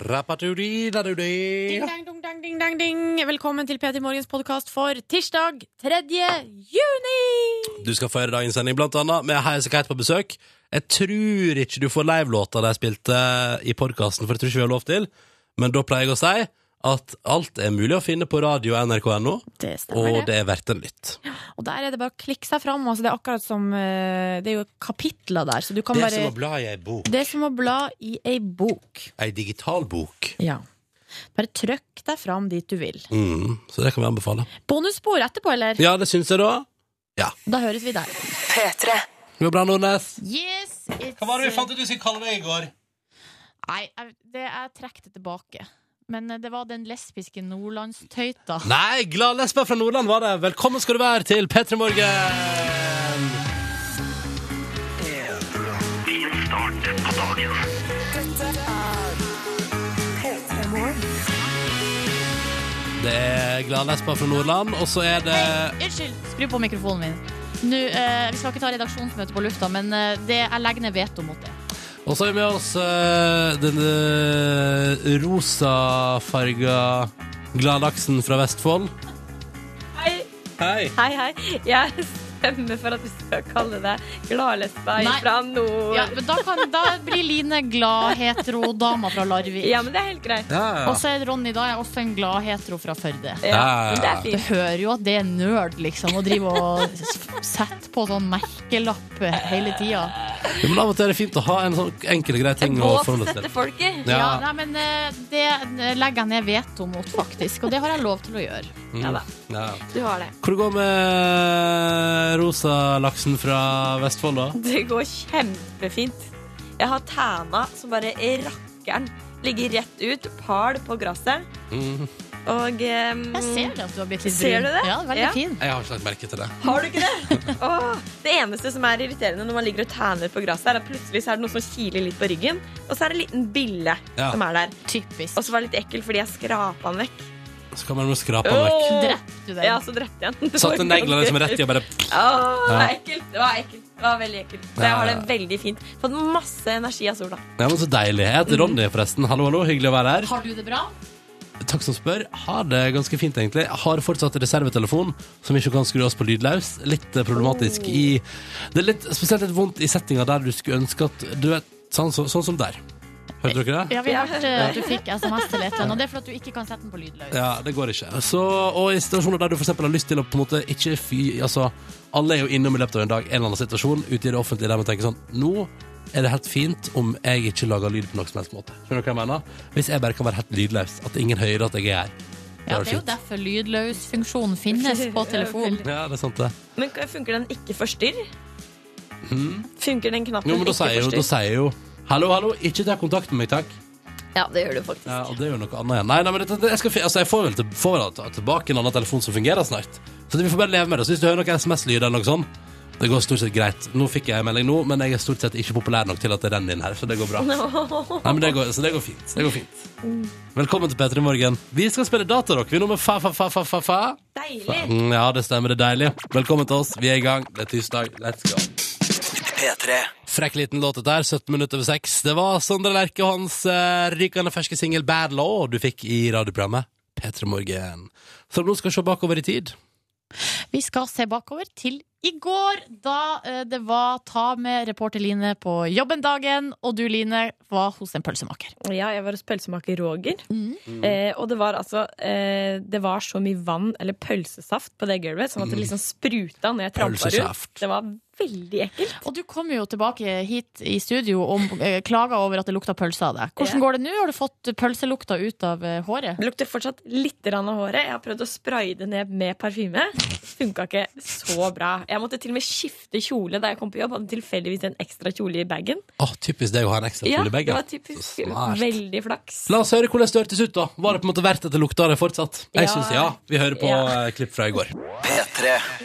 Rapatudidadudi. Ding, dang, dong, dang, ding, dang, ding. Velkommen til P3 Morgens podkast for tirsdag 3. juni. Du skal få høre dagens sending, blant annet med Heise Kite på besøk. Jeg tror ikke du får livelåta de spilte eh, i podkasten, for jeg tror ikke vi har lov til. Men da pleier jeg å si at alt er mulig å finne på radio nrk.no, Det og stemmer, det. det er verdt en lytt. Og der er det bare å klikke seg fram. Altså, det er akkurat som eh, Det er jo kapitler der, så du kan Det er bare som å bla i ei bok. Det er som å bla i ei bok. Ei digital bok. Ja. Bare trykk deg fram dit du vil. Mm, så det kan vi anbefale. Bonusspor etterpå, eller? Ja, det syns jeg, da. Da høres vi der. Det går bra, Nordnes. Yes, it's Hva var det vi fant ut vi skulle kalle deg i går? Nei, jeg, det jeg trekk det tilbake. Men eh, det var den lesbiske nordlandstøyta. Nei, glad lesbe fra Nordland var det. Velkommen skal du være til P3 Morgen. Det er glad lesbe fra Nordland, og så er det Unnskyld, skru på mikrofonen min. Nå, eh, vi skal ikke ta redaksjonsmøte på lufta, men eh, det, jeg legger ned veto mot det. Og så er vi med oss eh, denne rosafarga gladlaksen fra Vestfold. Hei, Hei. hei, hei. Jeg stemmer for at vi skal kalle deg gladlesba Nei. fra nord. Ja. Ja, men da, kan, da blir Line glad hetero-dama fra Larvik. men det er helt greit. Ja, ja. Og så er Ronny da er også en glad hetero fra Førde. Ja, Ja. men det er Det fint. hører jo at det er nerd, liksom, å drive og s- sette på sånn merkelapp hele tida. Jo, Men av og til er det fint å ha en sånn enkel og grei ting å Gå og forholde seg sette til. folket. Ja. nei, men eh, det legger jeg ned veto mot, faktisk. Og det har jeg lov til å gjøre. Ja da, Mm. Ja. du har det. Hvor det går med eh, rosalaksen fra Vestfold, da? Det går kjempefint. Jeg har tæna som bare rakkeren. Ligger rett ut, pal på gresset. Mm. Og ehm, Jeg ser det at du har blitt litt brun. Ser du det? Ja, veldig Ja. fin. Jeg har ikke lagt merke til det. Har du ikke det? Åh, det eneste som er irriterende når man ligger og tæner på gresset, er at plutselig så er det noe som kiler litt på ryggen, og så er det en liten bille Ja. som er der. Typisk. Og så var det litt ekkel fordi jeg skrapa den vekk. Så kan man jo skrape den vekk. Åh! Drepte du den? Ja, så drepte jeg den. Det Satt var en negle liksom ganske- rett i og bare Åh, det Ja. var ekkelt. Det var ekkelt. Det var veldig ekkelt. Så jeg har det veldig fint. Fått masse energi av sola. Ja, men Så deilig. Jeg heter Ronny, forresten. Hallo, hallo. Hyggelig å være her. Har du det bra? Takk som spør. Har det ganske fint, egentlig. Jeg har fortsatt reservetelefon, som ikke kan skru oss på lydløs. Litt eh, problematisk i Det er litt, spesielt litt vondt i settinga der du skulle ønske at Du vet, sånn, så, sånn som der. Hørte dere det? Ja, vi hørte at du fikk SMS til et eller annet. Og det er fordi at du ikke kan sette den på lydløs. Ja, det går ikke. Så, og i situasjoner der du for eksempel har lyst til å på en måte ikke fy, altså, Alle er jo innom i løpet av en dag en eller annen situasjon ute i det offentlige der man tenker sånn Nå er det helt fint om jeg ikke lager lyd på noen som helst måte. Skjønner du hva jeg mener? Hvis jeg bare kan være helt lydløs. At ingen hører at jeg er her. Ja, det er jo fint. derfor lydløsfunksjonen finnes på telefon. Ja, det er sant, det. Men k- funker den ikke forstyrr? Funker den knappen Mhm. Jo, men da ikke sier jeg jo, da forstyrr? sier jeg jo Hallo, hallo, ikke ta kontakt med meg, takk. Ja, det gjør du faktisk. Ja, og det er jo noe annet igjen. Nei, nei, men dette, det- jeg, skal, fi- altså, jeg får vel til, får vel ta- tilbake en annen telefon som fungerer snart. Så det- vi får bare leve med det. Så hvis du hører noe SMS-lyd eller noe sånn, det går stort sett greit. Nå fikk jeg en melding nå, men jeg er stort sett ikke populær nok til at det renner inn her, så det går bra. Nei, men det går, så det går fint. Det går fint. Velkommen til P3 Morgen. Vi skal spille datarock. Vi er nå med fa, fa, fa, fa, fa, fa. Deilig. Mm, Ja, det stemmer. Det er deilig. Velkommen til oss. Vi er i gang. Det er tirsdag. Let's go. Frekk liten låt dette her, 17 minutter over 6. Det var Sondre Lerche og hans eh, rykende ferske singel Bad Law du fikk i radioprogrammet P3 Morgen. Så nå skal vi se bakover i tid. Vi skal se bakover til i går, da eh, det var ta med reporter Line på jobben dagen, og du, Line, var hos en pølsemaker. Ja, jeg var hos pølsemaker Roger. Mm. Mm. Eh, og det var altså eh, Det var så mye vann, eller pølsesaft, på det gulvet, sånn at det liksom spruta når jeg trampa rundt. Mm. Pølsesaft. Det var veldig ekkelt. Og du kom jo tilbake hit i studio og eh, klaga over at det lukta pølse av deg. Hvordan Ja. går det nå? Har du fått pølselukta ut av eh, håret? Det lukter fortsatt litt grann av håret. Jeg har prøvd å spraye det ned med parfyme. Funka ikke så bra. Jeg måtte til og med skifte kjole da jeg kom på jobb. Hadde tilfeldigvis en ekstra kjole i bagen. Å, typisk deg å ha en ekstra Ja, kjole i det var bagen. typisk. Så smart. Veldig flaks. La oss høre hvordan det hørtes ut, da. Var det på en måte verdt at det lukta av det fortsatt? Jeg Ja. syns ja. Vi hører på Ja. eh, klipp fra i går.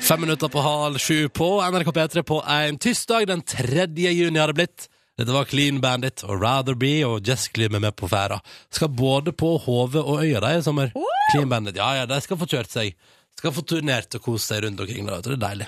Fem minutter på halv sju på NRK P3 på en tirsdag den 3. juni har det blitt. Dette var Clean Bandit og Rather Be og Jess Glimmer med på ferda. Skal både på Hove og Øya de i sommer. Clean Bandit, ja ja, de skal få kjørt seg. Skal få turnert og kose seg rundt omkring. der, vet du, Det er deilig.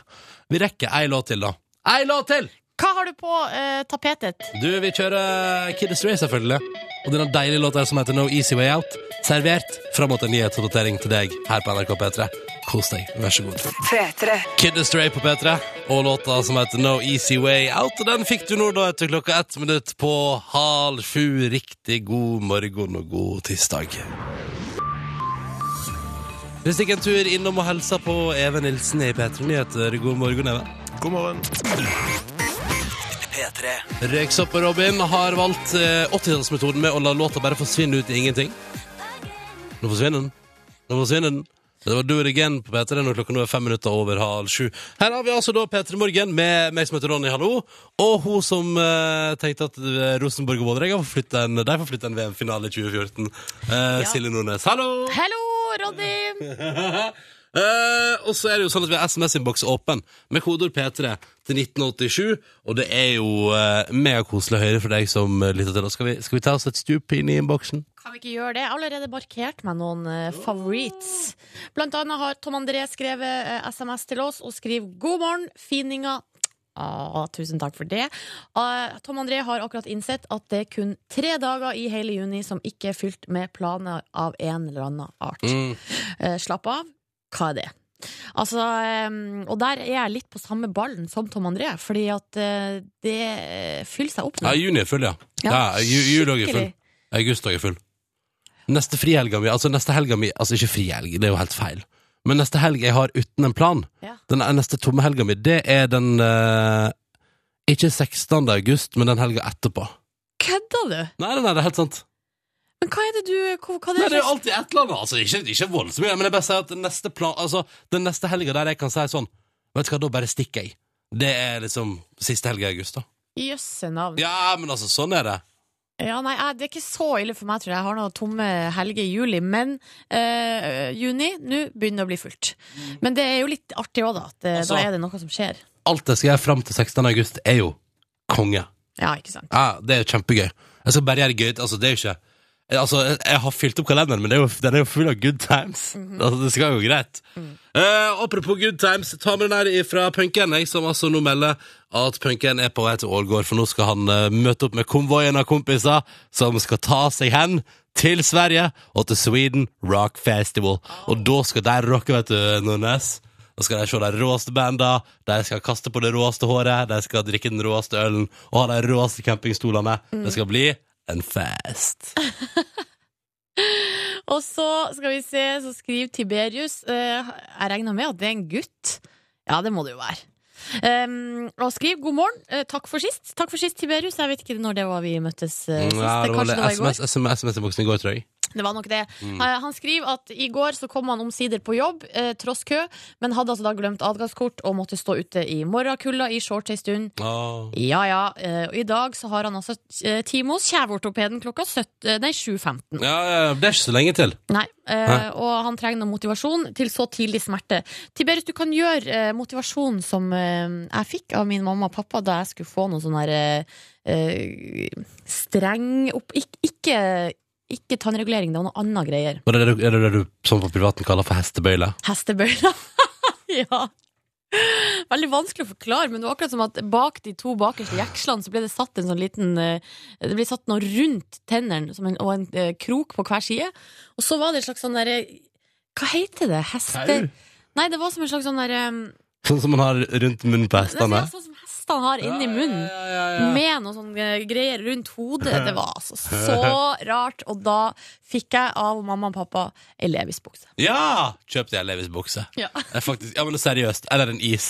Vi rekker ei låt til, da. Ei låt til! Hva har du på eh, tapetet? Du, vi kjører Kid Astray, selvfølgelig. Og denne deilige låta som heter No Easy Way Out. Servert fram mot en nyhetsoppdatering til deg her på NRK P3. Kos deg. Vær så god. P3. Kid Astray på P3 og låta som heter No Easy Way Out. Og den fikk du nå da etter klokka ett minutt på halv sju. Riktig god morgen og god tirsdag. Vi stikker en tur innom og hilser på Even Nilsen i P3 Nyheter. God morgen, Even. God morgen. Røyksopp og Robin har valgt eh, 80-tallsmetoden med å la låta bare forsvinne ut i ingenting. Nå forsvinner den. Nå forsvinner den. Det var Do it again på P3 når klokka nå er fem minutter over halv sju. Her har vi altså da P3 Morgen med meg som heter Ronny, hallo. Og hun som eh, tenkte at eh, Rosenborg og Vålerenga får flytte en, de får flytte en VM-finale i 2014. Eh, Silje Nordnes, hallo! Hello, Ronny! Eh, og så er det jo sånn at vi har SMS-innboks åpen med kodeord P3 til 1987. Og det er jo eh, megakoselig å høre fra deg som eh, lytter til oss. Skal vi, skal vi ta oss et stup inn i innboksen? Kan vi ikke gjøre det? Jeg har allerede markert meg noen eh, favoritts. Blant annet har Tom André skrevet eh, SMS til oss og skriver 'God morgen, fininga'. Ah, tusen takk for det. Ah, Tom André har akkurat innsett at det er kun tre dager i hele juni som ikke er fylt med planer av en eller annen art. Mm. Eh, slapp av. Hva er det? Altså, eh, og der er jeg litt på samme ballen som Tom André, fordi at eh, det fyller seg opp Ja, nå. juni er full, ja. ja, ju, Juli også er full. skikkelig. August også er full. Neste frihelga mi, altså neste helga mi Altså ikke frihelg, det er jo helt feil. Men neste helg jeg har uten en plan, Ja. den neste tomme helga mi, det er den eh, Ikke 16. august, men den helga etterpå. Kødder du? Nei, nei, nei, det er helt sant. Men hva er det du hva, hva er Nei, det det er slags- jo alltid et eller annet. Altså, ikke, ikke voldsomt mye, men jeg bare sier at neste plan, altså, den neste helga der jeg kan si sånn Vet du hva, da bare stikker jeg. Det er liksom siste helga i august, da. Jøsse navn. Ja. Ja, men altså, sånn er det. nei, jeg, det er ikke så ille for meg, tror jeg. Jeg har noen tomme helger i juli. Men eh, juni, nå begynner det å bli fullt. Men det er jo litt artig òg, da. At, eh, Altså- da er det noe som skjer. Alt jeg skal gjøre fram til 16. august, er jo konge. Ja, ikke sant. Ja, det er jo kjempegøy. Jeg skal bare gjøre det gøy. Altså, det er jo ikke Altså, jeg, jeg har fylt opp kalenderen, men det er jo, den er jo full av good times. Altså, det skal jo gå greit. Eh, apropos good times, ta med den her fra punken, jeg, som altså nå melder at punken er på vei til Ålgård, for nå skal han eh, møte opp med konvoien av kompiser som skal ta seg hen til Sverige og til Sweden Rock Festival. Og da skal de rocke, vet du, Nordnes. Da skal de se de råeste banda, de skal kaste på det råeste håret, de skal drikke den råeste ølen og ha de råeste campingstolene. Mm. Det skal bli en fest. Og så skal vi se, så skriver Tiberius eh, Jeg regner med at det er en gutt. Ja, det må det jo være. Um, og skriv 'god morgen'. eh, takk for sist. Takk for sist, Tiberius. Jeg vet ikke når det var vi møttes eh, sist. Mm, Ja, det var Kanskje det var i går. SMS-boksen i går, tror jeg. Det var nok det. Eh, Han skriver at i går så kom han omsider på jobb, eh, tross kø, men hadde altså da glemt adgangskort og måtte stå ute i morgenkulda i shorts ei stund. Åh. Ja ja. eh, Og i dag så har han altså eh, time hos kjeveortopeden klokka 17, eh, nei, 7.15. Ja, ja, det er ikke så lenge til. Nei. eh, Nei. Og han trenger noe motivasjon til så tidlig smerte. Tiberius, du kan gjøre eh, motivasjon som eh, jeg fikk av min mamma og pappa da jeg skulle få noe sånn her eh, eh, streng opp... Ikke, ikke, ikke tannregulering, det var noe annet greier. Og det er det, er det det du som på privaten kaller for hestebøyle? Hestebøyler. ja. Veldig vanskelig å forklare, men det var akkurat som at bak de to bakerste jekslene så ble det satt en sånn liten eh, Det ble satt noe rundt tennene som en, og en eh, krok på hver side. Og så var det en slags sånn derre Hva heter det? Heste... Nei, det var som en slags sånn derre Sånn som man har rundt munnen på hestene? Sånn som hestene har inni munnen. Ja, ja, ja, ja. Med noe sånn eh, greier rundt hodet. Det var altså så rart. Og da fikk jeg av mamma og pappa ei Levis-bukse. ja! Kjøp deg en Levis-bukse. Ja. Det er faktisk- Ja, men seriøst. Eller en is.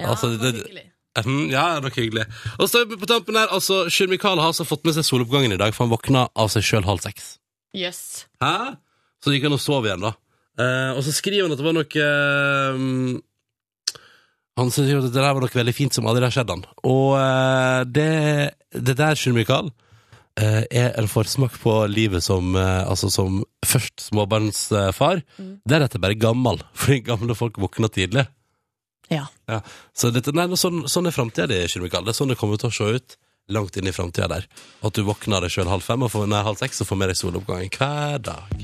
Ja, Altså, det- det var hyggelig. Mhm, Ja, det er nok hyggelig. Og så på tampen her, altså, Sjur Mikael har altså fått med seg soloppgangen i dag, for han våkna av seg sjøl halv seks. Jøss. Hæ? Så gikk han og sov igjen, da. Eh, og så skriver han at det var noe eh, Han synes jo at det der var noe veldig fint som aldri har skjedd han. Og eh, det, det der, Sjur Mikael, eh, er en forsmak på livet som eh, Altså som først småbarnsfar, deretter bare gammel, fordi gamle folk våkner tidlig. Ja. Ja. Så dette, nei, men sånn, sånn er framtida di, Sjur Mikael. Det er sånn det kommer til å se ut langt inn i framtida der. At du våkner deg sjøl halv fem, og får, nei, halv seks, og får med deg soloppgangen hver dag.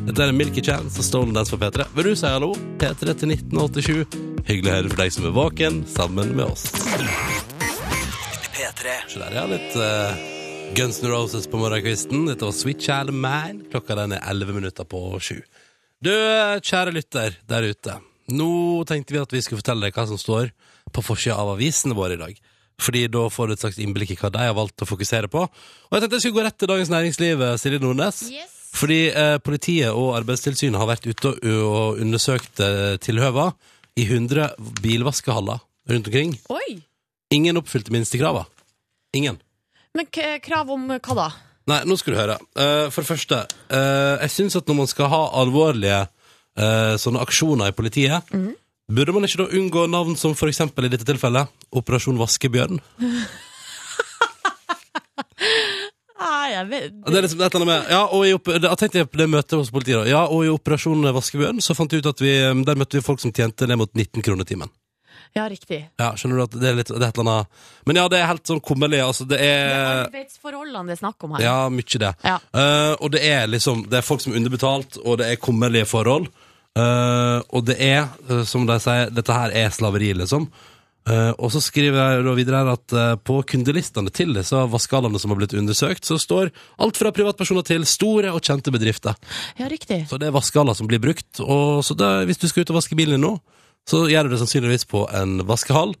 Dette er Milky Chance og Stolen Dance for P3. Vil du si hallo? P3 til 1987. Hyggelig å høre fra deg som er våken, sammen med oss. P3 Så der, ja. Litt eh, Guns N' Roses på morgenkvisten. Dette var Sweet Child Man. Klokka den er 11 minutter på sju. Du, eh, kjære lytter der ute. Nå tenkte vi at vi skulle fortelle deg hva som står på forsida av avisene våre i dag. Fordi da får du et slags innblikk i hva de har valgt å fokusere på. Og jeg tenkte jeg skulle gå rett til Dagens Næringsliv, eh, Silje Nordnes. Yes. Fordi eh, politiet og Arbeidstilsynet har vært ute og, og undersøkt eh, tilhøva i 100 bilvaskehaller rundt omkring. Oi! Ingen oppfylte minstekrava. Ingen. Men k eh, krav om hva da? Nei, nå skal du høre. Eh, for det første, eh, jeg syns at når man skal ha alvorlige eh, sånne aksjoner i politiet, burde man ikke da unngå navn som for eksempel i dette tilfellet Operasjon Vaskebjørn? Nei, Ah, jeg vet Det er liksom et eller annet med Ja, og i opp, da tenkte jeg på det møtet hos politiet, da. Ja, og i Operasjon Vaskebjørn så fant jeg ut at vi eh, Der møtte vi folk som tjente ned mot 19 kroner timen. Ja, riktig. Ja, skjønner du at det er litt det er et eller annet Men ja, det er helt sånn kummerlig. Altså, det er Arbeidsforholdene det er snakk om her. Ja, mye det. Ja. Eh, og det er liksom Det er folk som er underbetalt, og det er kummerlige forhold. Eh, og det er, eh, som de sier, dette her er slaveri, liksom. Eh, og så skriver jeg da videre her at eh, på kundelistene til disse vaskehallene som har blitt undersøkt, så står alt fra privatpersoner til store og kjente bedrifter. Ja, riktig. Så det er vaskehaller som blir brukt. Og så det, hvis du skal ut og vaske bilen din nå, så gjør du det sannsynligvis på en vaskehall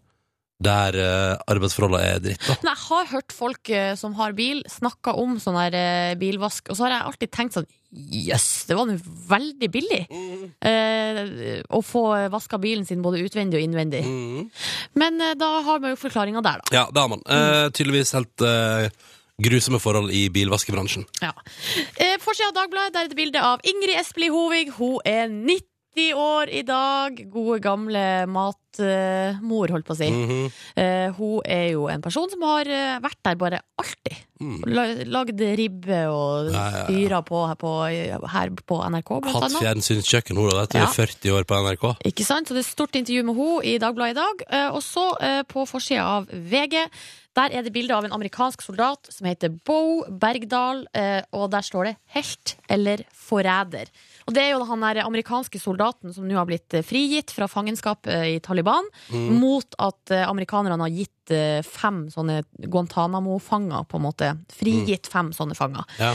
der eh, arbeidsforholdene er dritt. da Men jeg har hørt folk eh, som har bil, snakke om sånn her eh, bilvask, og så har jeg alltid tenkt sånn Jøss, yes, det var nå veldig billig Mm. eh, å få vaska bilen sin både utvendig og innvendig. Men eh, da har man jo forklaringa der, da. Mm. Ja, det har man. Eh, tydeligvis helt eh, grusomme forhold i bilvaskebransjen. Ja. Eh, Forsida av Dagbladet, der er det bilde av Ingrid Espelid Hovig. Hun er 90 år i dag. Gode, gamle matmor, holdt på å si. Mhm. Eh, hun er jo en person som har eh, vært der bare alltid. La- Lagd ribbe og Ja, ja, ja. styra på, her på her på NRK, blant Hatt annet. fjernsynskjøkken, hun har vært Ja. i 40 år på NRK. Ikke sant? Så det er et stort intervju med henne i Dagbladet i dag. Eh, Og så eh, på forsida av VG, der er det bilde av en amerikansk soldat som heter Bo Bergdal, eh, og der står det 'helt eller forræder'. Og det er jo han der amerikanske soldaten som nå har blitt eh, frigitt fra fangenskap eh, i Taliban, mot at eh, amerikanerne har gitt eh, fem sånne Guantánamo-fanger, på en måte. Frigitt fem sånne fanger. Ja.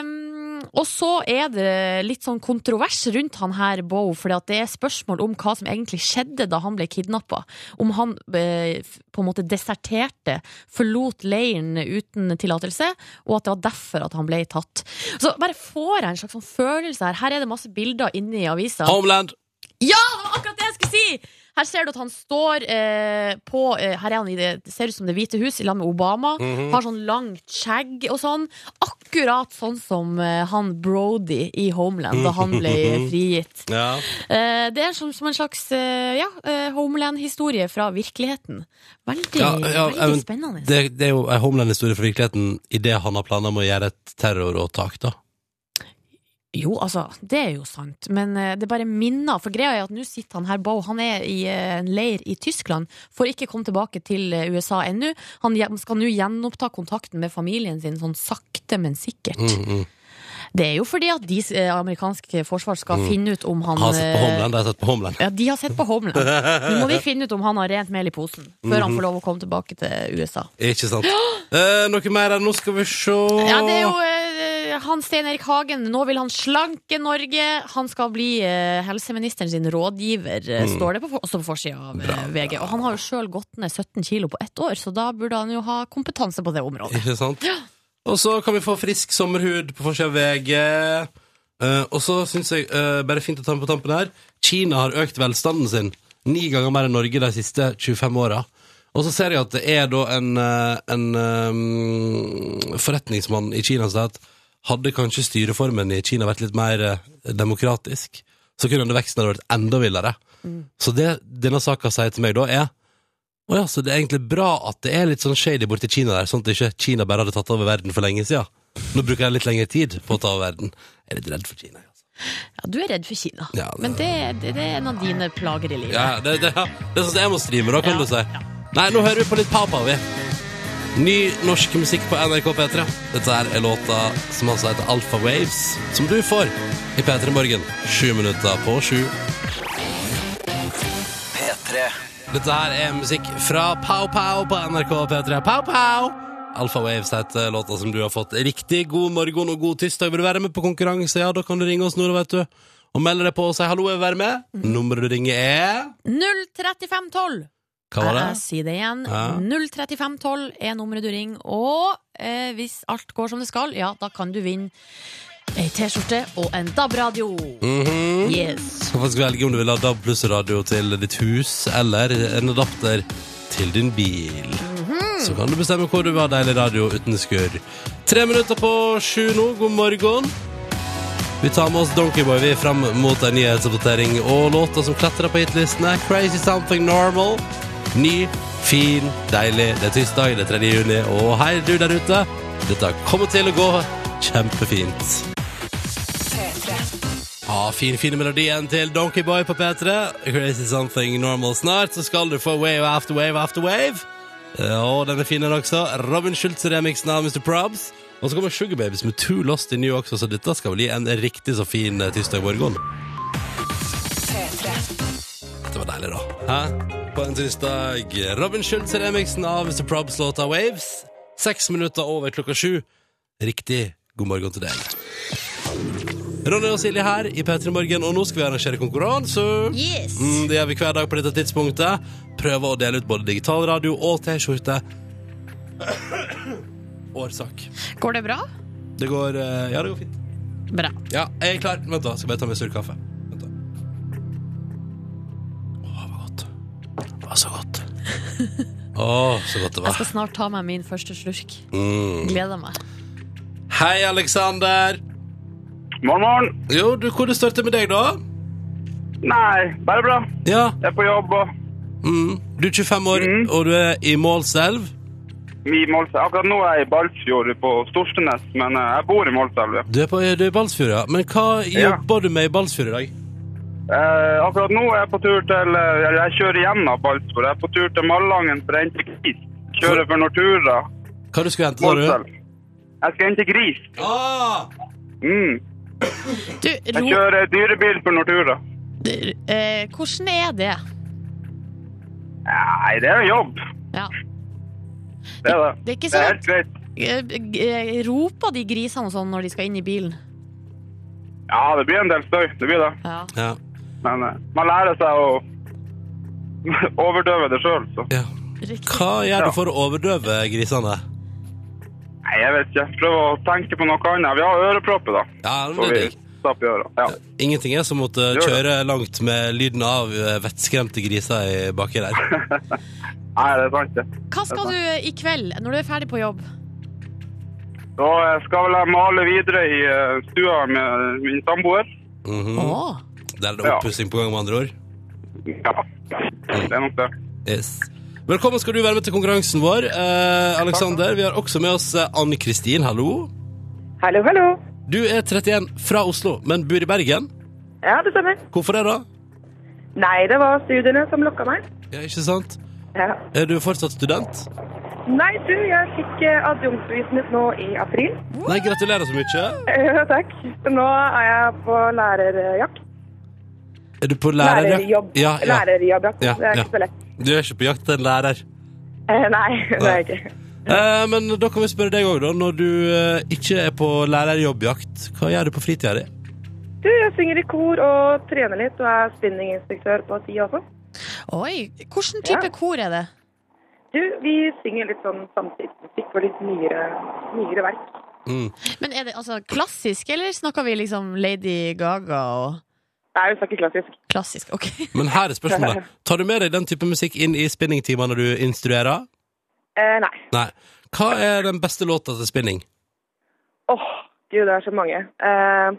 Um, og så er det litt sånn kontrovers rundt han her, Bo, fordi at det er spørsmål om hva som egentlig skjedde da han ble kidnappa. Om han eh, f- på en måte deserterte, forlot leiren uten tillatelse, og at det var derfor at han ble tatt. Så bare får jeg en slags sånn følelse her. Her er det masse bilder inne i avisa. Homeland! Ja, det var akkurat det jeg skulle si! Her ser du at han står eh, på eh, Her er han i det, det ser ut som Det hvite hus, i lag med Obama. Har sånn langt skjegg og sånn. Akkurat sånn som eh, han Brody i Homeland, da han ble frigitt. Ja. Eh, det er som, som en slags eh, ja, eh, Homeland-historie fra virkeligheten. Veldig, Ja, ja, veldig even- spennende. Det, det er jo en Homeland-historie fra virkeligheten idet han har planer om å gjøre et terroråtak, da. Jo, altså, det er jo sant, men eh, det bare minner. For greia er at nå sitter han her, Bo, han er i eh, en leir i Tyskland. Får ikke komme tilbake til eh, USA ennå. Han gje- skal nå gjenoppta kontakten med familien sin, sånn sakte, men sikkert. Mm, mm. Det er jo fordi at de eh, amerikanske forsvar skal finne ut om han Har sett på eh, Mm. Homeland, de har sett på Homeland. Ja, de har sett på Homeland. Nå må de finne ut om han har rent mel i posen, før han får lov å komme tilbake til USA. Ikke sant? Eh, noe mer her, nå skal vi se Ja, det er jo eh, han Stein Erik Hagen. Nå vil han slanke Norge. Han skal bli eh, helseministeren sin rådgiver, eh, Mm. står det på, for- også på forsida av eh, VG. Og han har jo sjøl gått ned 17 kilo på ett år, så da burde han jo ha kompetanse på det området. Ikke sant? Og så kan vi få frisk sommerhud på forsida av VG. Eh, og så syns jeg, eh, bare fint å ta med på tampen her, Kina har økt velstanden sin ni ganger mer enn Norge de siste 25 åra. Og så ser jeg at det er da en, eh, en eh, forretningsmann i Kina som sier at hadde kanskje styreformen i Kina vært litt mer eh, demokratisk, så kunne denne veksten ha vært enda villere. Mm. Så det denne saka sier til meg da, er å ja, så det er egentlig bra at det er litt sånn shady borti Kina der, sånn at ikke Kina bare hadde tatt over verden for lenge siden. Nå bruker jeg litt lengre tid på å ta over verden. Jeg er litt redd for Kina. Altså. Ja, du er redd for Kina. Ja, det- Men det, det, det er en av dine plager i livet. Ja, det, det, ja, det er sånn som jeg må streame, da, kan Ja, du si. Nei, nå hører vi på litt papa, vi. Ny norsk musikk på NRK P3. Dette her er låta som altså heter Alpha Waves, som du får i P3 Morgen. Sju minutter på sju. P3 Dette her er musikk fra Pow Pow på NRK P3. Pow Pow! Alfa Waves heter låta som du har fått. Riktig god morgen og god tirsdag. Vil du være med på konkurranse, ja, da kan du ringe oss nå, vet du. Og melde deg på og si hallo, jeg vil være med. Nummeret du ringer er 03512. Hva var det? Jeg sier det igjen. Ja. 03512 er nummeret du ringer. Og eh, hvis alt går som det skal, ja, da kan du vinne ei T-skjorte og en DAB-radio. Mhm. Yes. Du kan faktisk velge om du vil ha DAB pluss radio til ditt hus, eller en adapter til din bil. Så kan du bestemme hvor du vil ha deilig radio uten skurr. Tre minutter på sju nå, god morgen. Vi tar med oss Donkeyboy vi er fram mot en nyhetsoppdatering og låta som klatrer på hitlistene. Crazy Something Normal. Ny, fin, deilig. Det er tirsdag, det er 3. juni, og hei du der ute. Dette kommer til å gå kjempefint. Ja, fin, fin melodien til Donkeyboy på P3. Crazy Something Normal snart, så skal du få wave after wave after wave. Ja, Og den er fin den også. Robin Schultz-remixen av Mr. Probs. Og så kommer Sugar Babies med Too Lost in New York, så dette skal bli en riktig så fin eh, tirsdag morgen. Dette var deilig, da. Hæ? På en tirsdag. Robin Schultz-remixen av Mr. Probs-låta Waves. Seks minutter over klokka sju. Riktig god morgen til deg. Ronny og Silje her i P3 Morgen, og nå skal vi arrangere konkurranse. Yes. Mm, det gjør vi hver dag på dette tidspunktet. Prøver å dele ut både digital radio og T-skjorte. Årsak. Går det bra? Det går eh, Ja, det går fint. Bra. Ja, jeg er klar. Vent, da. Skal bare ta med sur kaffe. Vent, da. Å, det var godt. Det var så godt. Å, så godt det Jeg var. skal snart ta meg min første slurk. Mm. Gleder meg. Hei, Aleksander. Morgen, morgen. Jo, du, hvor det står til med deg, da? Nei, bare bra. Ja. Jeg er på jobb og Mm. Du er 25 år, Mm. og du er i Målselv. vi i Målselv. Akkurat nå er jeg i Balsfjord på Storstenes, men eh, jeg bor i Målselv. ja. Du er, på, du er i Balsfjord, ja. Men hva Ja. jobber du med i Balsfjord i dag? Eh, akkurat nå er jeg på tur til eh, Jeg, jeg kjører gjennom Balsfjord. Jeg er på tur til Malangen for å hente gris. Kjører for Nortura. Hva du skulle hente, sa du? Målselv. Jeg skal hente gris. Ah! Mm. Du, Jeg ro, kjører dyrebil for Nortura. eh, hvordan er det? Nei, det er jobb. Ja. Det er det. Det er ikke Det er sånn helt greit. eh, eh, Roper de grisene og sånn når de skal inn i bilen? Ja, det blir en del støy. Det blir det. Ja. Ja. Men eh, man lærer seg å overdøve det sjøl, så. ja. Riktig. Hva gjør Ja. du for å overdøve grisene? Nei, jeg vet ikke. Prøv å tenke på noe annet. Vi har ørepropper, da. Ja, men Så det vi er digg. stapper i øra. Ja. Ingenting er som å måtte Gjør det. kjøre langt med lyden av eh, vettskremte griser i baki der. Nei, det er sant, det. Hva skal du eh, i kveld når du er ferdig på jobb? Da eh, skal vel jeg male videre i eh, stua med min samboer. Mhm. Åh. Der er det Ja. oppussing på gang, med andre ord. Mm. Ja. Det er nok det. Yes. Velkommen skal du være med til konkurransen vår. Eh, Aleksander, vi har også med oss eh, Ann-Kristin. Hallo. Hallo, hallo. Du er 31 fra Oslo, men bor i Bergen. Ja, det stemmer. Hvorfor det, da? Nei, det var studiene som lokka meg. Ja, ikke sant? Ja. Er du fortsatt student? Nei, du, jeg fikk eh, adjunktbevisen mitt nå i april. Nei, gratulerer så mye. Eh, takk. Nå er jeg på lærerjakt. Er du på lærer? Lærerjobb. Ja, ja. Lærerjobb, ja. Ja, Det er ja. ikke så lett. Du er ikke på jakt etter en lærer. Eh, nei, det er jeg ikke. Eh, men da kan vi spørre deg òg, da. Når du eh, ikke er på lærerjobbjakt, hva gjør du på fritida di? Du, jeg synger i kor og trener litt, og er spinninginstruktør på ti også. Oi, hvilken type Ja. kor er det? Du, vi synger litt sånn samtidsmusikk og litt nyere, nyere verk. Mm. Men er det altså klassisk, eller snakker vi liksom Lady Gaga og Nei, vi snakker klassisk. klassisk? Ok. Men her er spørsmålet. Tar du med deg den type musikk inn i spinningtimer når du instruerer? Eh, nei. Nei. Hva er den beste låta til spinning? Åh, gud, det er så mange. Eh,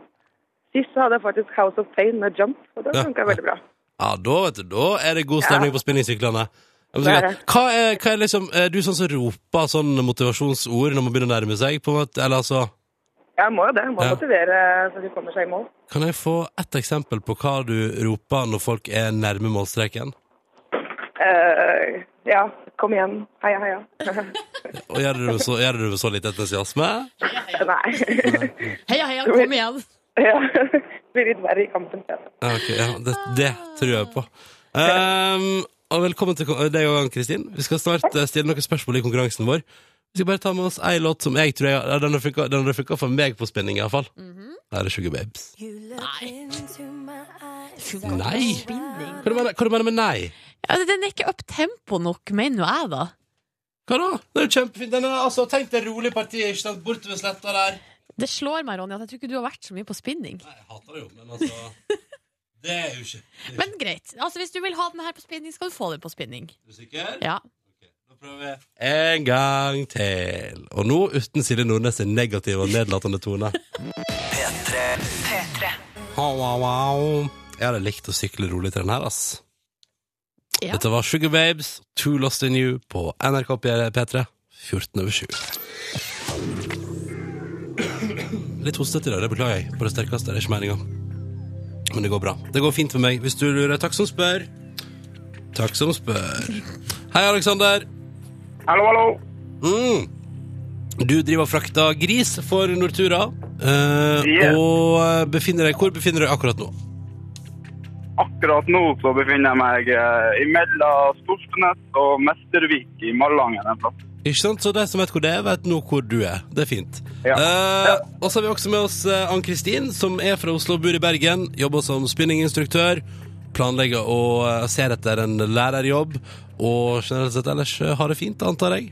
sist så hadde jeg faktisk House of Pain med Jump, og det Ja, funka ja. veldig bra. Ja, da vet du, da er det god stemning Ja. på spinningsyklene. Jeg må si Det er det. det. Hva er, hva er liksom Er du sånn som roper sånn motivasjonsord når man begynner å nærme seg? På en måte, eller altså Jeg må jo det. Jeg må Ja. motivere så de kommer seg i mål. Kan jeg få ett eksempel på hva du roper når folk er nærme målstreken? Eh, ja, kom igjen. Heia, heia. Og gjør du det med så, gjør du det med så litt entusiasme? nei. Heia, heia, kom igjen! ja. Blir litt verre i kampen. Ja, ok, ja, det, det tror jeg på. Ehm, og velkommen til ko- deg og Kristin. Vi skal snart eh, stille noen spørsmål i konkurransen vår. Vi skal bare ta med oss ei låt som jeg tror jeg, ja, den har funka- den har funka for meg på spinning, iallfall. Her er Sugar Babes. Nei! Hva du mener- hva du mener med nei? Ja, den er ikke up-tempo nok, mener jo jeg, da. Hva da? Det er jo kjempefint. Den er, altså, tenk deg rolig parti, ikke sant? Bortover sletta der. Det slår meg, Ronny, at jeg tror ikke du har vært så mye på spinning. Nei, jeg hater det jo, men altså Det er jo ikke det er jo Men greit. Altså, hvis du vil ha den her på spinning, skal du få den på spinning. ikke- Er du sikker? Ja. Da prøver vi en gang til. Og nå uten Silje Nordnes' negative og nedlatende tone. P3. Wow, wow, wow. Jeg hadde likt å sykle rolig til den her, ass. Ja. Dette var Sugar Babes, Too Lost In You på NRK P3, 14 over 7. Litt hostete i dag, det beklager jeg på det sterkeste. Det er ikke meninga. Men det går bra. Det går fint for meg. Hvis du lurer, takk som spør. Takk som spør. Hei, Aleksander. Hallo, hallo. Mm. Du driver og frakter gris for Nortura. eh, Yeah. Og eh, befinner deg, hvor befinner du deg akkurat nå? Akkurat nå så befinner jeg meg eh, imellom Storspenes og Mestervik i Malangen en plass. Ikke sant? Så de som vet hvor det er, vet nå hvor du er. Det er fint. Ja. Eh, og så har vi også med oss eh, Ann-Kristin, som er fra Oslo og bor i Bergen. Jobber som spinninginstruktør. Planlegger og eh, ser etter en lærerjobb. Og generelt sett ellers eh, har det fint, antar jeg.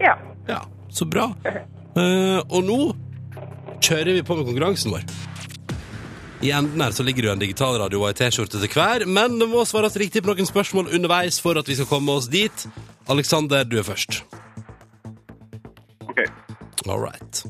Ja. Ja, så bra. Eh, og nå kjører vi på med konkurransen vår. I enden her så ligger det jo en digital radio og ei T-skjorte til hver, men det må svares riktig på noen spørsmål underveis for at vi skal komme oss dit. Aleksander, du er først. Ok. All right.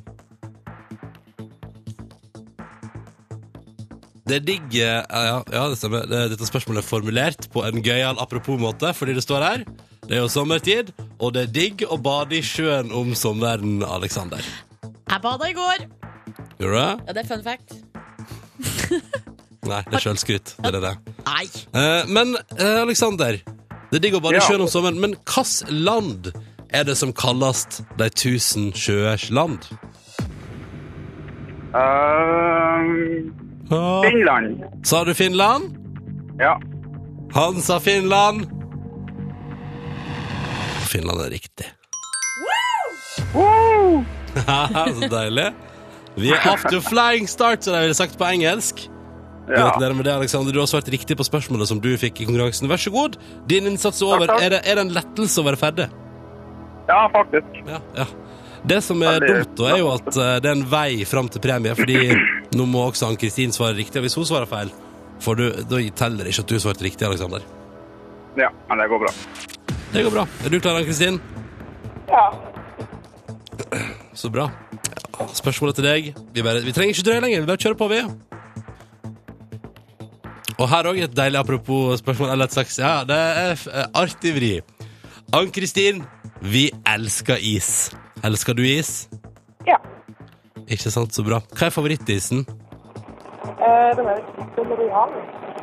Det er digg eh, Ja, ja det stemmer. Det- Dette spørsmålet er formulert på en gøyal apropos-måte, fordi det står her Det er jo sommertid, og det er digg å bade i sjøen om sommeren, Aleksander. Jeg bada i går. Gjør du det? Ja, det er fun fact. Nei, det er sjølskryt. Det er det. Nei. Eh, men eh, Aleksander, det er digg å bade i Ja. sjøen om sommeren, men hvilket land er det som kalles De tusen sjøers land? Eh, Ah. Finland. Sa du Finland? Ja. Han sa Finland. Finland er riktig. Haha, Så deilig. Vi er off to flying start, som de ville sagt på engelsk. ja. Gratulerer med det, Alexander. Du har svart riktig på spørsmålet som du fikk i konkurransen. Vær så god. Din innsats er over. Takk, takk. Er det, er det en lettelse å være ferdig? Ja, faktisk. Ja, ja. Det som er Veldig dumt, da, er jo at eh, det er en vei fram til premie, fordi nå må også Ann-Kristin svare riktig. Og hvis hun svarer feil, får du, da teller det ikke at du svarte riktig, Alexander. Ja, men det går bra. Det går bra. Er du klar, Ann-Kristin? Ja. Så bra. Ja, Spørsmålet til deg. Vi, bare, vi trenger ikke drøye lenger. Vi bare kjører på, vi. Og her òg et deilig apropos spørsmål. Eller et slags Ja, det er f- eh, artig vri. Ann-Kristin, vi elsker is. Elsker du is? Ja. Ikke sant? Så bra. Hva er favorittisen? Eh, den er trippel royal.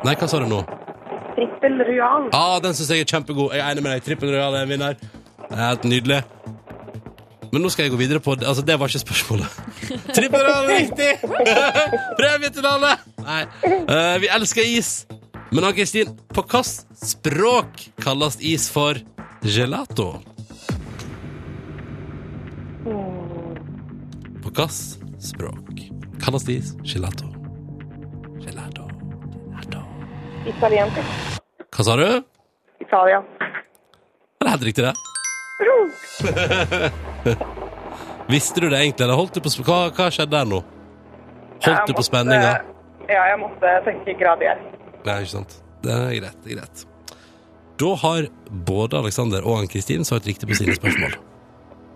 Nei, hva sa du nå? Trippel royal. Ah, den syns jeg er kjempegod. Jeg er enig med deg. Trippel Royal er en vinner. Det er Helt nydelig. Men nå skal jeg gå videre på Altså, det var ikke spørsmålet. Trippel Royal er riktig! Premie til alle! Nei. Eh, vi elsker is. Men Ann-Kristin, på hvilket språk kalles is for gelato? Hmm. På hvilket språk kalles det is gelato? Gelato. Gelato. Italiensk. Hva sa du? Italia. Det er helt riktig, det. Visste du det egentlig, eller holdt du på sp- hva, hva skjedde der nå? Holdt Jeg du på måtte- spenninga? Ja, jeg måtte tenke gradier. Nei, ikke sant. Det er greit. det er greit. Da har både Aleksander og Ann-Kristin svart riktig på sine spørsmål.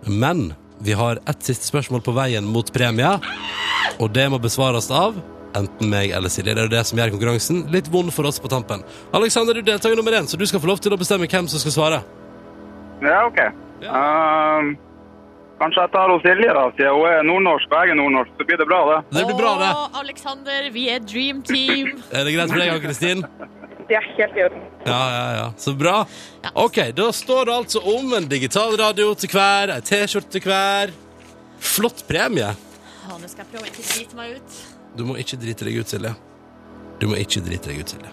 Men vi har ett siste spørsmål på veien mot premie, og det må besvares av enten meg eller Silje. Det er jo det som gjør konkurransen litt vond for oss på tampen. Aleksander, du er deltaker nummer én, så du skal få lov til å bestemme hvem som skal svare. Ja, ok. Ehm, kanskje jeg tar hos Silje, da, siden hun er nordnorsk og jeg er nordnorsk. Så blir det bra, det. Det blir bra, det. Å, Alexander, vi er dream team. Er det greit for deg, Ann-Kristin? Det er helt i orden. Ja, ja, ja. Så bra. Ok, da står det altså om en digital radio til hver, ei T-skjorte til hver. Flott premie. Å, nå skal jeg prøve å ikke drite meg ut. Du må ikke drite deg ut, Silje. Du må ikke drite deg ut, Silje.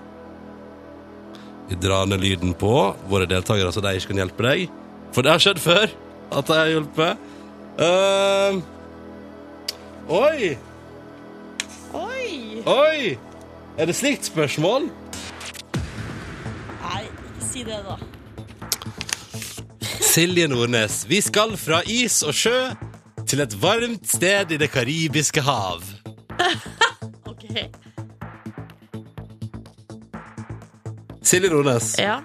Vi drar ned lyden på våre deltakere, så de ikke kan hjelpe deg. For det har skjedd før at de har hjulpet. Ehm. oi! Oi! Oi! Er det slikt spørsmål? Nei, si det, da. Silje Nordnes, vi skal fra is og sjø til et varmt sted i det karibiske hav. OK. Silje Nordnes, Ja.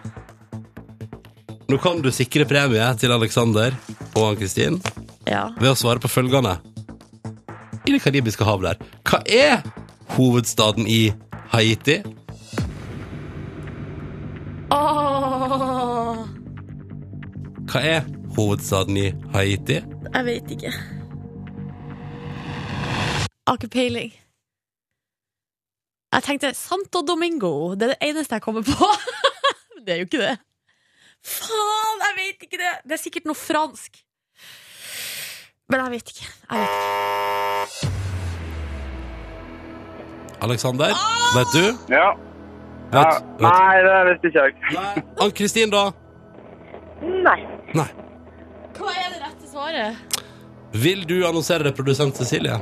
nå kan du sikre premie til Alexander og Ann-Kristin ja. ved å svare på følgende. I det karibiske hav der, hva er hovedstaden i Haiti? Åh, Hva er hovedstaden i Haiti? Jeg vet ikke. Aker peiling. Jeg tenkte Santo Domingo. Det er det eneste jeg kommer på. det er jo ikke det. Faen, jeg vet ikke det! Det er sikkert noe fransk. Men jeg vet ikke. Jeg vet ikke. Alexander, vet du? Ja. ja. Vet, vet. Nei, det visste ikke jeg. Nei. Ann-Kristin, da? Nei. Nei. Hva er det rette svaret? Vil du annonsere det, produsent Cecilie?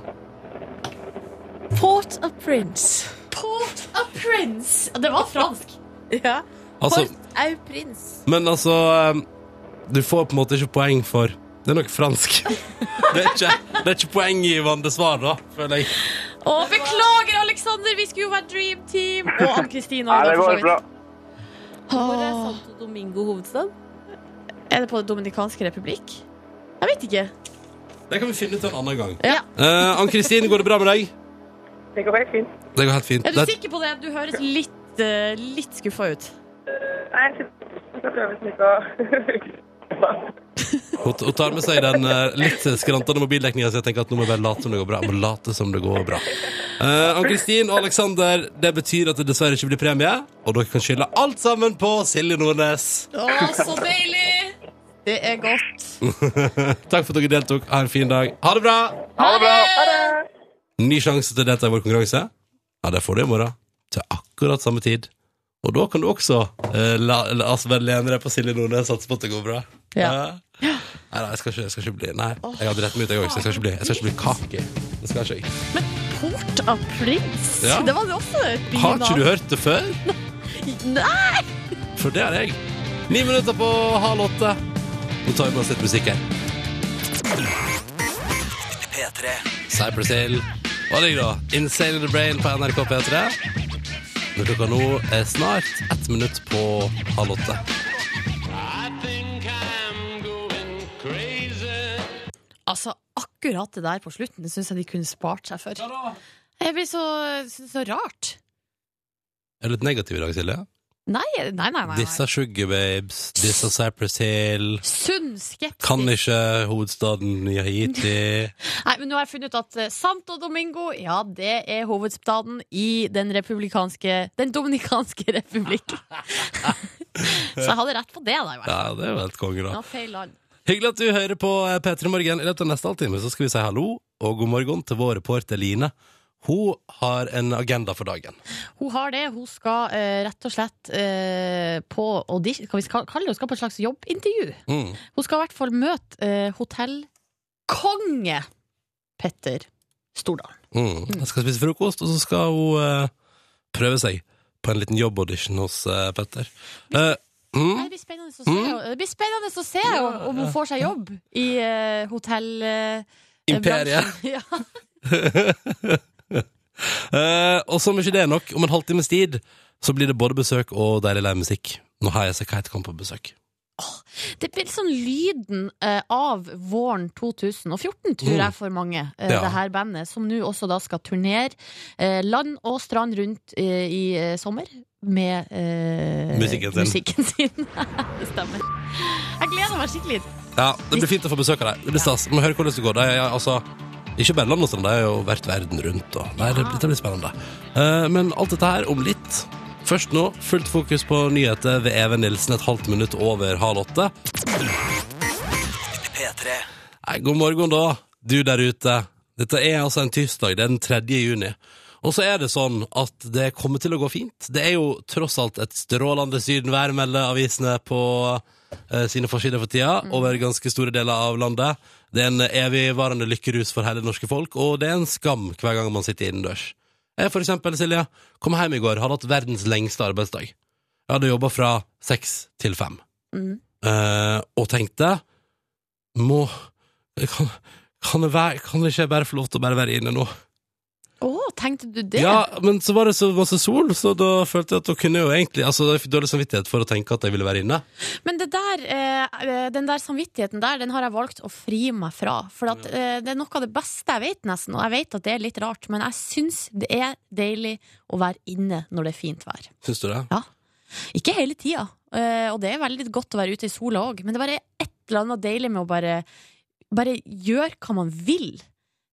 Port of Prince. Port of Prince. Det var fransk. Ja. Altså, Port au Prince. Men altså eh, Du får på en måte ikke poeng for Det er nok fransk Det er ikke, det er ikke poenggivende svar da Føler jeg Å, beklager, Alexander. Vi skulle jo være Dream Team. Og Ann-Kristin. Nei, det går bra. Hvor er Santo Domingo hovedstad? Er det på Dominikanske republikk? Jeg vet ikke. Det kan vi finne ut en annen gang Ja. Eh, Ann-Kristin, går det bra med deg? Det går helt fint. Det går helt fint Er du Det- sikker på det? Du høres litt, eh, litt skuffa ut. Nei, jeg skal prøve liksom ikke å Hun hun tar med seg den eh, litt skrantende mobildekningen Så jeg tenker at nå må jeg bare late som det går bra Jeg må late som det går bra Eh, Ann-Kristin og Alexander Det betyr at det dessverre ikke blir premie Og dere kan skylde alt sammen på Silje Nordnes Å, så deilig! Det er godt. Takk for at dere deltok Ha en fin dag Ha det bra Ha det bra. Ny sjanse til å delta i vår konkurranse. Ja, det får du i morgen. Til akkurat samme tid. Og da kan du også eh, la, la oss bare lene deg på Silje Nordnes og satse på at det går bra. Ja. Nei, nei, jeg skal ikke, jeg skal ikke bli Nei, jeg hadde rett meg ut, jeg òg, så jeg skal ikke bli, jeg skal ikke bli kake. Det skal ikke jeg. Port av Prince. Ja. Det var det også Har et ikke bynavn. du hørt det før? Nei! For det har jeg. Ni minutter på halv åtte. Nå tar vi med oss litt musikk her. Cypress Hill. Hva ligger da? Insane in the Brain på NRK P3. Når klokka nå er snart ett minutt på halv åtte. Altså, akkurat det der på slutten syns jeg de kunne spart seg for. Jeg blir så, synes det er så rart. Er du litt negativ i dag, Silje? Nei, nei, nei. nei, nei. Disse Sugar Babes, disse Cypress Hill Sunn skepsis. Kan ikke hovedstaden i Haiti. Nei, men nå har jeg funnet ut at eh, Santo Domingo, ja, det er hovedstaden i den republikanske Den dominikanske republikk. så jeg hadde rett på det, da. i hvert fall. Ja, det er jo helt konge, da. Ja, feil land. Hyggelig at du hører på eh, P3 Morgen. I løpet av neste halvtime så skal vi si hallo og god morgen til vår reporter Line. Hun har en agenda for dagen. Hun har det. Hun skal eh, rett og slett eh, på audition Kan vi skal- kalle det hun skal på et slags jobbintervju? Mm. Hun skal i hvert fall møte eh, hotellkonge Petter Stordalen. Mm. Jeg skal spise frokost, og så skal hun eh, prøve seg på en liten jobbaudition hos eh, Petter. Eh, Nei, mm. Det blir spennende å se, det blir spennende å se om- om hun får seg jobb i eh, hotell... eh, Imperiet. bransjen. Ja. Eh, og som ikke det er nok, om en halvtimes tid så blir det både besøk og deilig live musikk. Nå har jeg sett Kite Camp på besøk. Det blir litt sånn lyden eh, av våren 2014, tror Mm. jeg, for mange. eh, Ja. Det her bandet, som nå også da skal turnere eh, land og strand rundt eh, i eh, sommer med eh, Musikken sin. musikken sin. det stemmer. Jeg gleder meg skikkelig. Ja, Det blir fint å få besøk av deg. Det blir stas. Vi må høre hvordan det går. De er, altså, ikke bare land og strand, de har jo vært verden rundt. Og. Nei, det, dette blir spennende. Eh, men alt dette her om litt. Først nå, fullt fokus på nyheter ved Even Nilsen et halvt minutt over halv åtte. Nei, god morgen, da, du der ute. Dette er altså en tirsdag, det er den 3. juni. Og så er det sånn at det kommer til å gå fint. Det er jo tross alt et strålende sydenvær, melder avisene på eh, sine forsider for tida, over ganske store deler av landet. Det er en evigvarende lykkerus for hele det norske folk, og det er en skam hver gang man sitter innendørs. Jeg for eksempel, Silje, kom hjem i går, hadde hatt verdens lengste arbeidsdag. Jeg hadde jobba fra seks til fem. Mm. Eh, og tenkte Må kan, kan, det være, kan det ikke jeg bare få lov til å bare være inne nå? Å, tenkte du det? Ja, men så var det så masse sol, så da følte jeg at da kunne jeg jo egentlig Altså, jeg fikk dårlig samvittighet for å tenke at jeg ville være inne. Men det der, eh, den der samvittigheten der, den har jeg valgt å fri meg fra. For at, eh, det er noe av det beste jeg vet, nesten. Og jeg vet at det er litt rart, men jeg syns det er deilig å være inne når det er fint vær. Syns du det? Ikke hele tida, eh, og det er veldig godt å være ute i sola òg, men det er bare et eller annet deilig med å bare, bare gjøre hva man vil.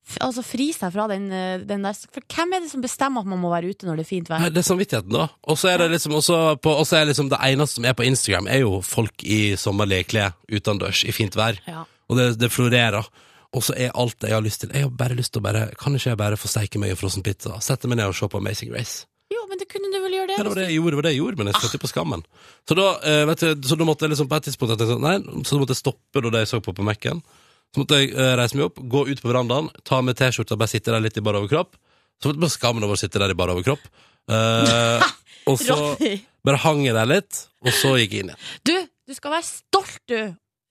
F- Altså fri seg fra den, eh, den der For hvem er det som bestemmer at man må være ute når det er fint Nei, vær? det er samvittigheten, da. Og så er det liksom også på, og så er liksom det eneste som er på Instagram, er jo folk i sommerlige klær utendørs i fint vær. Ja. Og det, det florerer. Og så er alt jeg har lyst til Jeg har bare lyst til å bare Kan ikke jeg bare få steike meg i frossen pizza? Sette meg ned og se på Amazing Race? Jo, men det kunne du vel gjøre det? Ja, det hvis var du- det jeg gjorde, det var det jeg gjorde men jeg skjønte på skammen. Så da, eh, vet du, så da måtte jeg liksom på et tidspunkt jeg tenkte sånn, Nei, så da måtte jeg stoppe da det jeg så på på Mac-en. Så måtte jeg eh, reise meg opp, gå ut på verandaen, ta med T-skjorta, bare sitte der litt i bar overkropp. Så måtte jeg på skammen over å sitte der i bar overkropp. Eh, og så Ronny. bare hang jeg der litt, og så gikk jeg inn igjen. Du, du skal være stolt, du.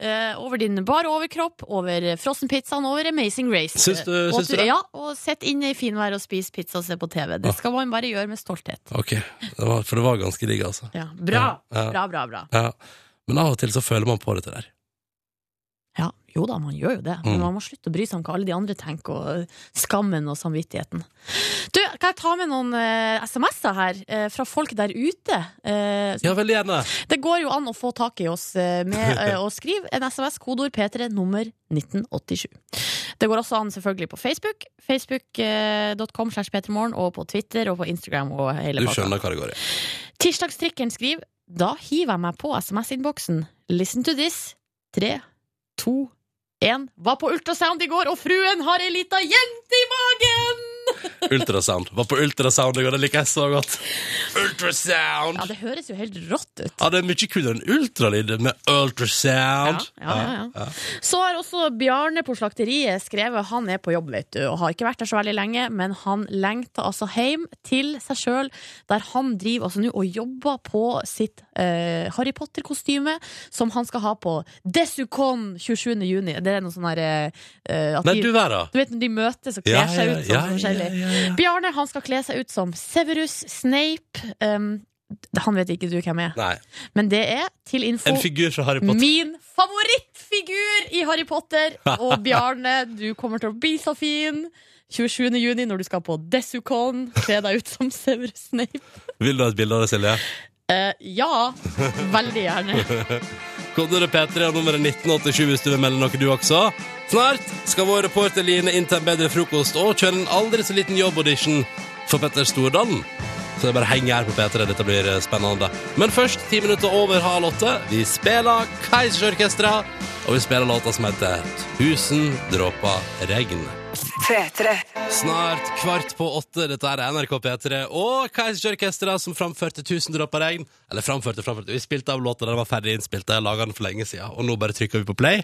eh, over din bar overkropp, over frossenpizzaen, over Amazing Race. Syns du- Eh, og at syns du det? Ja, og sitt inne i finvær og spis pizza og se på TV. Ja. Det skal man bare gjøre med stolthet. Ok, det var, For det var ganske digg, altså. Ja, bra. Ja, ja, Bra, bra, bra. ja. Men av og til så føler man på dette der. Ja, jo da, man gjør jo det. Men Mm. man må slutte å bry seg om hva alle de andre tenker, og skammen og samvittigheten. Du, kan jeg ta med noen eh, SMS-er her, eh, fra folk der ute? Eh, Ja, veldig gjerne. Det går jo an å få tak i oss eh, med eh, å skrive en SMS, kodeord P3, nummer 1987. Det går også an selvfølgelig på Facebook, facebook.com slash p3morgen, og på Twitter og på Instagram og hele Du pakka. skjønner hva det går i. Tirsdagstrikkeren skriver Da hiver jeg meg på SMS-innboksen. Listen to this. Tre, to, én. Var på ultrasound i går, og fruen har ei lita jente i magen! Ultrasound. Var på ultrasound i går, det liker jeg så godt. Ultrasound! Ja, det høres jo helt rått ut. Ja, det er mye kulere enn ultralyd med ultrasound. Ja, ja, ja, ja. Så har også Bjarne på slakteriet skrevet Han er på jobb, vet du, og har ikke vært der så veldig lenge, men han lengter altså hjem til seg sjøl, der han driver altså nå og jobber på sitt eh, Harry Potter-kostyme, som han skal ha på Desucon 27. juni. Det er noe sånn her eh, at Nei, du de, verden. du vet når de møtes og kler Ja, ja, seg ut sånn ja, ja, forskjellig. ja, ja. Bjarne han skal kle seg ut som Severus Snape. Um, han vet ikke du hvem er, Nei, men det er til info en figur fra Harry Potter. Min favorittfigur i Harry Potter. Og Bjarne, du kommer til å bli så fin 27. juni når du skal på Desucon. Kle deg ut som Severus Snape. Vil du ha et bilde av det, Silje? Eh, ja, veldig gjerne. Kodere P3 og nummeret 1987 hvis du vil melde noe, du også. Snart skal vår reporter Line inn til en bedre frokost og kjøre en aldri så liten jobbaudition for Petter Stordalen. Så det bare henger her på P3. Dette blir eh, spennende. Men først, ti minutter over halv åtte, vi spiller Keiserorkestra. Og vi spiller låta som heter 'Tusen dråper regn'. Snart kvart på åtte. Dette er NRK P3 og Keiserorkesteret som framførte 1000 dråper regn. Eller framførte, framførte. Vi spilte av låta den var ferdig innspilt. Jeg laga den for lenge siden. Og nå bare trykker vi på play.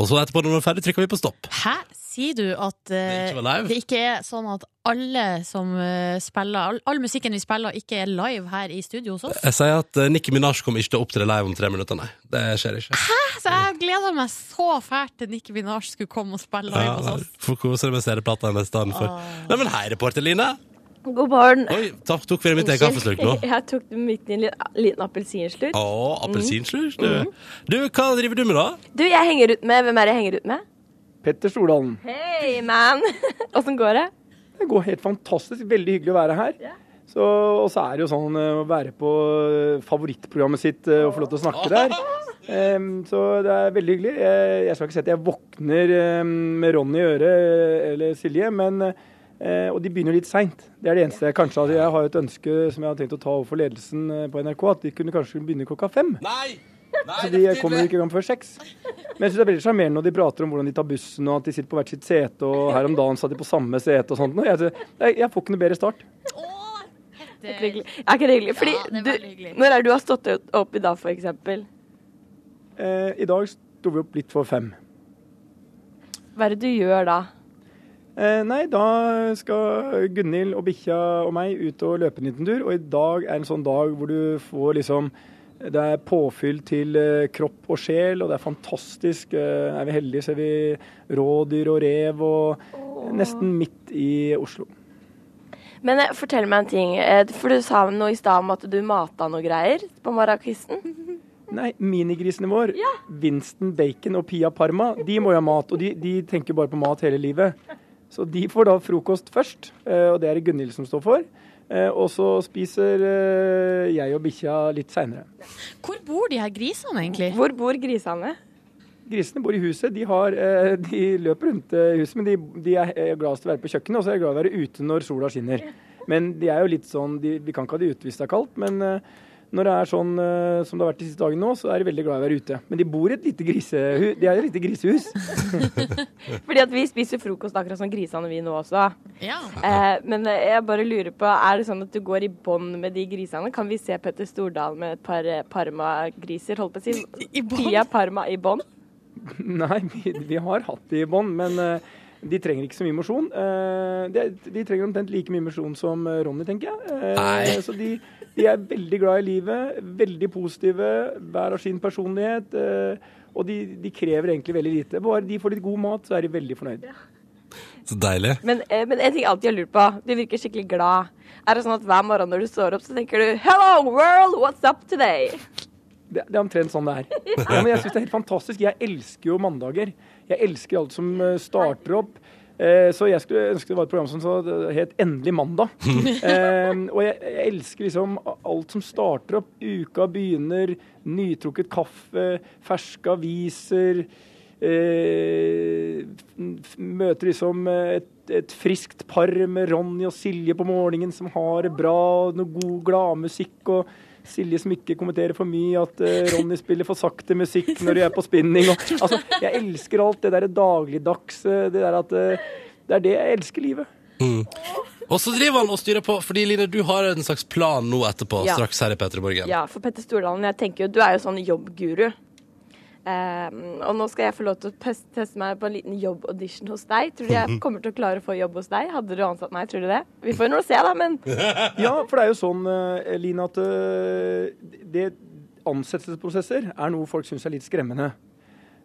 Og så etterpå, når den er ferdig, trykker vi på stopp. Hæ? Sier du at Det eh, ikke var live? det ikke er sånn at alle som eh, spiller all, all musikken vi spiller, ikke er live her i studio hos oss? Jeg sier at eh, Nicki Minaj kommer ikke til å opptre live om tre minutter, nei. Det skjer ikke. Så jeg gleder meg så fælt til Nikki Minaj skulle komme og spille live Ja, hos oss. Får kose deg med serieplata i stedet for. Nei, men hei, reporter Line. God morgen. Oi, ta- tok vi mitt eget kaffeslurk nå? Jeg tok midt i en liten, liten appelsinslurk. Mm. Å, appelsinslurk, du. Mm. Du, hva driver du med da? Du, jeg henger ut med Hvem er det jeg henger ut med? Petter Stordalen. Hei, man! Åssen går det? Det går helt fantastisk. Veldig hyggelig å være her. Så, og så er det jo sånn eh, å være på eh, favorittprogrammet sitt eh, og få lov til å snakke der. Em, Så det er veldig hyggelig. Eh, Jeg skal ikke si at jeg våkner em, med Ronny i øret eh, eller Silje, men eh, Og de begynner litt seint. Det er det eneste jeg kanskje hadde. Jeg har jo et ønske som jeg har tenkt å ta overfor ledelsen eh, på NRK, at de kunne kanskje begynne klokka fem. Nei! Så de kommer ikke i gang før seks. Men jeg syns det er veldig sjarmerende når de prater om hvordan de tar bussen, og at de sitter på hvert sitt sete, og her om dagen satt de på samme sete og sånt. Og jeg, jeg, jeg får ikke noe bedre start. Er ikke det hyggelig? Er ikke det hyggelig? Fordi det er du, veldig hyggelig. når er det du har stått opp i dag, for eksempel? Eh, I dag sto vi opp litt for fem. Hva er det du gjør da? Eh, nei, da skal Gunhild og bikkja og meg ut og løpe en liten tur. Og i dag er en sånn dag hvor du får liksom Det er påfyll til eh, kropp og sjel, og det er fantastisk. Eh, er vi heldige, ser vi rådyr og rev og Nesten midt i Oslo. Men eh, fortell meg en ting, eh, for du sa noe i stad om at du mata noe greier på Marrakvisten. Nei, minigrisene våre, Winston Bacon og Pia Parma, de må jo ha mat. Og de, de tenker bare på mat hele livet. Så de får da frokost først, eh, og det er det Gunhild som står for. Eh, Og så spiser eh, jeg og bikkja litt seinere. Hvor bor de her grisene, egentlig? Hvor bor grisene? Grisene bor i huset. De, har, eh, de løper rundt eh, huset, men de, de er eh, gladest til å være på kjøkkenet, og så er de glad i å være ute når sola skinner. Men de er jo litt sånn de, Vi kan ikke ha de ute hvis det er kaldt, men eh, når det er sånn eh, som det har vært de siste dagene nå, så er de veldig glad i å være ute. Men de bor i et lite grisehu- de er i et lite grisehus. Fordi at vi spiser frokost akkurat som grisene vi nå også. Ja. Eh, men eh, jeg bare lurer på, er det sånn at du går i bånd med de grisene? Kan vi se Petter Stordalen med et par eh, Parma-griser, holdt på å si? I bånd? Pia Parma i bånd? Nei, vi, vi har hatt de i bånd, men eh, de trenger ikke så mye mosjon. Eh, de, de trenger omtrent like mye mosjon som eh, Ronny, tenker jeg. Eh, Nei. Så de, de er veldig glad i livet, veldig positive, hver av sin personlighet. eh, og de, de krever egentlig veldig lite. Bare de får litt god mat, så er de veldig fornøyd. Så deilig. Men, eh, men en ting jeg alltid har lurt på, du virker skikkelig glad. Er det sånn at hver morgen når du står opp, så tenker du Hello world, what's up today? Det, det er omtrent sånn det er. Ja, men jeg synes det er helt fantastisk. Jeg elsker jo mandager. Jeg elsker alt som eh, starter opp. Eh, Så jeg skulle ønske det var et program som så det het 'Endelig mandag'. Eh, og jeg, jeg elsker liksom alt som starter opp. Uka begynner, nytrukket kaffe, ferske aviser. Eh, f- møter liksom et, et friskt par med Ronny og Silje på morgenen som har det bra, og noe god gladmusikk og Silje som ikke kommenterer for mye, at eh, Ronny spiller for sakte musikk når de er på spinning. Og, altså, jeg elsker alt det der dagligdagse. Det der at eh, Det er det jeg elsker livet. Mm. Og så driver han og styrer på, fordi Line, du har en slags plan nå etterpå, Ja. straks her i Petter i Morgen. Ja, for Petter Stordalen, jeg tenker jo, du er jo sånn jobbguru. Ehm, og nå skal jeg få lov til å pes- teste meg på en liten jobbaudition hos deg. Tror du jeg kommer til å klare å få jobb hos deg? Hadde du ansatt meg, tror du det? Vi får jo nå se, da, men Ja, for det er jo sånn, eh, Line, at eh, det ansettelsesprosesser er noe folk syns er litt skremmende.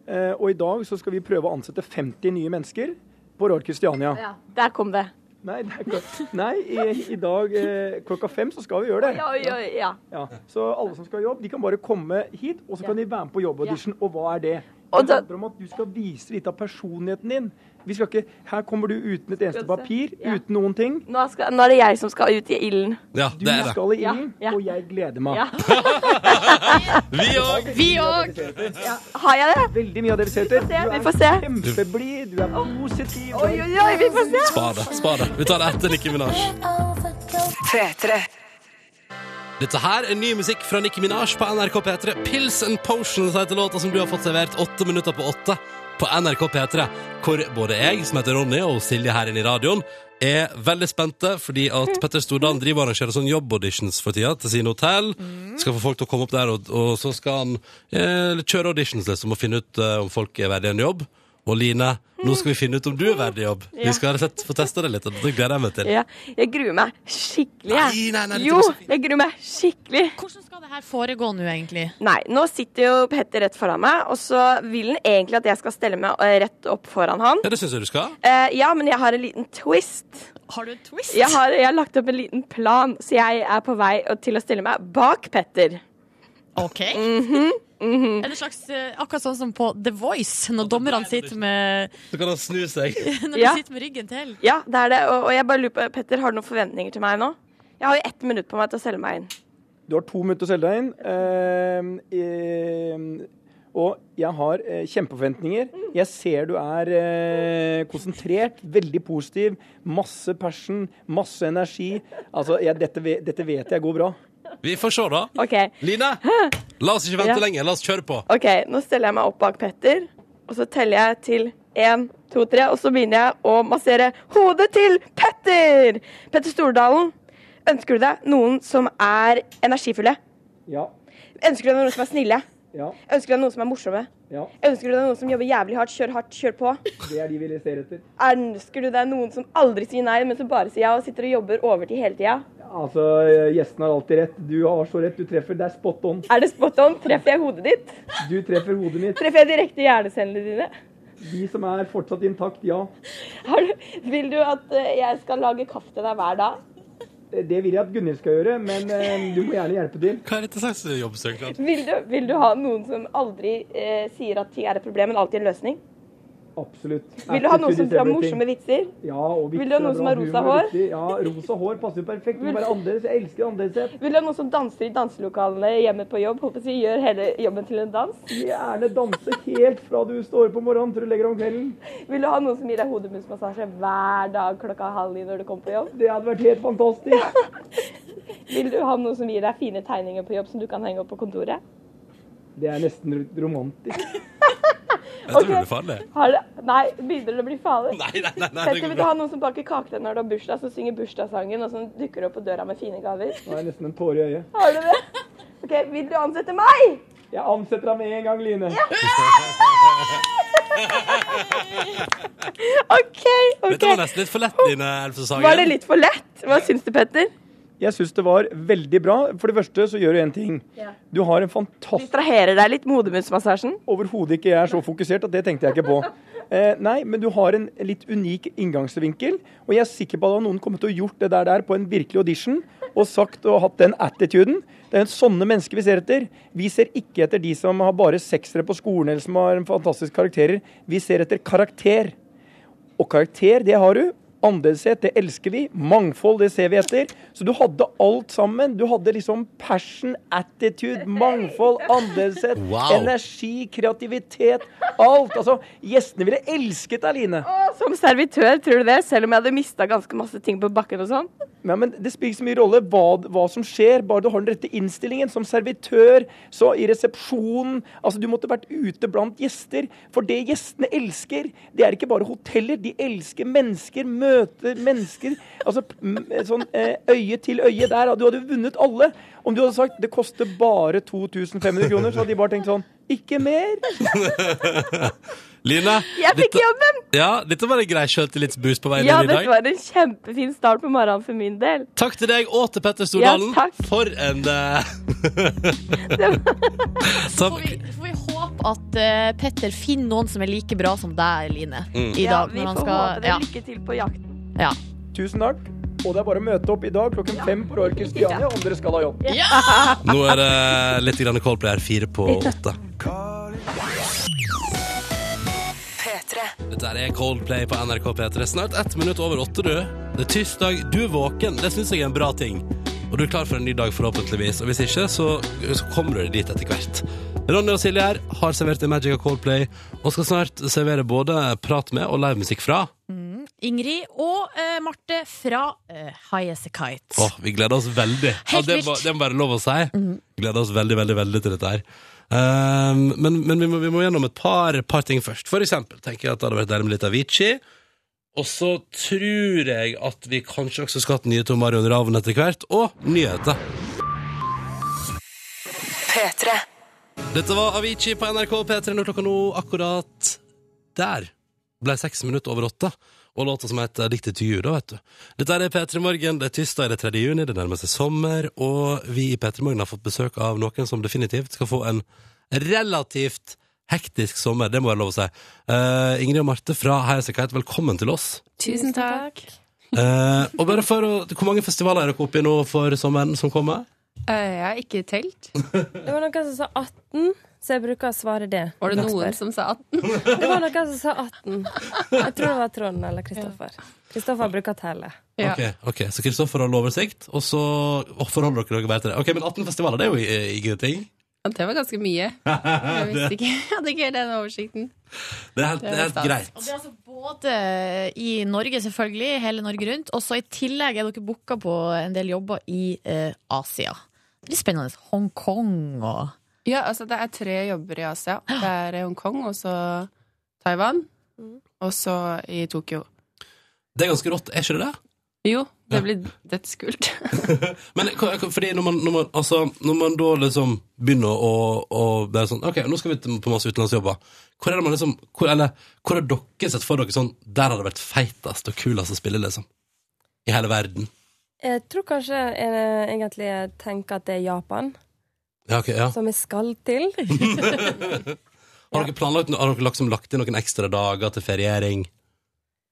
Eh, og i dag så skal vi prøve å ansette 50 nye mennesker på Royal Christiania. der kom det. Nei, det er klart. Nei i, i dag eh, klokka fem så skal vi gjøre det. Ja, ja, ja. Ja, så alle som skal ha jobb, de kan bare komme hit, og så kan de være med på jobbaudition. Og hva er det? Og Det da- handler om at du skal vise litt av personligheten din. Vi skal ikke, her kommer du uten et eneste Skal vi se? papir, Ja. uten noen ting. Nå, skal, nå er det jeg som skal ut i ilden. Ja, Du det er det. skal i ilden, Ja, ja. og jeg gleder meg. Ja. Vi òg! Vi òg! Har jeg det? Veldig mye av det vi ser etter. Vi får se, vi Du får se. er kjempeblid, du er positiv. du er Oi, oi, oi, vi får se. Spar det. Spar det. Vi tar det etter Nikki Minaj. Dette her er ny musikk fra Nicki Minaj på NRK P3. Pills and Potions heter låta som du har fått servert åtte minutter på åtte på NRK P3. Hvor både jeg, som heter Ronny, og Silje her inne i radioen er veldig spente fordi at Petter Stordalen driver og arrangerer sånn jobbauditions for tida til sine hotell. Mm. Skal få folk til å komme opp der, og, og så skal han eh, kjøre auditions liksom, og finne ut eh, om folk er verdig en jobb. Og Line, nå skal vi finne ut om du er verdig jobb. Vi skal rett og slett få testa det litt. og Det gleder jeg meg til. Ja, jeg gruer meg skikkelig. jeg. Nei, nei, nei, dette jo, går så fint. jeg gruer meg skikkelig. Hvordan skal det her foregå nå, egentlig? Nei, nå sitter jo Petter rett foran meg, og så vil han egentlig at jeg skal stelle meg eh, rett opp foran han. Ja, det syns jeg du skal. Eh, ja, men jeg har en liten twist. Har du en twist? Jeg har, jeg har lagt opp en liten plan, så jeg er på vei å- til å stille meg bak Petter. Mhm, OK. Er det slags, eh, akkurat sånn som på The Voice, når dommerne sitter med, Så kan han snu seg. når Ja. de sitter med ryggen til. Ja, det er det. Og, og jeg bare lurer på, Petter, har du noen forventninger til meg nå? Jeg har jo ett minutt på meg til å selge meg inn. Du har to minutter å selge deg inn. ehm, ehm, og jeg har eh, kjempeforventninger. Mm. Jeg ser du er eh, konsentrert, veldig positiv. Masse passion, masse energi. Altså, jeg, dette, ve- dette vet jeg går bra. Vi får se, da. OK, Line, la oss ikke vente Ja. lenge. La oss kjøre på. ok, nå steller jeg meg opp bak Petter, og så teller jeg til én, to, tre, og så begynner jeg å massere hodet til Petter! Petter Stordalen, ønsker du deg noen som er energifulle? Ja. Ønsker du deg noen som er snille? Ja. Ønsker du deg noen som er morsomme? Ja. Ønsker du deg noen som jobber jævlig hardt, kjør hardt, kjør på? Det er de vi ser etter. Ønsker du deg noen som aldri sier nei, men som bare sier ja og sitter og jobber overtid hele tida? Altså, Gjestene har alltid rett. Du har så rett. Du treffer. Det er spot on. Er det spot on? Treffer jeg hodet ditt? Du treffer hodet mitt. Treffer jeg direkte hjernecellene dine? De som er fortsatt intakt, ja. Har du, vil du at eh, jeg skal lage kaffe til deg hver dag? Det vil jeg at Gunhild skal gjøre, men eh, du må gjerne hjelpe til. Hva er dette slags jobbsøknad? Vil du, vil du ha noen som aldri eh, sier at ting er et problem, men alltid en løsning? Absolutt. Vil du ha noen som Attitude is drar everything. morsomme vitser? Ja, og vitser Vil du ha noen bra. som har rosa Humor er hår? viktig. Ja, rosa hår passer jo perfekt. Du må Vil- være annerledes. Jeg elsker annerledeshet. Vil du ha noen som danser i danselokalene hjemme på jobb? Håper jeg gjør hele jobben til en dans. Gjerne danse helt fra du står opp om morgenen til du legger om kvelden. Vil du ha noen som gir deg hodemusmassasje hver dag klokka halv ni når du kommer på jobb? Det hadde vært helt fantastisk. Vil du ha noen som gir deg fine tegninger på jobb som du kan henge opp på kontoret? Det er nesten romantisk. Jeg tror det blir farlig. Har du, nei, begynner det å bli farlig? Nei, nei, nei, nei, det Petter, går vil du bra. ha noen som baker kake til deg når du har bursdag, som synger bursdagssangen, og som dukker opp på døra med fine gaver? Nå er jeg nesten en tåre i øyet. Har du det? OK, vil du ansette meg? Jeg ansetter deg med en gang, Line. OK, Dette var OK. nesten litt for lett, Line Elfsen Sagen. Var det litt for lett? Hva syns du, Petter? Jeg syns det var veldig bra. For det første så gjør du én ting. Du har en fantastisk Distraherer deg litt modemusmassasjen? Overhodet ikke. Jeg er så fokusert at det tenkte jeg ikke på. Eh, nei, men du har en litt unik inngangsvinkel. Og jeg er sikker på at noen kommer til å gjort det der, der på en virkelig audition og sagt og hatt den attituden. Det er sånne mennesker vi ser etter. Vi ser ikke etter de som har bare seksere på skolen eller som har en fantastisk karakterer. Vi ser etter karakter. Og karakter, det har du. Annerledeshet, det elsker vi. Mangfold, det ser vi etter. Så du hadde alt sammen. Du hadde liksom passion, attitude, mangfold, annerledeshet, Wow. energi, kreativitet. Alt. Altså, gjestene ville elsket deg, Line. Som servitør, tror du det? Selv om jeg hadde mista ganske masse ting på bakken og sånn? Nei, men Det spiller ikke så mye rolle hva, hva som skjer, bare du har den rette innstillingen. Som servitør, så i resepsjonen Altså, Du måtte vært ute blant gjester. For det gjestene elsker, det er ikke bare hoteller. De elsker mennesker, møter mennesker. Altså p- m- sånn eh, øye til øye der. Du hadde jo vunnet alle. Om du hadde sagt det koster bare 2500 kroner, så hadde de bare tenkt sånn Ikke mer. Line, Jeg fikk dette- jobben! ja, dette var en grei sjøltillitsboost på veien Ja, inn i dette dag. var en kjempefin start på morgenen for min del. Takk til deg og til Petter Ja, Stordalen. takk. For en eh, Får vi, får vi håpe at eh, Petter finner noen som er like bra som deg, Line, Mm. i Ja, dag. vi når han får håpe skal, det. ja. Lykke til på jakten. Tusen takk. Og det er bare å møte opp i dag klokken fem på Royal Christiania om dere skal ha jobb. Nå er det litt grann Coldplay her, fire på åtte. Dette her er Coldplay på NRK P3. Snart ett minutt over åtte, du. Det er tirsdag, du er våken. Det syns jeg er en bra ting. Og du er klar for en ny dag, forhåpentligvis. Og hvis ikke, så, så kommer du dit etter hvert. Ronny og Silje her har servert deg Magic og Coldplay, og skal snart servere både prat med og livemusikk fra. Mm. Ingrid og eh, Marte fra eh, High As A Kite. Åh, vi gleder oss veldig. Ja, Helt det, vilt. Mm. må, det må være lov å si. Gleder oss veldig, veldig, veldig til dette her. Ehm, men men vi, må, vi må gjennom et par, par ting først. For eksempel tenker jeg at det hadde vært deilig med litt Avicii. Og så tror jeg at vi kanskje også skal ha hatt nyheter om Marion Ravn etter hvert, og nyheter. Dette var Avicii på NRK P3 når klokka nå akkurat der ble seks minutter over åtte. Og låta som heter Diktet til jul, da, vet du. Dette er P3 Morgen, det er tirsdag, det er 3. juni, det nærmer seg sommer, og vi i P3 Morgen har fått besøk av noen som definitivt skal få en relativt hektisk sommer, det må jeg lov å si. Eh, Ingrid og Marte fra Heia Sikkerhet, velkommen til oss. Tusen takk. Eh, og bare for å, Hvor mange festivaler er dere oppe i nå for sommeren som kommer? Eh, Jeg har ikke telt. Det var noen som sa 18, så jeg bruker å svare det. Var det noen som sa 18? Det var noen som sa 18. Jeg tror det var Trond eller Kristoffer. Kristoffer bruker å telle. Ja. Ok, ok, Så Kristoffer har lovoversikt, og så og forholder dere dere bare til det. Ok, Men 18 festivaler, det er jo i- i- ikke ting. Ja, Det var ganske mye. Jeg visste ikke. Jeg hadde ikke helt den oversikten. Det er helt, det er helt Og greit. det er altså både i Norge, selvfølgelig, hele Norge rundt, og så i tillegg er dere booka på en del jobber i eh, Asia. Litt spennende. Hongkong og Ja, altså det er tre jobber i Asia. Det er Hongkong, og så Taiwan, og så i Tokyo. Det er ganske rått, er ikke det det? Jo, det Ja. blir dødskult. Men hva- hva- fordi når man, når man, altså, når man da liksom begynner å, å være sånn Ok, nå skal vi til- på masse utenlandsjobber. Hvor er det man liksom hvor, Eller hvor har dere sett for dere sånn Der har det vært feitest og kulest å spille, liksom? I hele verden. Jeg tror kanskje eh, jeg egentlig jeg tenker at det er Japan Ja, ok, ja. som jeg skal til. Har dere planlagt noe- Har dere liksom lagt inn noen ekstra dager til feriering?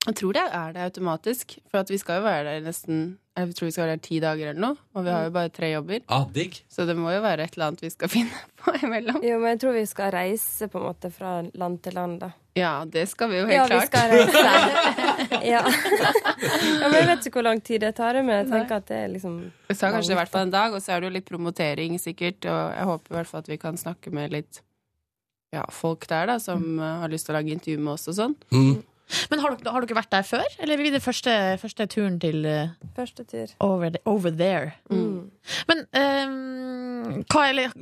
Jeg tror det er det automatisk, for at vi skal jo være der nesten Jeg tror vi skal være der ti dager eller noe, og vi har jo bare tre jobber. Ah, digg. Så det må jo være et eller annet vi skal finne på imellom. Jo, men jeg tror vi skal reise på en måte fra land til land, da. Ja, det skal vi jo helt Ja, vi klart. skal reise. ja. ja, men jeg vet ikke hvor lang tid det tar, men jeg tenker at det er liksom Det tar kanskje i hvert fall en dag, og så er det jo litt promotering sikkert, og jeg håper i hvert fall at vi kan snakke med litt ja, folk der da, som eh, har lyst til å lage intervju med oss og sånn. Mm. Mm. Men har dere, har dere vært der før? Eller blir det første, første turen til eh, første tur. over, the, over there? Mm. Men ehm, hva, eller,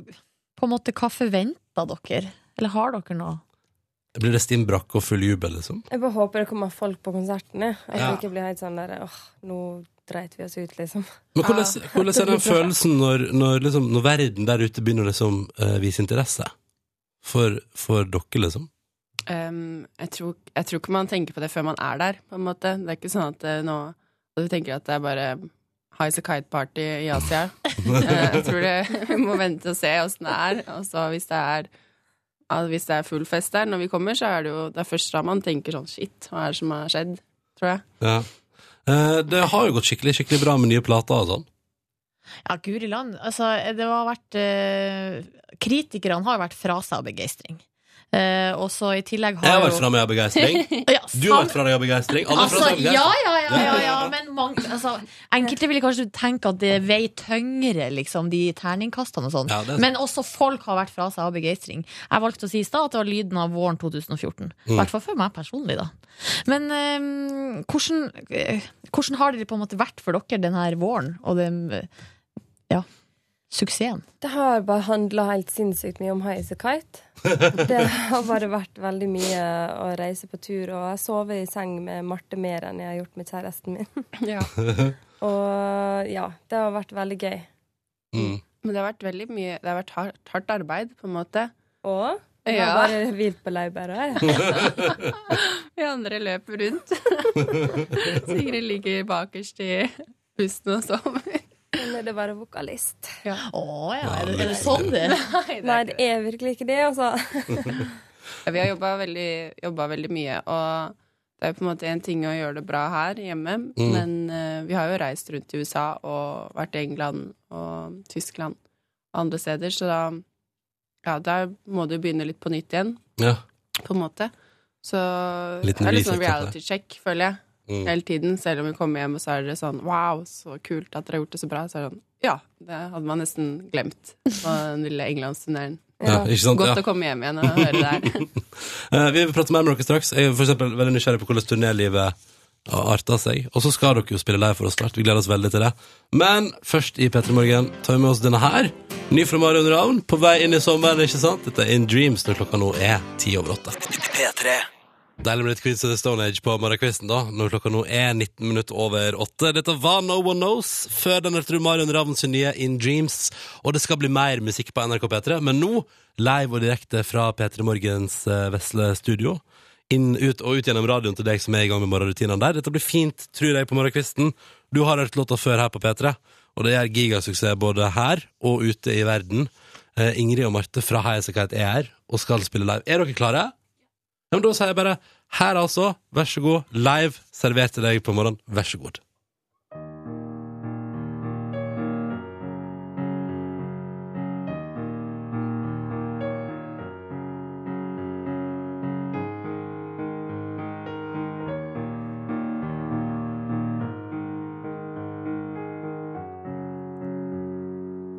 på en måte, hva forventer dere? Eller har dere noe? Blir det stim brakk og full jubel, liksom? Jeg bare håper det kommer folk på konserten, jeg. At Ja. det ikke blir helt sånn der åh, nå dreit vi oss ut, liksom. Men hvordan, hvordan er den følelsen når, når, liksom, når verden der ute begynner å liksom, eh, vise interesse? For, for dere, liksom? Ehm, jeg, tror, jeg tror ikke man tenker på det før man er der, på en måte. Det er ikke sånn at eh, nå at du tenker at det er bare high as a kite party i Asia. Eh, jeg tror det, vi må vente og se åssen det er. Og så hvis det er ja, hvis det er full fest der når vi kommer, så er det jo det er først da man tenker sånn shit, hva er det som har skjedd, tror jeg. Ja. Eh, det har jo gått skikkelig skikkelig bra med nye plater og sånn. Ja, guri land. Altså, det har vært eh, Kritikerne har vært fra seg av begeistring. Eh, og så i tillegg Jeg har har vært fra meg av begeistring. Ja, Du har sam- vært fra deg av begeistring. Alle er fra Altså, seg av ja, begeistring. ja, ja, ja, ja, men mange, altså, enkelte ville kanskje tenke at det veier tyngre, liksom, de terningkastene og sånn. Ja, det er sant. men også folk har vært fra seg av begeistring. Jeg valgte å si i stad at det var lyden av våren 2014. Mm. I hvert fall for meg personlig, da. Men eh, hvordan, eh, hvordan har det på en måte vært for dere denne våren, og den eh, ja, suksessen? Det har bare handla helt sinnssykt mye om High as a Kite. Det har bare vært veldig mye å reise på tur, og jeg sover i seng med Marte mer enn jeg har gjort med kjæresten min. Ja. Og ja, det har vært veldig gøy. Mm. Men det har vært veldig mye Det har vært hardt, hardt arbeid, på en måte. Og jeg Ja. har bare hvilt på laurbæra. jeg. Vi andre løper rundt. Sigrid ligger bakerst i bussen og sover. Men er det bare vokalist? Å ja, er det, er det sånn det er? Nei, det er virkelig ikke det, altså. Vi har jobba veldig, jobbet veldig mye, og det er jo på en måte en ting å gjøre det bra her hjemme, men eh, vi har jo reist rundt i USA og vært i England og Tyskland og andre steder, så da ja, der må du begynne litt på nytt igjen, Ja. på en måte. Så det Liten er litt sånn reset, dette. reality check, føler jeg. Mm. hele tiden. Selv om vi kommer hjem, og så er det sånn Wow, så kult at dere har gjort det så bra. Så er det sånn Ja, det hadde man nesten glemt på den lille Englandsturneren. ja, ikke sant? Godt Ja. å komme hjem igjen og høre det her. Eh, vi vil prate mer med dere straks. Jeg er for eksempel veldig nysgjerrig på hvordan turnélivet arter seg. Og så skal dere jo spille live for oss snart. Vi gleder oss veldig til det. Men først i P3 Morgen tar vi med oss denne her. Ny fra Marion Ravn. På vei inn i sommeren, ikke sant? Dette er In Dreams når klokka nå er ti over åtte. Deilig med litt Queens of the Stone Age på morgenkvisten, da, når klokka nå er 19 minutter over åtte. Dette var No One Knows. Før den hørte du Marion Ravn sin nye In Dreams. Og det skal bli mer musikk på NRK P3, men nå live og direkte fra P3 Morgens eh, vesle studio. Inn, ut og ut gjennom radioen til deg som er i gang med morgenrutinene der. Dette blir fint, tror jeg, på morgenkvisten. Du har hørt låta før her på P3, og det gjør gigasuksess både her og ute i verden. Eh, Ingrid og Marte fra High As A Kite er her og skal spille live. Er dere klare? Ja, men da sier jeg bare her altså, vær så god, live servert til deg på morgenen, vær så god.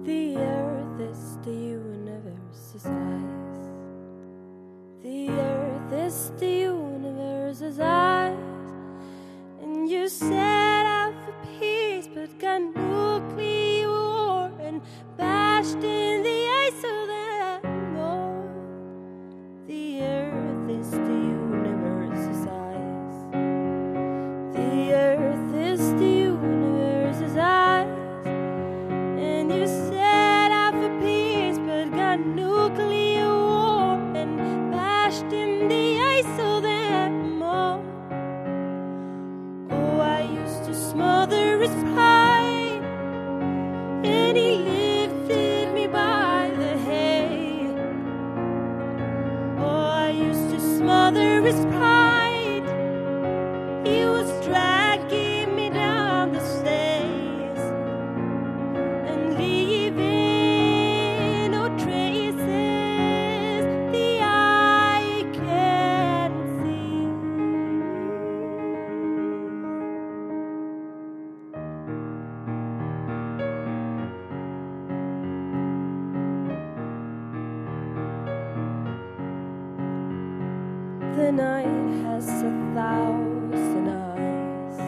The earth is the universe's eyes. The earth is the universe's eyes. And you set out for peace, but got nuclear war and bad. Oh, his mother is pine, and he lifted me by the hay. Oh, I used to smother his pride. He was dragging me down the stairs and leaving no traces the eye can see. The night has a thousand eyes.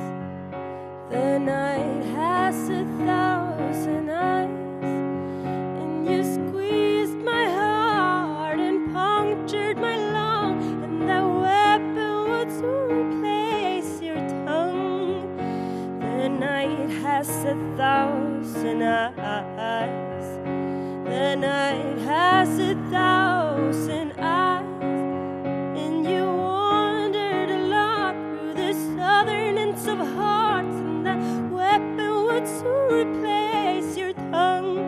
The night has a thousand eyes. And you squeezed my heart and punctured my lung. And that weapon would soon replace your tongue. The night has a thousand eyes. The night has a thousand eyes. And you wandered a lot through the southernance of hearts, and that weapon would soon replace your tongue.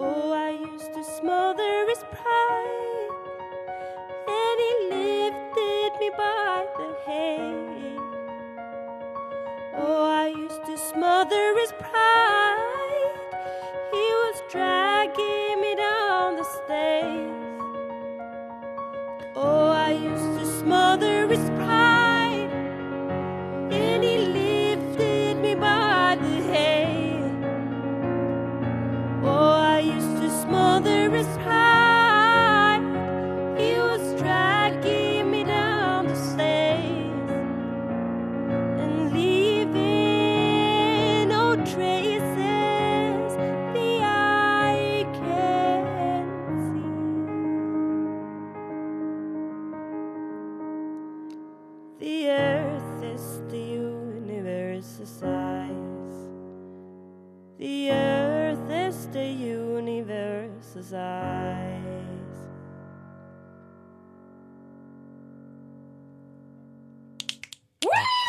Oh, I used to smother his pride, and he lifted me by the hay. Oh, I used to smother his pride, he was dragging me down the stairs. Oh, I used to smother his pride, and he lifted me by the hay. Oh, I used to smother his pride, he was dragging me down the stairs and leaving no traces the eye can see. The earth is the universe's size. The earth is the universe's eyes.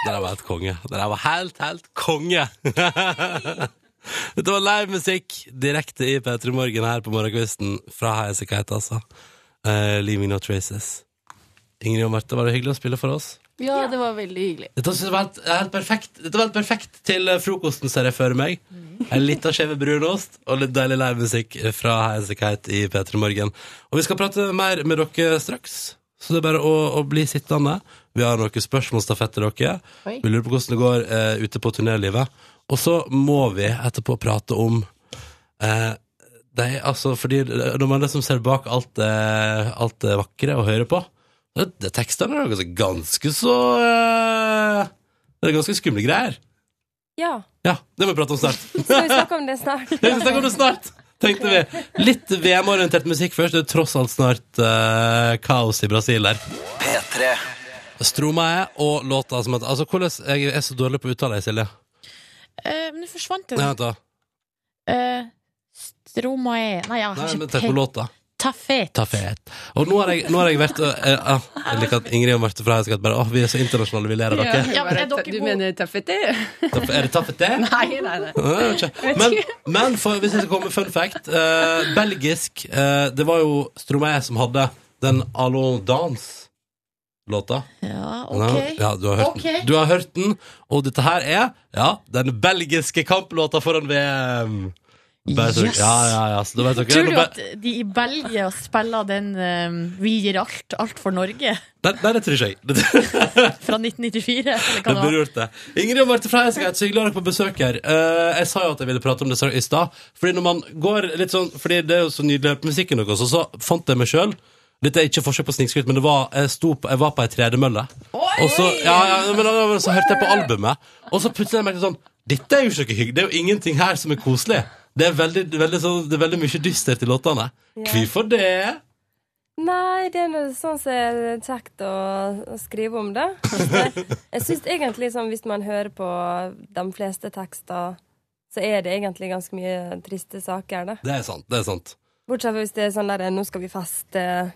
Det der var helt konge. Det der var helt, helt konge! Dette var live musikk direkte i P3 Morgen her på morgenkvisten fra Highasakite, altså. Eh, Leaving No Traces. Ingrid og Marte, var det hyggelig å spille for oss? Ja, det var veldig hyggelig. Dette synes jeg var helt, helt perfekt Dette var helt perfekt til eh, frokosten, ser jeg for meg. En liten skjeve brunost og litt deilig livemusikk fra Highasakite i P3 Morgen. Og vi skal prate mer med dere straks, så det er bare å, å bli sittende. Vi har noen spørsmålsstafett til dere. Oi. Vi lurer på hvordan det går eh, ute på turnélivet. Og så må vi etterpå prate om eh, det er, altså, fordi Når man liksom ser bak alt det, alt det vakre og hører på det, det Tekstene er ganske, ganske så eh, Det er ganske skumle greier. Ja. Ja, det må vi prate om snart. Så vi snakker om det snart. Vi skal snakke om det snart, tenkte vi. Litt VM-orientert musikk først. Det er tross alt snart eh, kaos i Brasil der. P3. Stromae og låta som heter Altså, hvordan Jeg er så dårlig på å uttale, det, Silje. Eh, Men nå forsvant Nei, den. vent, da. Eh, Stromae Nei, jeg Nei, har men ikke tenk på låta. Tafet. Ta fet. Og nå har jeg, nå har jeg vært eh, eh, ah, Jeg liker at Ingrid og Marte fra Høyskatt bare Åh, vi er så internasjonale, vi ler av dere. bare, du mener taffeté? Ta- Er det taffet det? Nei, nei, nei. Nei, jeg vet ikke. Men, men for, hvis jeg skal komme med fun fact eh, Belgisk eh, Det var jo Stromae som hadde den Allo Dance-låta. Ja, ok. Ja, du, har hørt Ok. den. du har hørt den. Og dette her er ja, den belgiske kamplåta foran VM. Bare så- Yes! Ja, ja, ja. Så da vet dere Tror du Nå bare- at de i Belgia spiller den eh, 'Vi gir alt, alt for Norge' Nei, nei, det tror ikke jeg. Det, fra 1994? Eller det hva det burde var? gjort det. Ingrid og Marte Freia, så hyggelig å ha dere på besøk her. Eh, jeg sa jo at jeg ville prate om det i stad. Fordi når man går litt sånn Fordi det er jo så nydelig på musikken deres, og så fant jeg meg sjøl. Dette er ikke forsøk på snikskryt, men det var, jeg, sto på, jeg var på ei tredemølle. Og så, ja, ja, men, da- da- så hørte jeg på albumet, og så plutselig merket jeg sånn Dette er jo ikke noe hyggelig. Det er jo ingenting her som er koselig. Det er veldig, veldig, sånn- det er veldig mye dystert i låtene. Ja. Hvorfor det? Nei, det er noe sånn som er kjekt å, å skrive om, da. Det- Jeg syns egentlig sånn hvis man hører på de fleste tekster, så er det egentlig ganske mye triste saker, da. Det er sant. Det er sant. Bortsett fra hvis det er sånn derre 'nå skal vi feste'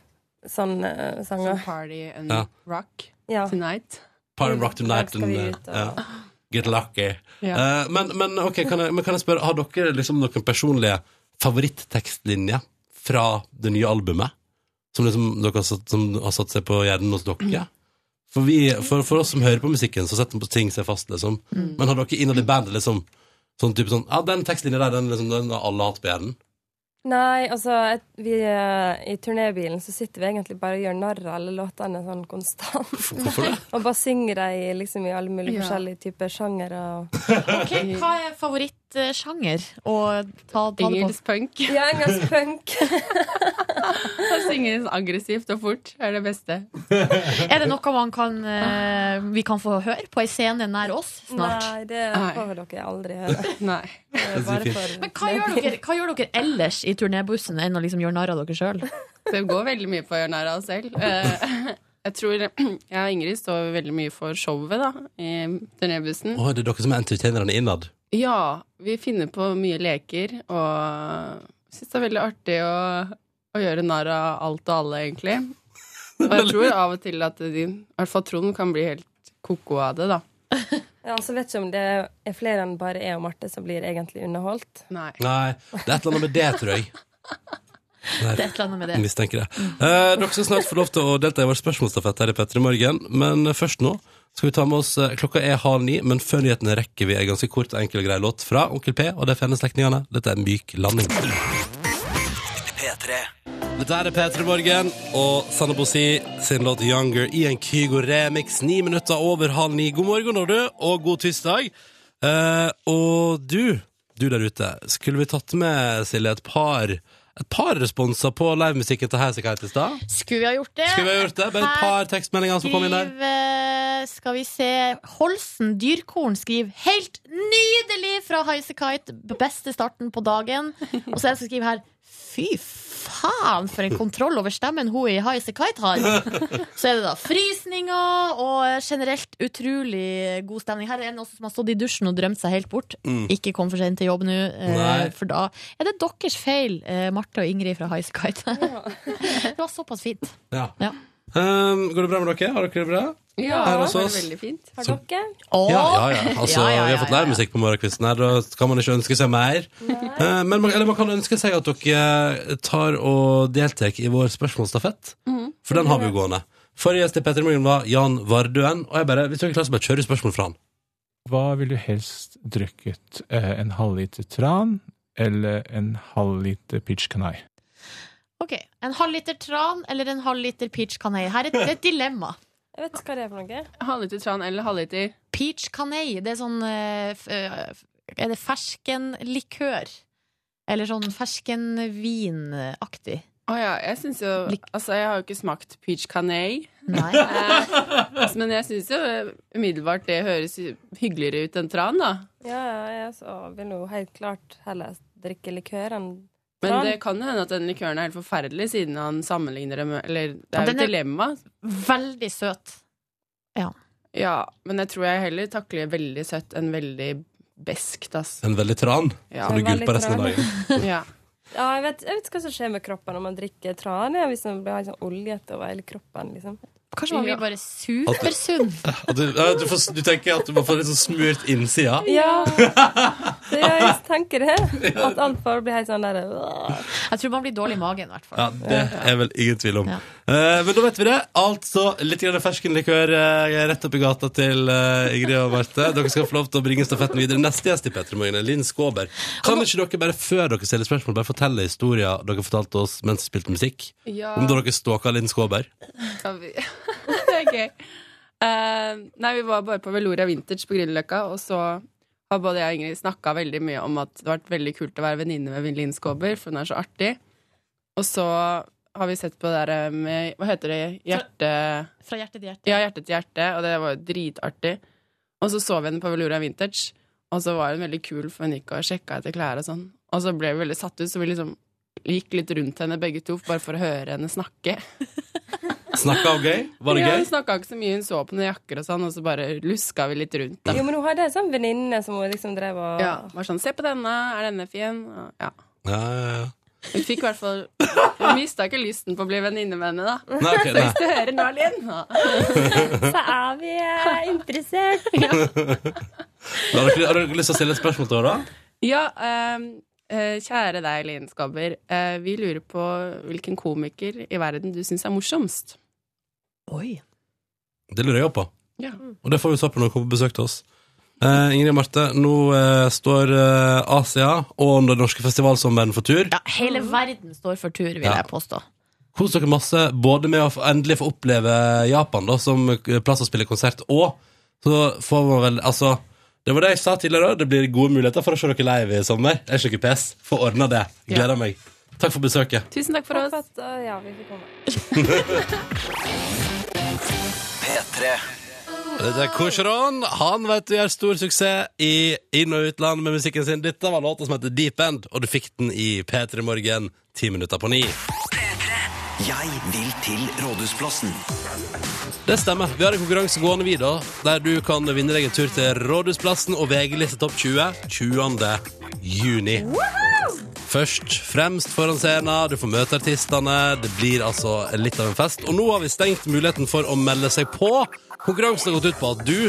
sånn eh, sanger. Party and Ja. rock Ja. tonight. Mm, Party and rock tonight. Skal vi and, ut eh, ja. Get lucky. Ja. Eh, men, men, ok, kan jeg, men kan jeg spørre, har dere liksom noen personlige favoritttekstlinjer fra det nye albumet? Som, liksom dere har satt, som har satt seg på hjernen hos dere? For, vi, for, for oss som hører på musikken, så setter ting seg fast, liksom. Mm. Men har dere innad i bandet liksom sånn type sånn Ja, den tekstlinja der, den, liksom, den har alle hatt på hjernen. Mm. Nei, altså et, vi, eh, I turnébilen så sitter vi egentlig bare og gjør narr av alle låtene sånn konstant. Hvorfor det? og bare synger de i, liksom, i alle mulige Ja. forskjellige typer sjangere. og- Ok, Hva er favorittsjanger å ta, ta det på? Engelsk punk. Ja, engelsk punk. Da synger hun aggressivt og fort. Det er det beste. Er det noe man kan, eh, vi kan få høre på ei scene nær oss snart? Nei, det Nei. får dere aldri høre. Nei. Men hva gjør, dere, hva gjør dere ellers i turnébussen enn å liksom gjøre narr av dere sjøl? Det går veldig mye på å gjøre narr av oss selv. Eh, Jeg tror jeg og Ingrid står veldig mye for showet, da, i turnébussen. Å, det er dere som er entertainerne innad. Ja, vi finner på mye leker, og syns det er veldig artig å, å gjøre narr av alt og alle, egentlig. Og jeg tror av og til at de, i hvert fall Trond kan bli helt ko-ko av det, da. Ja, altså vet ikke om det er flere enn bare jeg og Marte som blir egentlig underholdt. Nei. Nei, det er et eller annet med det, tror jeg. Det er et eller annet med det. Jeg Mistenker det. Eh, dere skal snart få lov til å delta i vår spørsmålsstafett her i Petter i morgen, men først nå skal vi ta med oss eh, Klokka er halv ni, men før nyhetene rekker vi en ganske kort og enkel og grei låt fra Onkel P og de fene slektningene. Dette er Myk landing. P3. Dette er Petter i morgen og Sanne Bosi sin låt 'Younger' i en Kygo-remix. Ni minutter over halv ni. God morgen, når du, og god tirsdag. Eh, og du, du der ute, skulle vi tatt med, Silje, et par, et par responser på livemusikken til Highasakite i stad? Skulle vi ha gjort det? Skulle vi ha gjort det? Bare et Her par tekstmeldinger som kom inn der. skriver- eh, Skal vi se Holsen Dyrkorn skriver 'Helt nydelig' fra Highasakite. Beste starten på dagen. Og så er det som skriver her 'Fy faen, for en kontroll over stemmen hun i Highasakite har'. Så er det da frysninger og eh, generelt utrolig god stemning. Her er en også som har stått i dusjen og drømt seg helt bort. Mm. Ikke kom for sent til jobb nå, eh, Nei. for da er det deres feil, eh, Marte og Ingrid fra Highasakite. det var såpass fint. Ja. Ja. Ehm, går det bra med dere? Har dere det bra? Her hos oss? fint. Har dere? Ja, ja, ja. Altså, Ja, ja, Vi har fått livemusikk på morgenkvisten her, da kan man ikke ønske seg mer. Eh, men man, eller man kan ønske seg at dere eh, tar og deltar i vår spørsmålsstafett, Mhm. for den har vi jo gående. Forrige gjest i Petter i Morgen var Jan Vardøen, og jeg bare, hvis dere er klare, så bare kjører vi spørsmål fra han. Hva ville du helst drukket? Eh, En halvliter tran eller en halvliter pitch canai? Ok, En halvliter tran eller en halvliter peach canei? Her er et, et dilemma. Jeg vet ikke hva det er for noe. Halvliter tran eller halvliter? Peach canei, det er sånn eh, f- eh, f- Er det ferskenlikør? Eller sånn ferskenvinaktig? Å ja, jeg syns jo Altså, jeg har jo ikke smakt peach canai. Nei. Men jeg syns jo eh, umiddelbart det høres hyggeligere ut enn tran, da. Ja, ja, jeg så vil jo helt klart heller drikke likør enn Men tran. det kan jo hende at den likøren er helt forferdelig, siden han sammenligner det med Eller det Ja, er jo den et er- dilemma. Veldig søt. Ja. Ja, men jeg tror jeg heller takler veldig søtt enn veldig beskt, ass. En veldig tran, Ja. som du En gult på veldig resten av tran. dagen. Ja. Ja, jeg vet, jeg vet ikke hva som skjer med kroppen når man drikker tran. Ja, hvis man blir helt sånn oljete over hele kroppen. liksom. Kanskje man blir Ja. bare supersunn. At du, ja, du, får, du tenker at du må få litt sånn smurt innsida? Ja. Så ja, jeg tenker det. At alt bare blir helt sånn der øh. Jeg tror man blir dårlig i magen, i hvert fall. Ja, det er vel ingen tvil om. Eh, men da vet vi det. Altså litt grann ferskenlikør eh, rett opp i gata til eh, Ingrid og Marte. Dere skal få lov til å bringe stafetten videre. Neste gjest i Petter Morgen er Linn Skåber. Kan ikke dere bare før dere stiller spørsmål, bare fortelle historier dere fortalte oss mens dere spilte musikk? Ja. Om da dere stalka Linn Skåber? Skal vi Det er gøy. Eh, nei, vi var bare på Veloria Vintage på Grünerløkka, og så har både jeg og Ingrid snakka veldig mye om at det har vært veldig kult å være venninne med Linn Skåber, for hun er så artig. Og så har vi sett på det der med Hva heter det? Hjerte... Fra hjerte til hjerte. Ja, hjerte til hjerte, og det var jo dritartig. Og så så vi henne på Veloria Vintage, og så var hun veldig kul, for hun gikk og sjekka etter klær og sånn. Og så ble vi veldig satt ut, så vi liksom gikk litt rundt henne begge to, bare for å høre henne snakke. Snakka og gøy? Var det Ja, hun gøy? snakka ikke så mye, hun så på noen jakker og sånn, og så bare luska vi litt rundt. Da. Jo, men hun hadde en sånn venninne som hun liksom drev og Ja, var sånn 'se på denne, er denne fin?' Og, ja. Ja, ja, ja. Hun fikk i hvert fall Hun mista ikke lysten på å bli venninne med henne, da. Nei, ok, så nei. hvis du hører nå, Linn Så er vi eh, interessert. Har dere, har dere lyst til å stille et spørsmål til henne? da? Ja, ehm, eh, kjære deg, Linn Skåber. Eh, vi lurer på hvilken komiker i verden du syns er morsomst. Oi. Det lurer jeg også på. Ja. Og det får vi svar på når hun kommer på besøk til oss. Eh, Ingrid Marte, nå eh, står eh, Asia og den norske festivalsommeren for tur. Hele Mm. verden står for tur, vil Ja. jeg påstå. Kos dere masse, både med å få- endelig få oppleve Japan da, som eh, plass å spille konsert, og så får man vel Altså, det var det jeg sa tidligere òg, det blir gode muligheter for å se dere live i sommer. Det er ikke noe pes. Få ordna det. Gleder meg. Takk for besøket. Tusen takk for oss. ja, vi fikk komme. P3. Dette er Korsron. Han vet du gjør stor suksess i inn- og utland med musikken sin. Dette var låta som heter Deep End, og du fikk den i P3 Morgen ti minutter på ni. Jeg vil til Rådhusplassen. Det stemmer. Vi har en konkurranse gående vi da, der du kan vinne deg en tur til Rådhusplassen og VG-liste Topp 20 20. juni. Først fremst foran scenen, du får møte artistene, det blir altså litt av en fest. Og nå har vi stengt muligheten for å melde seg på. Konkurransen har gått ut på at du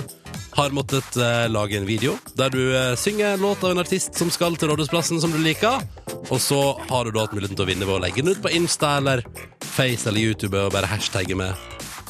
har måttet eh, lage en video der du eh, synger en låt av en artist som skal til Rådhusplassen som du liker. Og så har du da hatt muligheten til å vinne ved å legge den ut på Insta eller Face eller YouTube og bare hashtagge med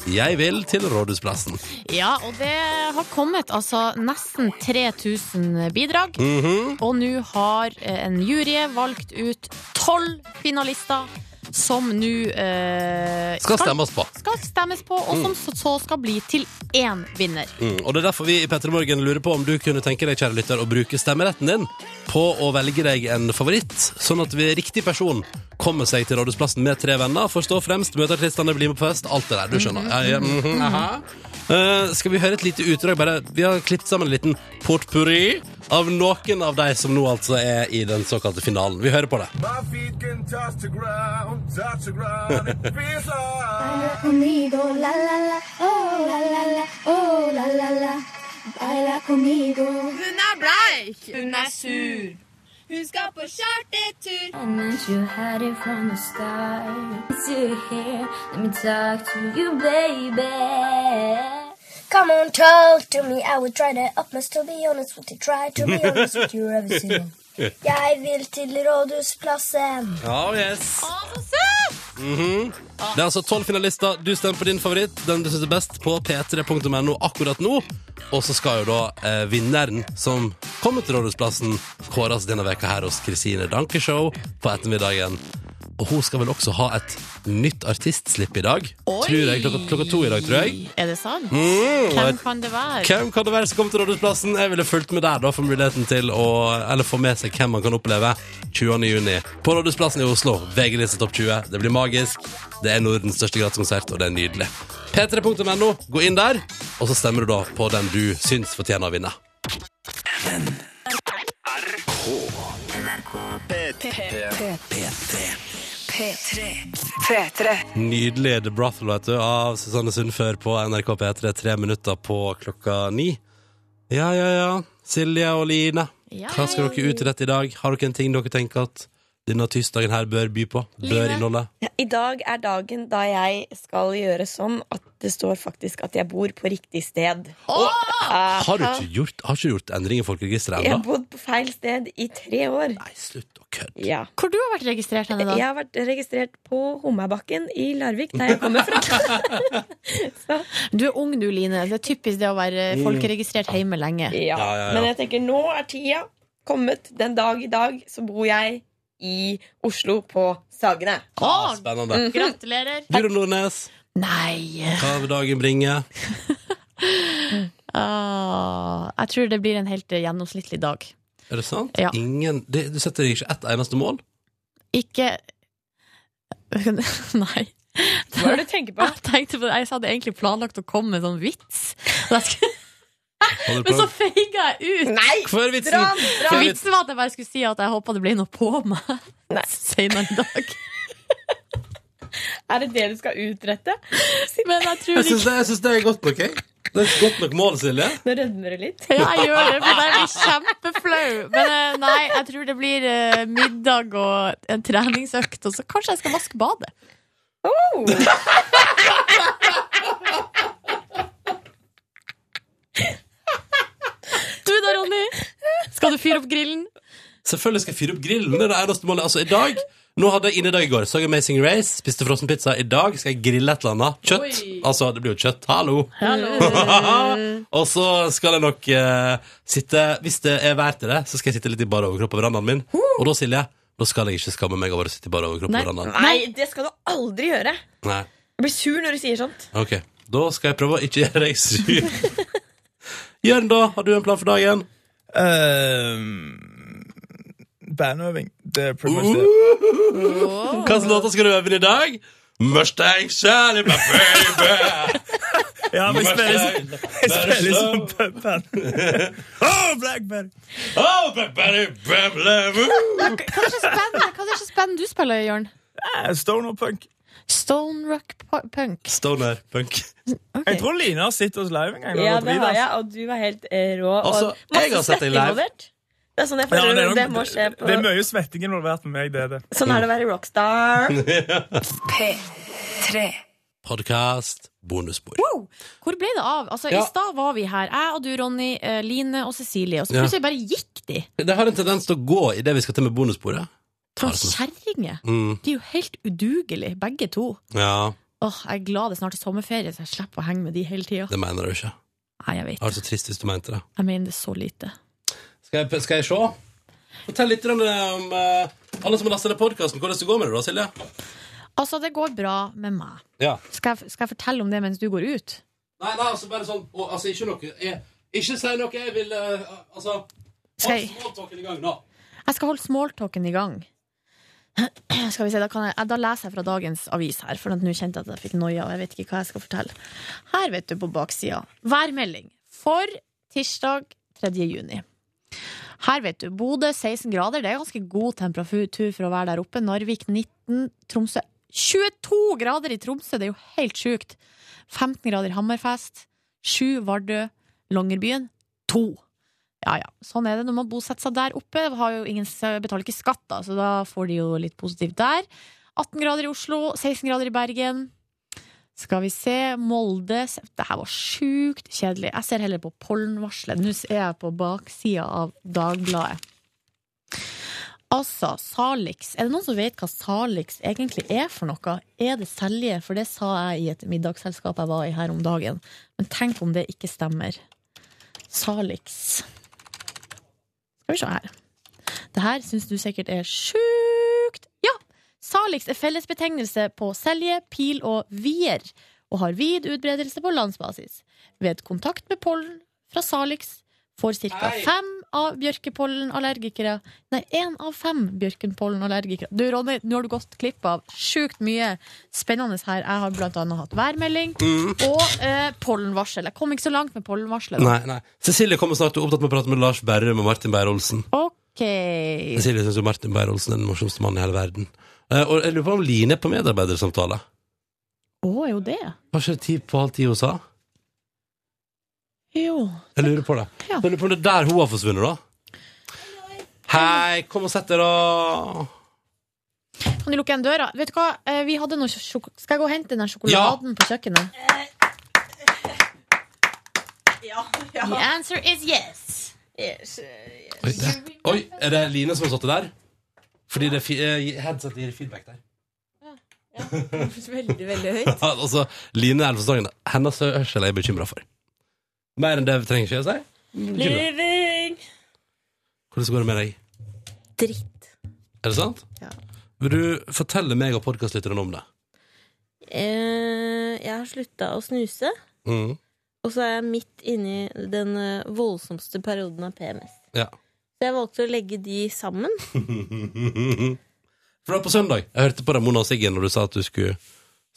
'Jeg vil til Rådhusplassen'. Ja, og det har kommet altså nesten 3000 bidrag. Mhm. Og nå har eh, en jury valgt ut tolv finalister som nå eh, Skal stemmes på. Skal stemmes på, og som så- så skal bli til én vinner. Mm, og det er derfor vi i Petter Morgen lurer på om du kunne tenke deg, kjære lytter, å bruke stemmeretten din på å velge deg en favoritt, sånn at vi, riktig person kommer seg til Rådhusplassen med tre venner, forstå fremst, møter artistene, blir med på fest, alt det der, du skjønner. Ja, ja, mhm, aha. Eh, skal vi høre et lite utdrag, bare, vi har klippet sammen en liten portpurri av noen av deg som nå altså er i den såkalte finalen. Vi hører på det. My feet can touch the ground, touch the ground. It feels like. Conmigo, la la la, oh la la la, oh la la la. Baila conmigo. Hun er bleik, hun er sur. Hun skal på chartertur. I meant you had it from the start. It's you here, let me talk to you, baby. Come on, talk to me. I will try to utmost to be honest with you. Try to be honest with you every single. Jeg vil til Rådhusplassen. Ja, yes. Mhm. Det er altså tolv finalister. Du stemmer på din favoritt, den du syns er best, på p3.no akkurat nå. Og så skal jo da eh, vinneren som kommer til Rådhusplassen, kåres denne veka her hos Kristine Danke-show på ettermiddagen. Og hun skal vel også ha et nytt artistslipp i dag. Oi! Tror jeg, klokka, klokka to i dag, tror jeg. Er det sant? Mm, Hvem og- kan det være? Hvem kan det være som kommer til Rådhusplassen? Jeg ville fulgt med der da for muligheten til å Eller få med seg hvem man kan oppleve 20. juni på Rådhusplassen i Oslo. VG-liste topp 20. Det blir magisk. Det er Nordens største gratiskonsert, og det er nydelig. P3.no, gå inn der, og så stemmer du da på den du syns fortjener å vinne. P3. Nydelig The Brothel vet du, av Susanne Sundfør på NRK P3, tre minutter på klokka ni. Ja, ja, ja. Silje og Line, Ja, hva skal dere ut i dette i dag? Har dere en ting dere tenker at denne tirsdagen her bør by på? Bør Line? inneholde? Ja, I dag er dagen da jeg skal gjøre sånn at det står faktisk at jeg bor på riktig sted. Ah! Har du ikke gjort, har ikke gjort endring i folkeregisteret Jeg har ennå? bodd på feil sted i tre år. Nei, slutt å kødde. Ja. Hvor du har vært registrert henne da? Jeg har vært registrert på Hommabakken i Larvik, der jeg kommer fra. Du er ung du, Line. Det er typisk det å være Mm. folkeregistrert hjemme lenge. Ja, Men jeg tenker, nå er tida kommet. Den dag i dag så bor jeg i Oslo, på Sagene. Ah, spennende. Mhm. Gratulerer. Du da, Nordnes? Nei. Hva vil dagen bringe? Ah, jeg tror det blir en helt eh, gjennomsnittlig dag. Er det sant? Ja. Ingen, det, du setter deg ikke ett eneste mål? Ikke Nei. Hva er det du tenker på? Jeg, tenkte på det. jeg hadde egentlig planlagt å komme med en sånn vits. Men jeg skulle- Hadde du Men så prøvd? feiga jeg ut. Nei! Hvor er vitsen? Dra, Hvor er dra. vitsen? Vitsen var at jeg bare skulle si at jeg håpa det ble noe på meg senere i dag. Er det det du skal utrette? Men jeg tror Jeg syns det, jeg synes det er godt nok, jeg. Det er et godt nok mål, Silje. Nå rødmer du litt. Ja, jeg gjør det, for jeg blir kjempeflau. Men eh, nei, jeg tror det blir eh, middag og en treningsøkt, og så kanskje jeg skal vaske badet. Oh! Du da, Ronny? Skal du fyre opp grillen? Selvfølgelig skal jeg fyre opp grillen. Det er det eneste målet. Altså, i dag Nå hadde jeg innedag i går. Så jeg Amazing Race, spiste frossenpizza. I dag skal jeg grille et eller annet. Kjøtt. Altså, det blir jo kjøtt. Hallo! og så skal jeg nok eh, sitte Hvis det er vær til det, så skal jeg sitte litt i bar overkropp på verandaen min. Og da, Silje, da skal jeg ikke skamme meg over å sitte i bar overkropp på Nei. verandaen. Nei, det skal du aldri gjøre. Nei. Jeg blir sur når du sier sånt. Ok. Da skal jeg prøve å ikke gjøre deg sur. Jørn, da, har du en plan for dagen? Bandøving. Det er Ehm, pretty much det. Hvilke låter skal du øve i dag? Mustang Sally, my baby. Ja, men jeg spiller, Mustang, jeg spiller sånn som Mustang. puppen. Oh, Blackberry! Oh, Blackberry, Hva hva er det slags band- hva er det slags band du spiller i, Jørn? Eh, Stoner punk. Stone rock pu- punk. Stoner punk. Jeg tror Line har sett oss live en gang. Ja, og gått det videre. har jeg, og du er helt eh, rå. Altså, og masse jeg har sett deg svett live. involvert. Det er sånn jeg Ja, føler det, er det, nok- må skje på det er mye svetting involvert med meg, det er det. Sånn er det å være rockstar. P3. Podkast, bonusbord. Wow! Hvor ble det av? Altså, Ja. I stad var vi her, jeg og du, Ronny, eh, Line og Cecilie, og så Ja. plutselig bare gikk de. Det har en tendens til å gå i det vi skal til med bonusbordet. For kjerringer! Mm, De er jo helt udugelige, begge to. ja, Åh, Jeg er glad det er snart er sommerferie, så jeg slipper å henge med de hele tida. det mener du ikke. Nei, jeg vet Det var så trist hvis du mente det. Jeg mener det så lite. Skal jeg, skal jeg se? Fortell litt om, om eh, alle som har lastet ned podkasten. Hvordan det går med det, da, Silje? Altså, det går bra med meg. Ja. Skal jeg, skal jeg fortelle om det mens du går ut? Nei, nei, altså bare sånn og, altså, Ikke noe jeg, Ikke si noe jeg vil eh, Altså Skal jeg- Hold småtalken i gang nå. Jeg skal holde smalltalken i gang. Skal vi se, da, kan jeg, da leser jeg fra dagens avis her, for at nå kjente jeg at jeg fikk noia. og jeg vet ikke hva jeg skal fortelle. Her, vet du, på baksida. Værmelding for tirsdag 3. juni. Her, vet du, Bodø 16 grader. Det er ganske god temperatur for å være der oppe. Narvik 19, Tromsø 22 grader i Tromsø! Det er jo helt sjukt. 15 grader i Hammerfest. 7 Vardø. Longyearbyen 2. Ja, ja. Sånn er det når man bosetter seg der oppe. Har jo ingen, betaler ikke skatt, da, så da får de jo litt positivt der. 18 grader i Oslo, 16 grader i Bergen. Skal vi se. Molde Det her var sjukt kjedelig. Jeg ser heller på pollenvarselet. Nå er jeg på baksida av Dagbladet. Altså, Salix. Er det noen som vet hva Salix egentlig er for noe? Er det selje? For det sa jeg i et middagsselskap jeg var i her om dagen. Men tenk om det ikke stemmer. Salix. Skal vi se her. Det her syns du sikkert er sjukt. Ja! Salix er fellesbetegnelse på selje, pil og vier, og har vid utbredelse på landsbasis. Ved kontakt med pollen fra Salix får ca. fem av bjørkepollenallergikere Nei, én av fem bjørkepollenallergikere. Du, Ronny, nå har du gått glipp av sjukt mye spennende her. Jeg har blant annet hatt værmelding Mm. og eh, pollenvarsel. Jeg kom ikke så langt med pollenvarselet. da. Nei, nei. Cecilie kommer snart og er opptatt med å prate med Lars Berrum og Martin Beyer-Olsen. Ok. Cecilie syns jo Martin Beyer-Olsen er den morsomste mannen i hele verden. Eh, og jeg lurer på om Line er på medarbeidersamtale. Å, er jo det? Var ikke det ti på halv ti hun sa? Jo. Jeg lurer på det. Jeg lurer på om det er der hun har forsvunnet, da. Hei, kom og sett deg, da. Kan du lukke igjen døra? Vet du hva, Eh, vi hadde noe sjok Skal jeg gå og hente den der sjokoladen på kjøkkenet? The answer is yes. Oi, det. Oi, er det Line som har satt det der? Fordi det fi- eh, headset gir feedback der. Veldig, veldig høyt. altså, Line Elvestad, hennes hørsel er jeg bekymra for. Mer enn det trenger ikke jeg å si. Bekymret. Living! Hvordan går det med deg? Dritt. Er det sant? Ja. Vil du fortelle meg og podkastlytterne om det? Eh, jeg har slutta å snuse, Mm. og så er jeg midt inni den eh, voldsomste perioden av PMS. Ja. Så jeg valgte å legge de sammen. For det var på søndag. Jeg hørte på Ramona og Siggen når du sa at du skulle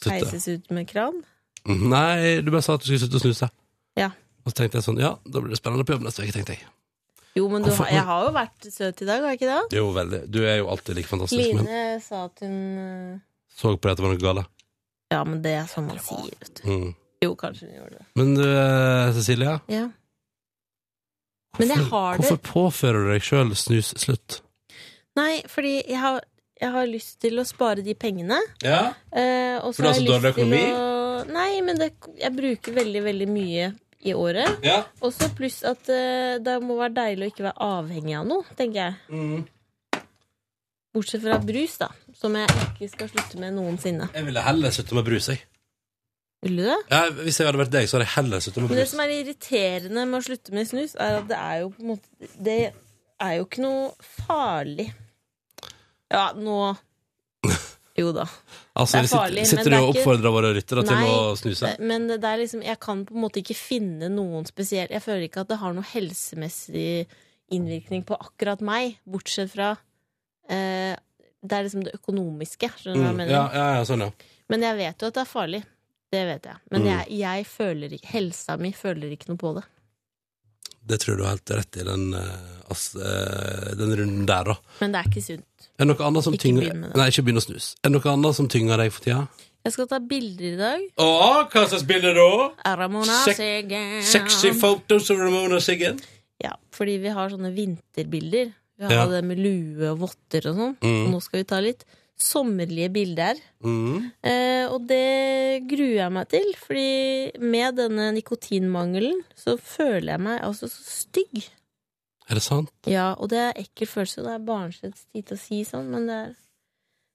slutte. Mhm. Heises ut med kran. Nei, du bare sa at du skulle slutte å snuse. Ja. Og så tenkte jeg sånn, ja, da blir det spennende på jobb neste uke, tenkte jeg. Jo, men du, Hvorfor- har- jeg har jo vært søt i dag, har jeg ikke det? Det er jo veldig, du er jo alltid like fantastisk, men Line sa at hun eh, så på deg at det var noe gale. Ja, men det er sånn man sier, vet du. Mm. Jo, kanskje hun gjorde det. Men du, eh, Cecilia, Ja. Men jeg har det hvorfor påfører du deg sjøl snusslutt? Nei, fordi jeg har, jeg har lyst til å spare de pengene. Ja. Eh, og For du har har jeg så dårlig lyst til økonomi? Å... Nei, men det, jeg bruker veldig, veldig mye i året. Ja. Og så pluss at eh, det må være deilig å ikke være avhengig av noe, tenker jeg. Mm. Bortsett fra brus, da. Som jeg ikke skal slutte med noensinne. Jeg ville heller slutte med brus, jeg. Vil du det? Ja, hvis jeg hadde vært deg, så hadde jeg heller sluttet med Men det brus. som er irriterende med å slutte med snus, er at det er jo på en måte Det er jo ikke noe farlig. Ja, nå Jo da. Altså, det er farlig, sitter, men sitter du det er og ikke- oppfordrer våre lyttere til Nei, å snuse? Men det er liksom Jeg kan på en måte ikke finne noen spesiell Jeg føler ikke at det har noe helsemessig innvirkning på akkurat meg, bortsett fra eh, Det er liksom det økonomiske. Skjønner du hva jeg Mm, mener? ja, ja, ja, sånn, ja. Men jeg vet jo at det er farlig. Det vet jeg. Men Mm. jeg, jeg føler ikke Helsa mi føler ikke noe på det. Det tror jeg du har helt rett i, den, eh, ass- eh, den runden der, da. Men det er ikke sunt. Er det noe annet som Ikke tynger begynn med det. Nei, ikke begynn å snus. Er det noe annet som tynger deg for tida? Jeg skal ta bilder i dag. Å, hva slags bilde da? Ramona Sek- Siggen. Sexy photos of Ramona Siggen. Ja, fordi vi har sånne vinterbilder. Vi har Ja. det med lue og votter og sånn. Mm. Og nå skal vi ta litt sommerlige bilder. Mm. Eh, og det gruer jeg meg til, fordi med denne nikotinmangelen så føler jeg meg altså så stygg. Er det sant? Ja, og det er ekkel følelse, og det er barnslig tid å si sånn, men det er,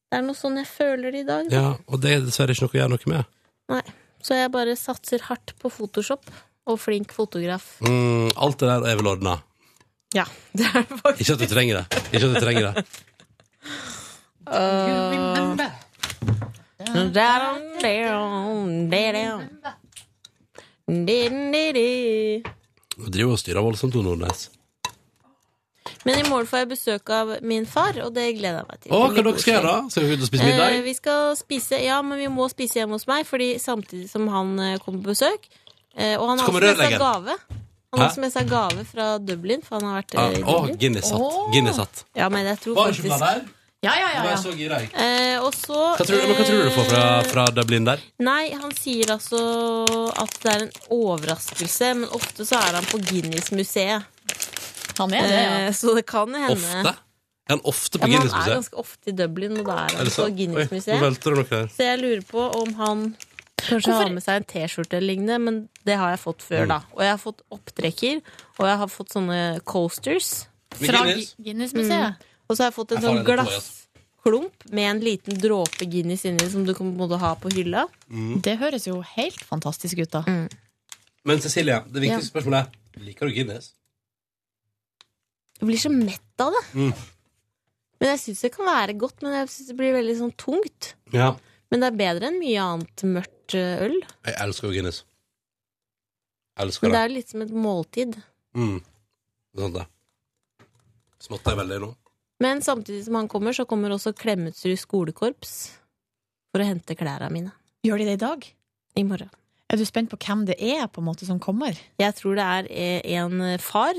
det er noe sånn jeg føler det i dag. da. Ja, og det er dessverre ikke noe å gjøre noe med. Nei. Så jeg bare satser hardt på Photoshop og flink fotograf. Mm, alt det der er vel ordna. Ja, det er det faktisk. Ikke at du trenger det. Ikke at du trenger det. Øh. Du driver og styrer voldsomt, du, Nordnes. Men i morgen får jeg besøk av min far, og det gleder jeg meg til. Å, hva Det blir dere skal gjøre? da? Skal vi ut og spise Eh, middag? vi skal spise, ja, men vi må spise hjemme hos meg, fordi samtidig som han eh, kommer på besøk eh, Og han Så har kommer også med seg rørleggeren. gave. Han har Hæ? også med seg gave fra Dublin, for han har vært eh, Ah, i Å, Dublin. Guinness satt. Guinness satt. Ja, men jeg tror Var det faktisk sjokolade her? Ja, ja, ja. Nå er jeg så ja. gira, jeg. Eh, og så eh, Hva tror, du- hva tror du du får fra, fra Dublin der? Nei, han sier altså at det er en overraskelse, men ofte så er han på Guinness-museet. Han er det, ja. Eh, Så det kan hende Ofte? Er han ofte Ja, på men han er Guinness-museet? ganske ofte i Dublin, og da Er er han det på sant? Oi, nå Guinness-museet. velter det noe her. Så jeg lurer på om han kanskje har med seg en T-skjorte eller lignende, men det har jeg fått før, Mm. da. Og jeg har fått opptrekker, og jeg har fått sånne coasters. Med Fra Guinness? Gui- Guinness-museet? Mm. Og så har jeg fått en Jeg sånn får det på, glassklump med en liten dråpe Guinness inni, som du kan på en måte ha på hylla. Mm. Det høres jo helt fantastisk ut, da. Men Cecilie, det Ja. viktigste spørsmålet er Liker du Guinness? Jeg blir så mett av det. Mm. Men jeg syns det kan være godt, men jeg syns det blir veldig sånn tungt. Ja. Men det er bedre enn mye annet mørkt eh, øl. Jeg elsker jo Guinness. Elsker Men det det. er jo litt som et måltid. Mm. Det er sant, det. Småtta jeg veldig nå? Men samtidig som han kommer, så kommer også Klemetsrud skolekorps for å hente klærne mine. Gjør de det i dag? I morgen. Er du spent på hvem det er på en måte som kommer? Jeg tror det er eh, en far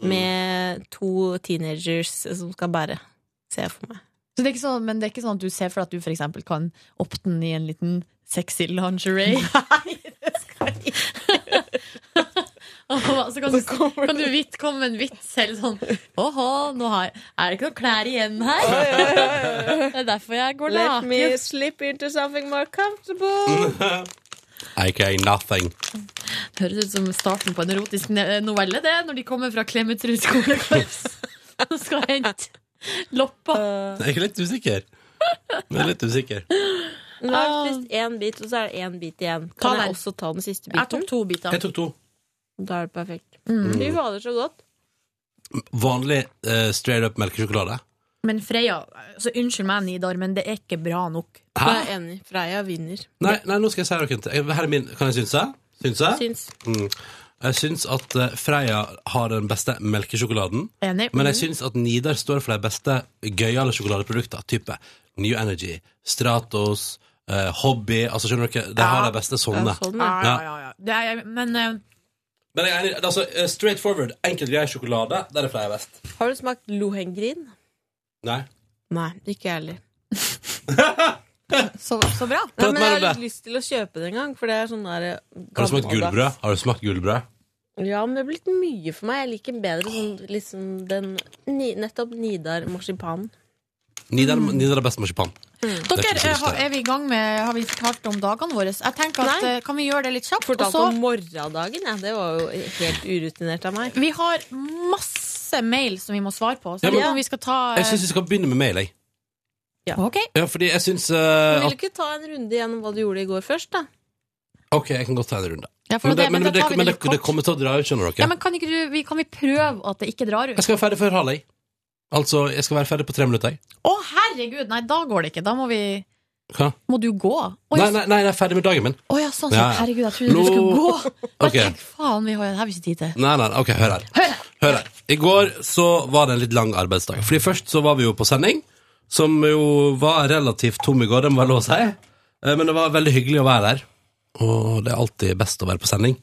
Mm. med to teenagers som skal bære, ser jeg for meg. Så det er ikke sånn, men det er ikke sånn at du ser for deg at du for eksempel kan åpne den i en liten sexy lingerie? Nei, det skal jeg ikke. Så kan du, kan du vidt komme med en vits eller sånn Åhå, nå har, er det ikke noen klær igjen her? Det er derfor jeg går Let naken. Mm. me slip into something more comfortable. Aka nothing. Høres ut som starten på en erotisk ne- eh, novelle, det, når de kommer fra Klemetruds skolekorps og skal hente loppa. Eh, Jeg er litt usikker. Jeg er litt usikker. Nå har jeg spist én bit, og så er det én bit igjen. Kan jeg også ta den siste biten? Jeg tok to biter. Jeg tok to. Da er det perfekt. Mm. Fy fader, så godt. Vanlig eh, straight up melkesjokolade. Men Freya, altså, unnskyld meg, Nidar, men det er ikke bra nok. Hæ? Jeg er enig. Freia vinner. Nei, nei, nå skal jeg si noe. til- jeg- Her er min. Kan jeg synse? Synse? Syns. Mm. Jeg syns at eh, Freia har den beste melkesjokoladen. Enig. Mm. Men jeg syns at Nidar står for de beste gøyale sjokoladeproduktene. Type New Energy, Stratos, eh, Hobby Altså, skjønner dere? De har de beste sånne. sånn, Ja, ja, Sånn, Ja. ja, ja. Det er, men eh, Men jeg er enig. Altså, eh, straight forward, enkelt grei sjokolade, der er Freia best. Har du smakt lohengrin? Nei. Nei, ikke jeg heller. så, så bra. Nei, Prat men mer jeg om har litt det. lyst til å kjøpe det en gang, for det er sånn der Har du smakt gammeldags. gullbrød? Har du smakt gullbrød? Ja, men det blir litt mye for meg. Jeg liker bedre sånn liksom den ni, Nettopp Nidar marsipanen. Mm. Nidar, Nidar er best marsipan. Det er Dere, ikke så eh, lyst har, til. er vi i gang med Har vi fortalt om dagene våre? Jeg tenker at Nei. eh, Kan vi gjøre det litt kjapt? Fortalte og så- om morgendagen, ja. Det var jo helt urutinert av meg. Vi har masse mail som vi må svare på. Så Ja, jeg men- lurer på om vi skal ta eh, Jeg syns vi skal begynne med mail, jeg. Ja. Ja, fordi jeg syns Men eh, vil du at ikke ta en runde gjennom hva du gjorde i går først, da? OK, jeg kan godt ta en runde. Ja, for det- men da tar vi det men litt det kommer til å dra ut, skjønner dere. ja, men kan, ikke du, vi, kan vi prøve at det ikke drar ut? Jeg skal være ferdig før halv ei. Altså, jeg skal være ferdig på tre minutter. jeg. Å, herregud! Nei, da går det ikke. Da må vi Hva? Må du gå? Å Nei, ja, nei, nei, jeg er ferdig med dagen min. å, ja, sånn. Ja, Ja. ja. Herregud, jeg trodde Nå- du skulle gå. Ok. Men tenk faen, vi har, det har vi ikke tid til. Nei, nei, ok, hør her. Hør her. Hør her. I går så var det en litt lang arbeidsdag. Fordi først så var vi jo på sending, som jo var relativt tom i går, det må være lov å si. Eh, Men det var veldig hyggelig å være der. Og det er alltid best å være på sending.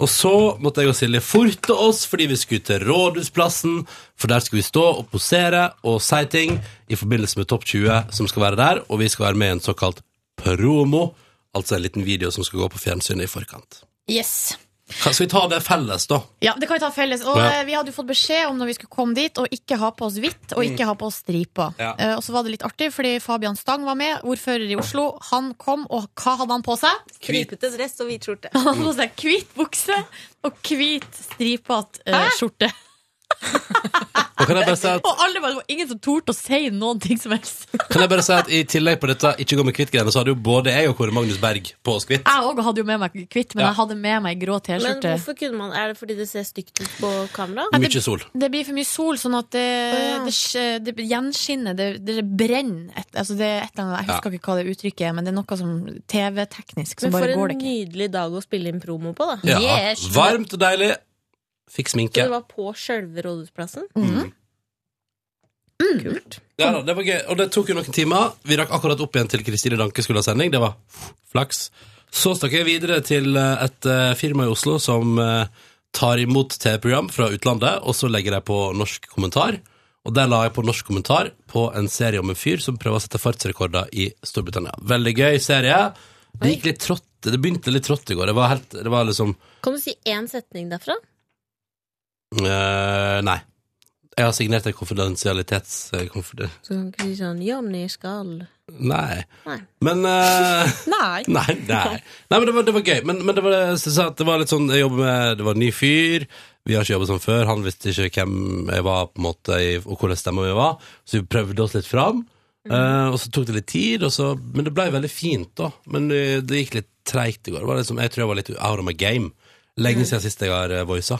Og så måtte jeg og Silje forte oss fordi vi skulle til Rådhusplassen. For der skulle vi stå og posere og si ting i forbindelse med Topp 20 som skal være der. Og vi skal være med i en såkalt promo, altså en liten video som skal gå på fjernsynet i forkant. Yes. Kan- Skal vi ta det felles, da? Ja, det kan vi ta felles. Og Ja. eh, vi hadde jo fått beskjed om når vi skulle komme dit, å ikke ha på oss hvitt og ikke Mm. ha på oss stripa. Ja. Eh, og så var det litt artig, fordi Fabian Stang var med, ordfører i Oslo. Han kom, og hva hadde han på seg? Stripete dress og hvit Han skjorte. Mm. hadde på seg hvit bukse og hvit stripete eh, skjorte. Og kan jeg bare si at Og alle bare, det var ingen som torde å si noen ting som helst. Kan jeg bare si at I tillegg på dette ikke gå med hvitt-greiene, så hadde jo både jeg og Kåre Magnus Berg på oss hvitt. Jeg òg hadde jo med meg hvitt, men Ja. jeg hadde med meg grå Men T-skjorte. hvorfor kunne man Er det fordi det ser stygt ut på kamera? Nei, Mykje sol. Det blir for mye sol, sånn at det, Å, ja. det, sk- det gjenskinner, det, det brenner. Et, altså det er et eller annet, jeg husker ikke hva det uttrykket er, men det er noe som TV-teknisk som Men for bare en går det ikke. nydelig dag å spille inn promo på, da. Ja, Yes. Varmt og deilig. Fikk Så sminke. det var på sjølve Rådhusplassen? Mhm. Kult. Ja, da, det var gøy. Og det tok jo noen timer. Vi rakk akkurat opp igjen til Kristine Danke skulle ha sending. Det var flaks. Så stakk jeg videre til eh, et eh, firma i Oslo som eh, tar imot TV-program fra utlandet, og så legger jeg på norsk kommentar. Og der la jeg på norsk kommentar på en serie om en fyr som prøver å sette fartsrekorder i Storbritannia. Veldig gøy serie. Det gikk litt trått. Det begynte litt trått i går. Det var, helt, det var liksom Kan du si én setning derfra? eh, Nei. Jeg har signert en konfidensialitets... eh, konfiden- Så kan du ikke si sånn Jonny skal Nei. Nei. Men eh, Nei. Nei, nei. nei men det var, det var gøy. Men, men det, var, jeg synes at det var litt sånn Jeg jobber med Det var en ny fyr. Vi har ikke jobba sånn før. Han visste ikke hvem jeg var, på en måte i- og hvordan stemma vi var. Så vi prøvde oss litt fram. Eh, og så tok det litt tid, og så, men det ble veldig fint, da. Men eh, det gikk litt treigt i går. Det var liksom, jeg tror jeg var litt out of my game. Lenge siden sist jeg har eh, voisa.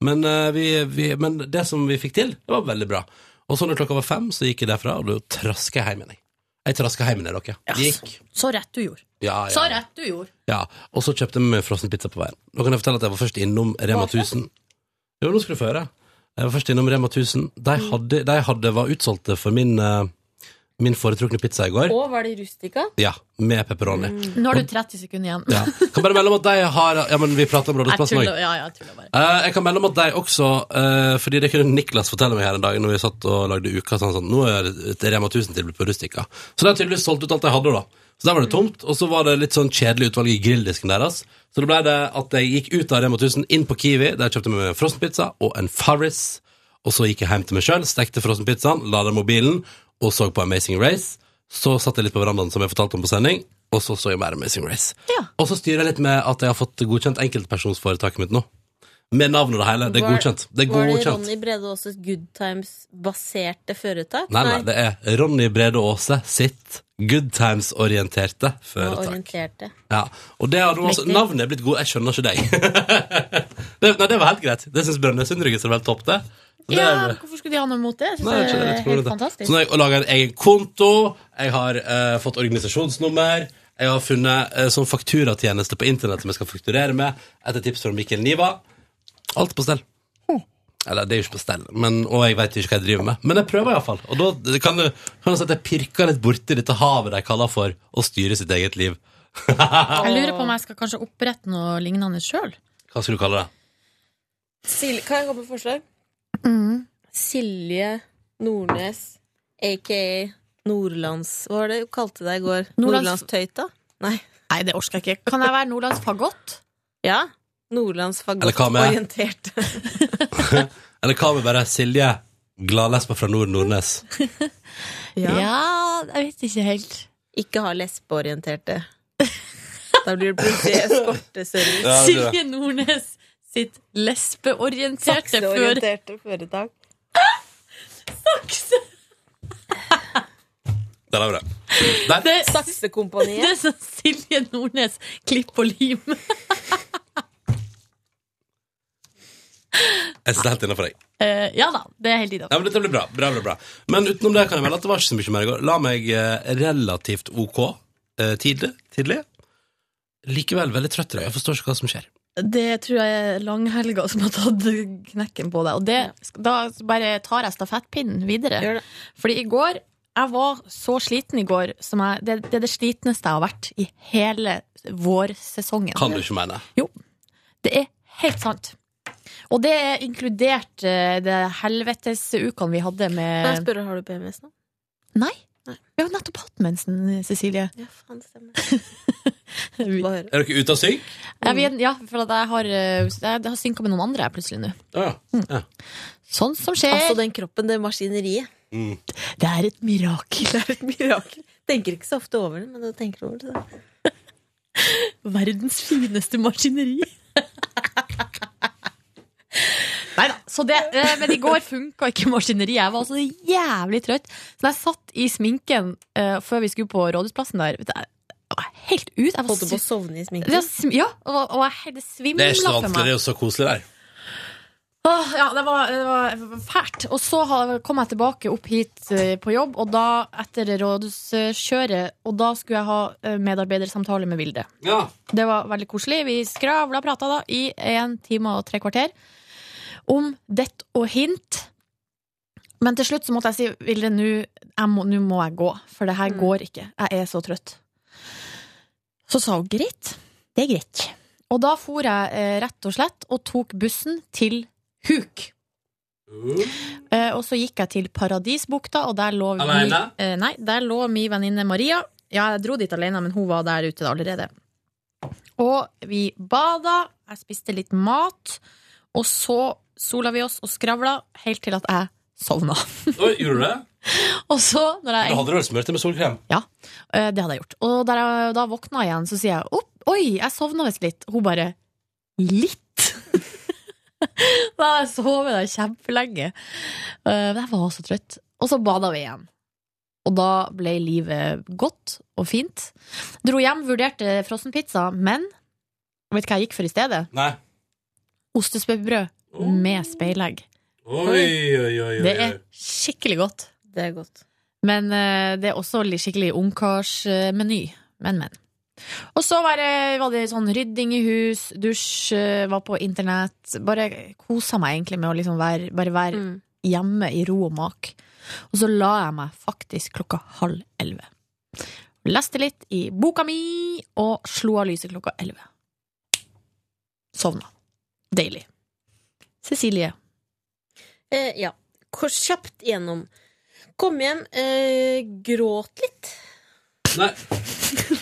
Men, eh, vi, vi, men det som vi fikk til, det var veldig bra. Og så når klokka var fem, så gikk jeg derfra, og da traska jeg hjem igjen. jeg. Jeg traska hjem igjen, dere. Det gikk. Så rett du gjorde. Ja, ja. Så rett du gjorde. Ja, og så kjøpte vi frossen pizza på veien. Nå kan jeg fortelle at jeg var først innom Rema 1000. Jo, nå skal du få høre. Jeg var først innom Rema 1000. De, Mm. hadde, de hadde, var utsolgte for min, eh, min foretrukne pizza i går. Og var det rustika? Mm. Ja, med pepperoni. Nå har du 30 sekunder igjen. Ja. Kan bare melde om at de har Ja, men vi prater om Mm. Jeg Rådhusplassen tuller, òg. ja, ja, jeg tuller bare. Eh, jeg kan melde om at de også, eh, fordi det kunne Niklas fortelle meg her en dag når vi satt og lagde uka, så han sånn, nå er det et Rema 1000-tilbud på Rustica. Så de har tydeligvis solgt ut alt de hadde da. Så der var det tomt, og så var det litt sånn kjedelig utvalg i grilldisken deres. Så det ble det at jeg gikk ut av Rema 1000, inn på Kiwi, der jeg kjøpte meg en frossenpizza og en Farris, og så gikk jeg hjem til meg selv, stekte frossenpizzaen, ladet mobilen, og så på Amazing Race. Så satt jeg litt på verandaen som jeg fortalte om på sending, og så så jeg mer Amazing Race. Og så styrer jeg litt med at jeg har fått godkjent enkeltpersonsforetaket mitt nå. Med navn og det hele. Det er Var- godkjent. Det er Var det godkjent. Ronny Brede Aase Good Times-baserte foretak? Nei, nei, det er Ronny Brede Aase sitt Good Times-orienterte Ja, foretak. orienterte. Ja, og det hadde også, Riktig. Navnet er blitt god, jeg skjønner ikke deg. det, nei, det var helt greit. Det syns Brønnøysundryggen er helt topp, det. Så det Ja, er- men hvorfor skulle de ha noe imot det? Jeg synes Nei, jeg det skjønner er ikke hvordan Eh, helt det- fantastisk. Så nå har jeg laga en egen konto, jeg har eh, fått organisasjonsnummer, jeg har funnet eh, sånn fakturatjeneste på internett som jeg skal fakturere med, etter tips fra Mikkel Niva. Alt på stell. Eller, det er jo ikke på stell, men, og jeg veit ikke hva jeg driver med. Men jeg prøver iallfall. Og da det kan du kan du si at jeg pirker litt borti dette havet de kaller for å styre sitt eget liv. hva Jeg lurer på om jeg skal kanskje opprette noe lignende sjøl. skal du kalle det? Sil kan jeg komme med forslag? Mhm. Silje Nordnes, aka Nordlands... Hva var det du kalte deg i går? Nordlands- Nordlandstøyta? Nei. Nei, det orker jeg ikke. Kan jeg være Nordlands fagott? Ja. Nordlands Eller hva med- fagott-orientert. Eller hva med bare Silje, gladlesba fra Nord Nordnes? Ja. jeg vet ikke helt. ikke har lesbeorienterte. Da blir det plutselig Ja, eskorteservice. det er det. Silje Nordnes sitt lesbeorienterte før Sakseorienterte foretak. Sakse! Der har vi det. Der. Det, Saksekompaniet. det er sånn Silje Nordnes klipp og lim. Jeg synes det er helt innafor deg. Eh, ja da, det er helt Nei, innafor. men dette blir bra. bra, bra, bra. Men utenom det kan jeg melde at det var ikke så mye mer i går. La meg eh, relativt OK eh, tidlig. tidlig. Likevel veldig trøtt i dag. Jeg forstår ikke hva som skjer. Det tror jeg er langhelga som har tatt knekken på deg. Og det, da bare tar jeg stafettpinnen videre. Fordi i går Jeg var så sliten i går som jeg Det, det er det slitneste jeg har vært i hele vårsesongen. Kan du ikke mene? Jo. Det er helt sant. Og det er inkludert eh, det helvetesukan vi hadde Kan jeg med spørre, har du PMS nå? Nei. Vi har jo nettopp hatt mensen, Cecilie. Ja, faen, det stemmer. Er dere ute av synk? Ja, vi, ja, for at jeg har, eh, jeg har synka med noen andre jeg plutselig nå. Ja. Mm. ja. Sånn som skjer. Altså den kroppen, det maskineriet. Mm. Det er et mirakel. Det er et mirakel. Tenker ikke så ofte over det, men du tenker over det. da. Verdens fineste maskineri. Nei da. Så det, eh, men i går funka ikke maskineriet. Jeg var så jævlig trøtt. Så da jeg satt i sminken eh, før vi skulle på Rådhusplassen der vet du, Jeg var helt ut. Jeg var Holdt du på å su- sovne i Det var sminken? sm- Ja, og, og jeg, det Det svimla er ikke så for vanskelig. meg. Det er jo så koselig der. Åh, ja, det var, det var det var fælt. Og så ha- kom jeg tilbake opp hit eh, på jobb, og da, etter rådhuskjøret, og da skulle jeg ha eh, medarbeidersamtale med Vilde. Det var veldig koselig. Vi skravla og prata da i en time og tre kvarter om dett og hint. Men til slutt så måtte jeg si Vilde, nå jeg må, nå må jeg gå, for det her går ikke. Jeg er så trøtt. Så sa hun greit. Det er greit. Og da for jeg eh, rett og slett og tok bussen til Huk. Eh, og så gikk jeg til Paradisbukta, og der lå min, Alene? eh, nei, der lå min venninne Maria. Ja, jeg dro dit alene, men hun var der ute allerede. Og vi bada, jeg spiste litt mat, og så sola vi oss og skravla helt til at jeg sovna. Oi, gjorde du det? Og så, når Da jeg hadde du vel smurt det med solkrem? Ja, eh, det hadde jeg gjort. Og da jeg da våkna igjen, så sier jeg opp, oi, jeg sovna visst litt. Hun bare litt? da hadde jeg sovet der kjempelenge. Eh, Men jeg var så trøtt. Og så bada vi igjen. Og da ble livet godt og fint. Dro hjem, vurderte frossenpizza, men vet du hva jeg gikk for i stedet? Nei. Ostespepperbrød Oh. med speilegg. Oi, oi, oi. oi. Det er skikkelig godt. Det er godt. Men eh, det er også litt skikkelig ungkarsmeny. Men, men. Og så var det, var det sånn rydding i hus, dusj, eh, var på internett. Bare kosa meg egentlig med å liksom være, bare være Mm. hjemme i ro og mak. Og så la jeg meg faktisk klokka halv elleve. Leste litt i boka mi og slo av lyset klokka elleve. Sovna. Deilig. Cecilie. Eh, ja. Kors- Kjapt gjennom. Kom hjem, eh, gråt litt. Nei.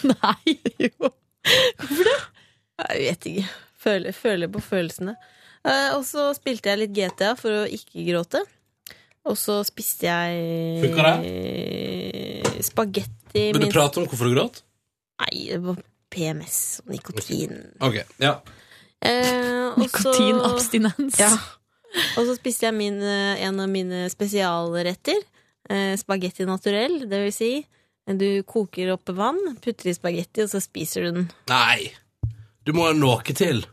Nei, jo. Hvorfor det? Jeg vet ikke. Føler, føler på følelsene. Eh, og så spilte jeg litt GTA for å ikke gråte. Og så spiste jeg Funka det? Spagetti Vil du minst- prate om hvorfor du gråt? Nei, det var PMS og nikotin. Ok, ja. Eh, og så- Nikotinabstinens. Ja. Og så spiste jeg min, eh, en av mine spesialretter. Eh, spagetti naturell. Det vil si, du koker opp vann, putter i spagetti, og så spiser du den. Nei. Du må ha noe til.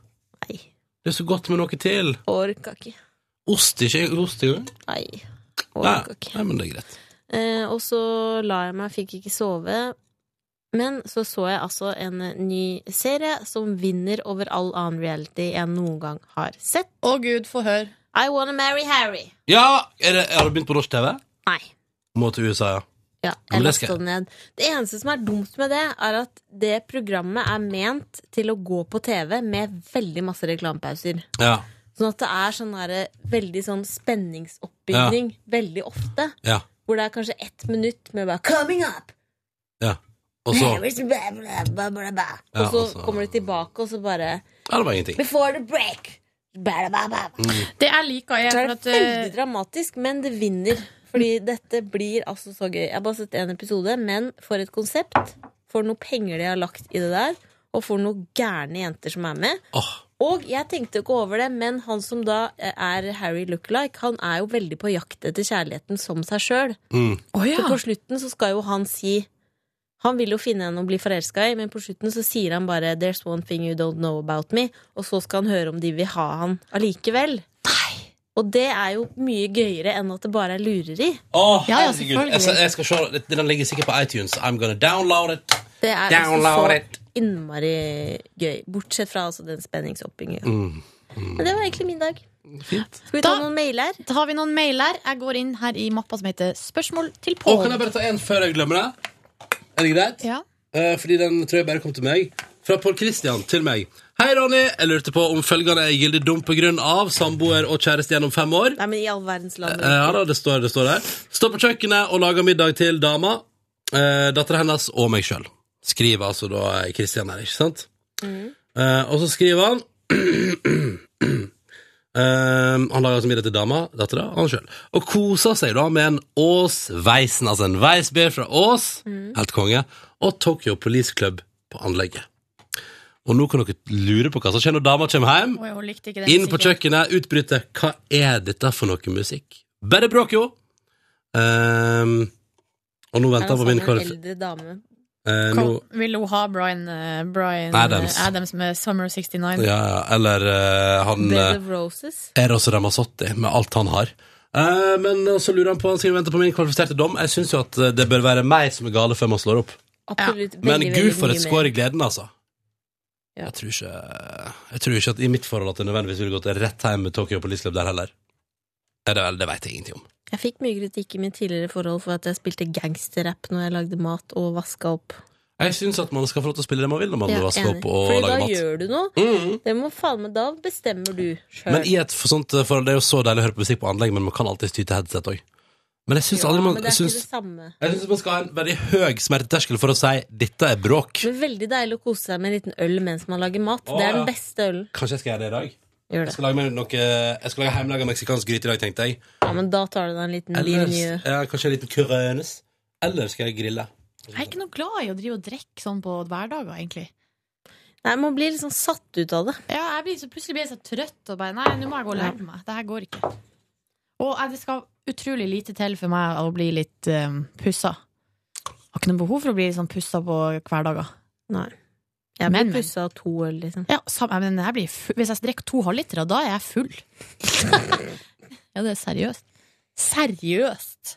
Nei. Det er så godt med noe til. Orka ikke. Ost ikke ost engang? Nei. Nei. Orka ikke. Nei, men det er greit. Eh, og så la jeg meg, fikk ikke sove. Men så så jeg altså en ny serie som vinner over all annen reality jeg noen gang har sett. Å gud, få høre. I Wanna Marry Harry. Ja! Er det, har du begynt på norsk TV? Nei. Må til USA, ja. Ja, Men jeg det skal lasta det ned. Det eneste som er dumt med det, er at det programmet er ment til å gå på TV med veldig masse reklamepauser. Ja. Sånn at det er sånn derre veldig sånn spenningsoppbygning veldig ofte. Ja. Hvor det er kanskje ett minutt med bare 'coming up'! ja. Og så Harris, blah, blah, blah, blah, blah. Ja, og så og så- kommer de tilbake, og så bare Ja, det var ingenting. 'Before the break'! Blah, blah, blah. Mm. Det jeg liker, er Så for er at det eh, veldig dramatisk, men det vinner Fordi dette blir altså så gøy. Jeg har bare sett én episode, men for et konsept. For noe penger de har lagt i det der, og for noen gærne jenter som er med. Og jeg tenkte ikke over det, men han som da eh, er Harry Lookalike, han er jo veldig på jakt etter kjærligheten som seg sjøl. Mm. Så på slutten så skal jo han si Han vil jo finne henne å bli forelska i, men på slutten så sier han bare 'There's one thing you don't know about me', og så skal han høre om de vil ha han allikevel. Og det er jo mye gøyere enn at det bare er lureri. Å, Ja, ja, herregud. Jeg selvfølgelig. skal, jeg skal se. det- Den ligger sikkert på iTunes. I'm gonna download it. Det er Download altså it. så innmari gøy. Bortsett fra altså den spenningsoppbyggingen. Mm. Men det var egentlig min dag. Skal vi ta noen mailer? Da har vi noen mailer. Jeg går inn her i mappa som heter Spørsmål til Og Pål. kan jeg bare ta en før jeg glemmer det? Er det greit? Ja. Eh, fordi den tror jeg bare kom til meg. Fra Pål Christian til meg. Hei, Ronny. Jeg lurte på om følgende er gyldig dum på grunn av samboer og kjæreste gjennom fem år. Nei, men i all verdens land. Eh, Ja da, det står, det står der. Står på kjøkkenet og lager middag til dama, eh, dattera hennes og meg sjøl. Skriver altså da Kristian her, ikke sant? Eh, og så skriver han Ehm, Han lager altså middag til dama, dattera og han sjøl. Og koser seg da med en Ås Weisen, altså en Weissbier fra Ås, helt konge, og Tokyo Police Club på anlegget. Og nå kan dere lure på hva som skjer når dama kommer hjem. Oi, hun likte ikke den Inn på musikken. kjøkkenet, utbryte Hva er dette for noe musikk? Bare bråk, jo! Ehm, og nå venter jeg på min Er det kvalif... sånn en eldre dame? Eh, nå, Kom, vil hun ha Brian, eh, Brian Adams. Adams. Adams med Summer 69? ja, ja, eller eh, han Bed eh, of Roses? Eros Ramazzotti, med alt han har. Eh, men så lurer han på Han skal vente på min kvalifiserte dom. Jeg syns jo at eh, det bør være meg som er gale før man slår opp. Absolutt. Veldig, Men gud, veldig for mye et mer. skår i gleden, altså. Ja. Jeg, tror ikke, jeg tror ikke at i mitt forhold at det nødvendigvis ville gått rett hjem med Tokyo Police Club der heller. Er det vel, det veit jeg ingenting om. Jeg fikk mye kritikk i mitt tidligere forhold for at jeg spilte gangsterrapp når jeg lagde mat og vaska opp. Jeg syns at man skal få lov til å spille det man vil når man Ja, vasker enig. opp og Fordi lager da mat. Mm. gjør du noe. Det må faen meg Da bestemmer du sjøl. Men i et for sånt forhold, det er jo så deilig å høre på musikk på anlegg, men man kan alltid ty til headset òg. Men jeg syns Ja, aldri man men det er syns, ikke det samme. jeg syns man skal ha en veldig høy smerteterskel for å si 'dette er bråk'. Men veldig deilig å kose seg med en liten øl mens man lager mat. Å, det er ja. den beste ølen. Kanskje jeg skal gjøre det i dag. Gjør det. Jeg skal lage, meg noe, jeg skal lage hjemmelaga meksikansk gryte i dag, tenkte jeg. Ja, men da tar du deg en liten Eller, linje. ja, kanskje en liten curønes. Eller skal jeg grille? Jeg er ikke noe glad i å drive og drikke sånn på hverdager, egentlig. Nei, man blir liksom satt ut av det. Ja, jeg blir så, plutselig blir jeg så trøtt og bare Nei, nå må jeg gå og legge meg. Det her går ikke. Og jeg, det skal utrolig lite til for meg å bli litt um, pussa. Har ikke noe behov for å bli sånn pussa på hverdager. Nei. Jeg blir pussa av to øl, liksom. Ja, samme, men jeg blir full. Hvis jeg drikker to halvlitere, da er jeg full. ja, det er seriøst. Seriøst!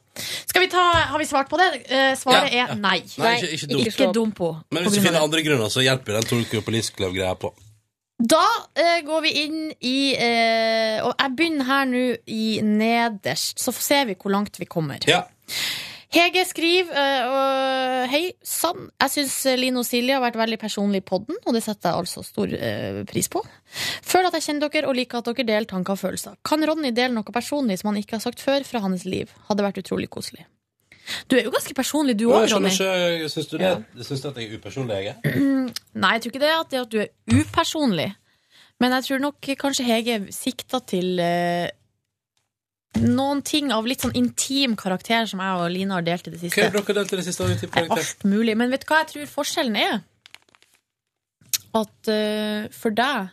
Skal vi ta Har vi svart på det? Eh, svaret Ja, ja. er nei. Nei, ikke- ikke dumt. Ikke dum på. Men på hvis du grunn av finner andre grunner, så hjelper den Tokyo Police Club-greia på. Da eh, går vi inn i eh, Og jeg begynner her nå i nederst, så ser vi hvor langt vi kommer. Hege skriver eh, og, Hei, sann. Jeg syns Line og Silje har vært veldig personlige i podden, og det setter jeg altså stor eh, pris på. Føler at jeg kjenner dere og liker at dere deler tanker og følelser. Kan Ronny dele noe personlig som han ikke har sagt før fra hans liv? Hadde vært utrolig koselig. Du er jo ganske personlig, du Nå, òg, jeg skjønner Ronny. ikke, Syns du det? Syns du at jeg er upersonlig, jeg? er? Nei, jeg tror ikke det at, det at du er upersonlig. Men jeg tror nok kanskje Hege sikta til eh, noen ting av litt sånn intim karakter som jeg og Line har delt i det Hva siste. har dere delt i det siste? året til Det er karakter? alt mulig. Men vet du hva jeg tror forskjellen er? At eh, for deg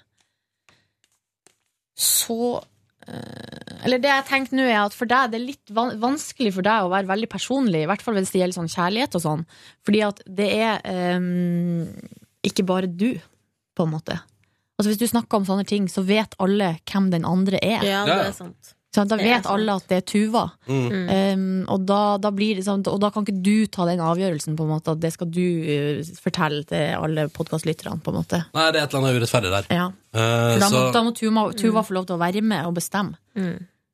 så eh, Eller det jeg tenkte nå, er at for deg det er litt van vanskelig for deg å være veldig personlig. I hvert fall hvis det gjelder sånn kjærlighet og sånn. Fordi at det er eh, ikke bare du, på en måte. Altså Hvis du snakker om sånne ting, så vet alle hvem den andre er. Ja, det er sant. Sånn, da Det er vet alle at det er Tuva. Mm. Um, og, da, da blir det, sånn- og da kan ikke du ta den avgjørelsen, på en måte, at det skal du eh, fortelle til alle podkastlytterne, på en måte. Nei, det er et eller annet urettferdig der. Ja. Eh, For Da må, så- da må Tuva, Mm. Tuva få lov til å være med og bestemme.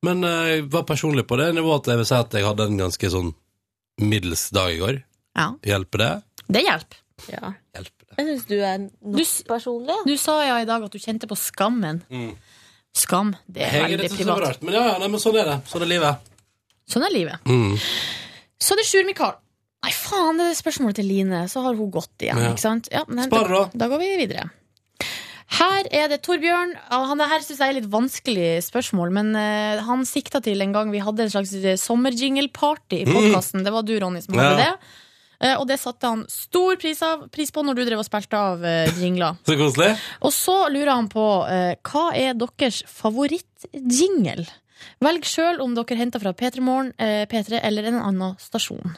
Men eh, jeg var personlig på det nivået at jeg vil si at jeg hadde en ganske sånn middels dag i går. Ja. Hjelper det? Det hjelper. Jeg syns du er nok personlig. Du sa ja i dag at du kjente på skammen. Mm. Skam, det er Hege, veldig dette synes jeg var privat. rart, Men ja, ja, nei, men sånn er det. Sånn er livet. Sånn er livet. Mm. Så det er Sjur Mikael. Nei, faen, det er spørsmålet til Line. Så har hun gått igjen. Ja. ikke sant? Ja, men Spar, da. Da går vi videre. Her er det Torbjørn. Ah, Han, det her syns jeg er litt vanskelig spørsmål, men eh, han sikta til en gang vi hadde en slags sommerjingle-party i Mm. podkasten. Det var du, Ronny, som Ja. hadde det. Eh, og det satte han stor pris, av, pris på når du drev og spilte av eh, jingler. Så koselig. Og så lurer han på eh, hva er deres favorittjingle? Velg sjøl om dere henter fra P3 Morgen, eh, P3 eller en annen stasjon.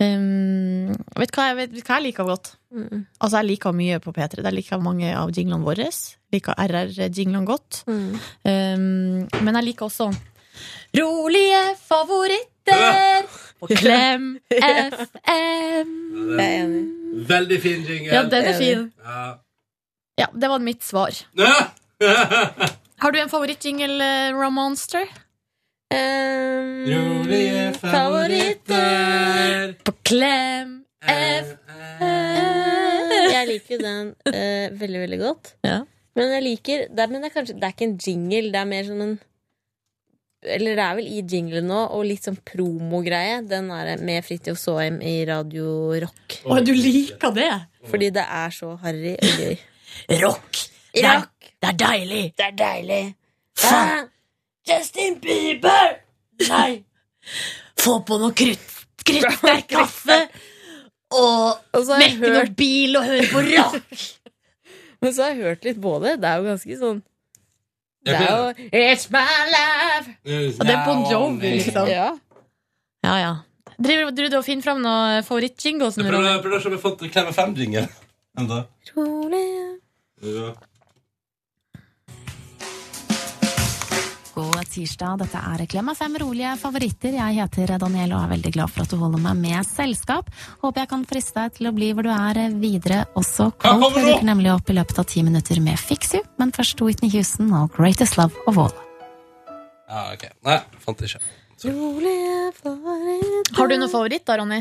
Um, vet du hva, jeg- vet du hva jeg liker godt? Mm. Altså Jeg liker mye på P3. Jeg liker mange av jinglene våre. Liker RR-jinglene godt. Um, men jeg liker også Rolige favoritter på Klem FM. Veldig fin jingle. Ja, den er fin. Ja. Ja, det var mitt svar. Har du en favorittjingle, eh, Raw Monster? Ehm, Rolige favoritter på Klem Eh, Jeg liker jo den eh, veldig, veldig godt. Men jeg liker det, er- men det, er kanskje, det er ikke en jingle, det er mer sånn en Eller det er vel i jinglen nå, og litt sånn promogreie. Den er med Fridtjof Saaheim i Radio Rock. Å, du liker det? Fordi det er så harry og gøy. Rock! Rock! Det er deilig! Det er deilig. Faen! Justin Bieber! Nei! Få på noe krutt, kruttsterk kaffe og så har jeg mekke noe hørt- bil og høre på rock! Men så har jeg hørt litt på det. Det er jo ganske sånn Det Jeg er jo It's my life! Og det er Bon Jovi, liksom. Ja. Ja, ja. Driver driver du og finner fram noe favorittjingle? Jeg prøver, jeg prøver å se om jeg har fått Klemme fem-jingle. Enda. Ja. God tirsdag, dette er Klem av fem rolige favoritter. Jeg heter Daniel og er veldig glad for at du holder meg med selskap. Håper jeg kan friste deg til å bli hvor du er eh, videre også. Cold kommer for nå! dukker nemlig opp i løpet av ti minutter med Fix You, men først Whitney Houston og Greatest Love of All. ja, ok. Nei, fant det ikke. Har du noen favoritt da, Ronny?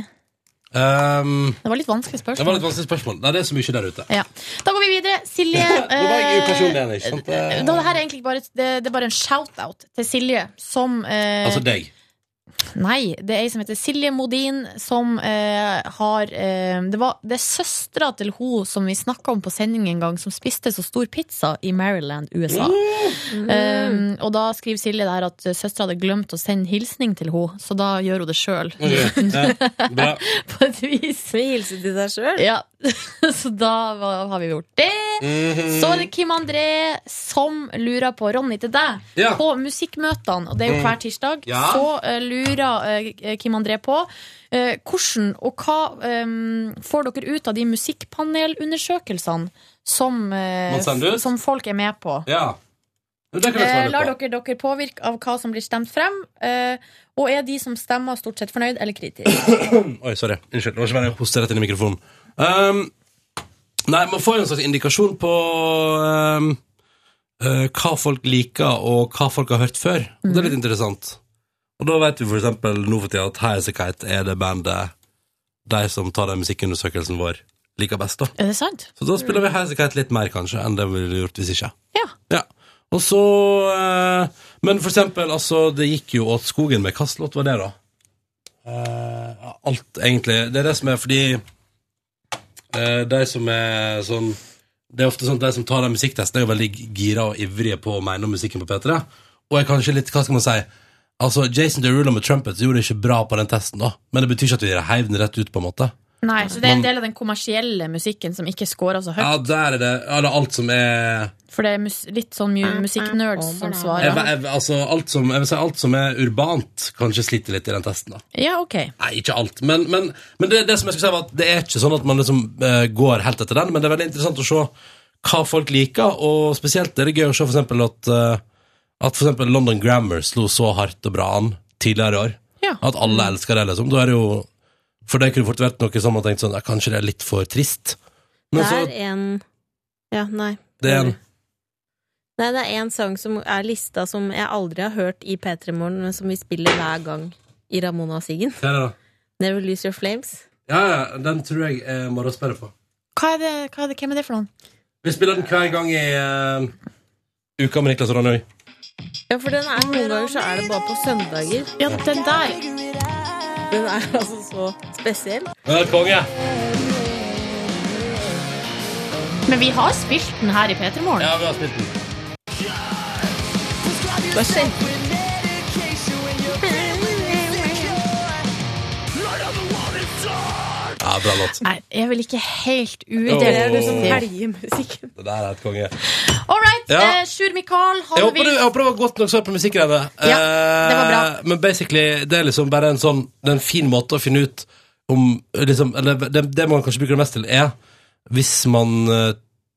Um, Det var litt vanskelig spørsmål. det var et vanskelig spørsmål. Nei, det er så mye der ute. Ja. Da går vi videre. Silje Nå var jeg upersonlig eh, igjen, ikke sant? da, det, her er egentlig bare, det, det er bare en shout-out til Silje, som eh, Altså deg. Nei, det er ei som heter Silje Modin, som eh, har eh, Det, var- det er søstera til hun som vi snakka om på sending en gang, som spiste så stor pizza i Maryland, USA. Um, og da skriver Silje der at søstera hadde glemt å sende hilsning til henne, så da gjør hun det sjøl. Bra. på et vis. Vi hilser til deg sjøl. Ja. Så da var- har vi gjort Mm. det. Mhm. Så er det Kim André som lurer på Ronny til deg Ja. på musikkmøtene. Og det er jo Mm. hver tirsdag. Ja. Så eh, lurer eh, Kim André på eh, hvordan og hva eh, får dere ut av de musikkpanelundersøkelsene som, eh, Man sender ut? som folk er med på? Ja. Jo, Det kan jeg Eh, svare lar på. dere dere påvirke av hva som blir stemt frem? eh, og er de som stemmer, stort sett fornøyd eller kritisk? Oi, sorry. Unnskyld. Det var ikke meningen å hoste rett inn i mikrofonen. Um, nei, man får jo en slags indikasjon på um, eh, hva folk liker, og hva folk har hørt før. Og Det er litt interessant. Og da vet vi for eksempel nå for tida at Highas a Kite er det bandet de som tar den musikkundersøkelsen vår, liker best, da. Er det sant? Så da spiller vi Highas a Kite litt mer, kanskje, enn det vi ville gjort hvis ikke. Ja. Og så eh, Men for eksempel, altså, det gikk jo åt skogen med Hvilken låt var det, da? Eh, alt, egentlig. Det er det som er fordi eh, De som er sånn Det er ofte sånn at de som tar den musikktesten, er jo veldig gira og ivrige på å mene om musikken på P3. Og er kanskje litt Hva skal man si? Altså, Jason Derulo med Trumpets gjorde det ikke bra på den testen, da. Men det betyr ikke at vi heiv den rett ut, på en måte. Nei, så det er en Man- del av den kommersielle musikken som ikke scorer så høyt. Ja, der er det Ja, det er alt som er For det er mus litt sånn mu- musikknerds som jeg, svarer. jeg, altså, alt som, jeg vil si alt som er urbant, kanskje sliter litt i den testen. da Ja, ok. Nei, ikke alt. Men, men, men det, det som jeg skulle si var at det er ikke sånn at man liksom eh, går helt etter den, men det er veldig interessant å se hva folk liker, og spesielt er det gøy å se for eksempel at, eh, at for eksempel London Grammar slo så hardt og bra an tidligere i år. At alle elsker det, liksom. Da er det jo For det kunne fort vært noe som man tenkte sånn ja, Kanskje det er litt for trist. Men Det så er en Ja, nei. det er en Nei, det er en sang som er lista som jeg aldri har hørt i P3 Morgen, men som vi spiller hver gang i Ramona og Siggen. Hva er det, da? Never Lose Your Flames. Ja, ja, den tror jeg eh, må da spørre på. Hva er det, hva er det, hvem er det for noen? Vi spiller den hver gang i eh, Uka med Niklas og Ronny. Ja, for den er noen ganger så er det bare på søndager. Ja, den der. Den er altså så spesiell. Ja, konge. Men vi har spilt den her i P3 Morgen. Ja, vi har spilt den. Hva skjedde? Ja, bra låt. Nei, jeg er vel ikke helt Jo. uenig. Det er liksom helgemusikken. Det der er et konge. All right, Ja. eh, Sjur Mikael, Jeg han håper, du, vil jeg håper det var godt nok svar på musikkgreiene. Ja, det var bra. Eh, men basically, det er liksom bare en sånn Det er en fin måte å finne ut om liksom, Eller det, det man kanskje bruker det mest til, er hvis man eh,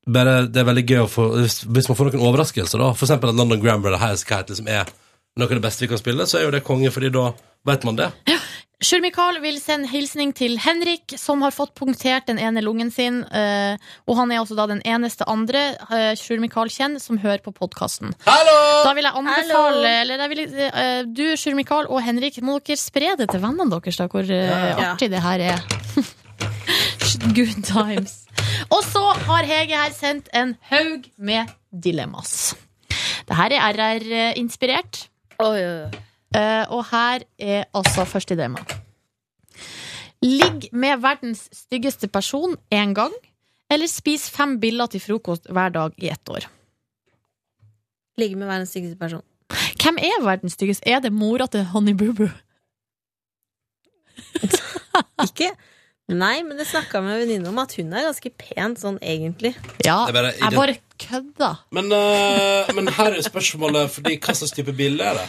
bare Det er veldig gøy å få Hvis, hvis man får noen overraskelser, da. For eksempel at London Grammar eller High Sky liksom er noe av det beste vi kan spille, så er jo det konge, fordi da vet man det. Sjur Mikael vil sende hilsning til Henrik, som har fått punktert den ene lungen sin. eh, og han er også da den eneste andre eh, Sjur Mikael kjenner som hører på podkasten. Da vil jeg anbefale eller jeg vil, eh, Du, Sjur Mikael og Henrik, må dere spre det til vennene deres, da, hvor eh, Ja. artig det her er. Good times. Og så har Hege her sendt en haug med dilemmas. Det her er RR-inspirert. Eh, og her er altså første dilemma. Ligg med verdens styggeste person én gang, eller spis fem biller til frokost hver dag i ett år. Ligge med verdens styggeste person. Hvem er verdens styggeste? Er det mora til Honey Boo Boo? Ikke? Nei, men jeg snakka med en venninne om at hun er ganske pen sånn egentlig. Ja, Det er bare- jeg bare kødda. Men, eh, men her er spørsmålet fordi hva slags type bilde er det?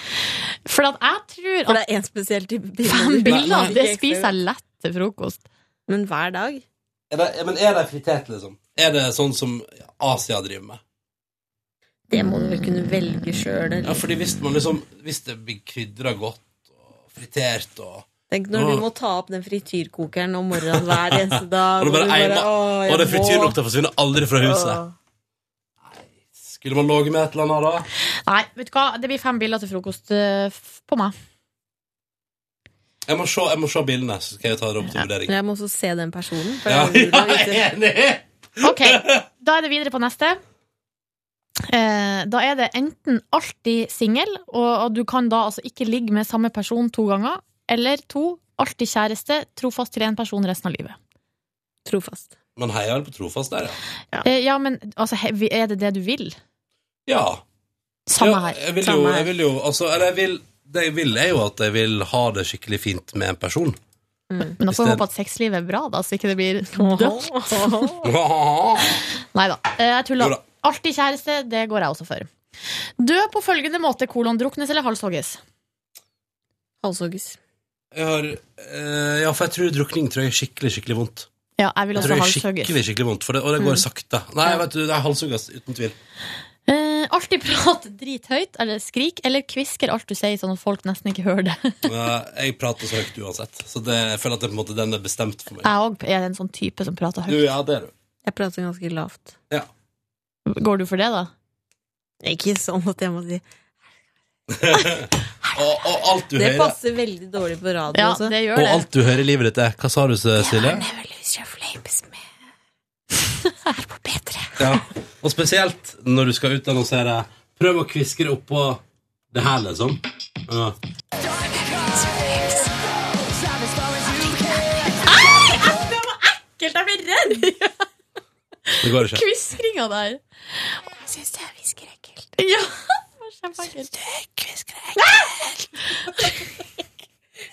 For at jeg tror at For det er én spesiell type biller. Fem Nei, biller, nei. det spiser jeg lett til frokost. Men hver dag? Er det men er de fritert, liksom? Er det sånn som Asia driver med? Det må du vel kunne velge sjøl. Ja, fordi hvis man liksom Hvis det blir krydra godt og fritert og Tenk når du må ta opp den frityrkokeren om morgenen hver eneste Og dag. det bare egner- «Åh, jeg og det må». frityrlukta forsvinner aldri fra huset. Åh. Skulle man ligget med et eller annet da? Nei, vet du hva? Det blir fem biller til frokost eh, f- på meg. Jeg må se, jeg må se bildene, så skal jeg ta det opp til vurdering. Men jeg må også se den personen. For Ja, jeg ja, jeg er enig! Ok, da er det videre på neste. Eh, da er det enten alltid singel, og, og du kan da altså ikke ligge med samme person to ganger, eller to, alltid kjæreste, trofast til én person resten av livet. Trofast. Man heier vel på trofast der, Ja, ja. eh, ja men altså, he- er det det du vil? Ja. Samme Ja, her. Jeg vil jo, Samme her. jeg vil jo altså, Eller jeg vil, det jeg vil, er jo at jeg vil ha det skikkelig fint med en person. Mm. Men da får vi Hvis det- håpe at sexlivet er bra, da, så ikke det blir dødt. Nei da, Eh, jeg tuller. Jo da. Alltid kjæreste, det går jeg også for. Dø på følgende måte, kolon druknes eller halshogges? Halshogges. Jeg har, eh, ja, for jeg tror drukning tror jeg er skikkelig, skikkelig vondt. Ja, jeg vil Jeg også tror jeg er halshogges. skikkelig, skikkelig vondt, for det, og det går Mm. sakte. Nei, vet du, det er halshuggas, uten tvil. Eh, alltid prat drithøyt, eller skrik, eller kvisker alt du sier, sånn at folk nesten ikke hører det. Eh, Jeg prater så høyt uansett, så det, jeg føler at det, på en måte, den er bestemt for meg. Jeg òg er en sånn type som prater Du, høyt. ja, det er du. Jeg prater ganske lavt. Ja. Går du for det, da? Ikke sånn at jeg må si og, og alt du Det hører passer veldig dårlig på radio. Ja, også. det gjør Og alt du hører i livet ditt er Hva sa du, Silje? Ja. Og spesielt når du skal utannonsere Prøv å kviske det oppå det her, liksom. Ja. Ekkelt, jeg blir redd! Det går ikke. Kvisringa der. Jeg syns det hvisker ekkelt. Ja, det var kjempeekkelt.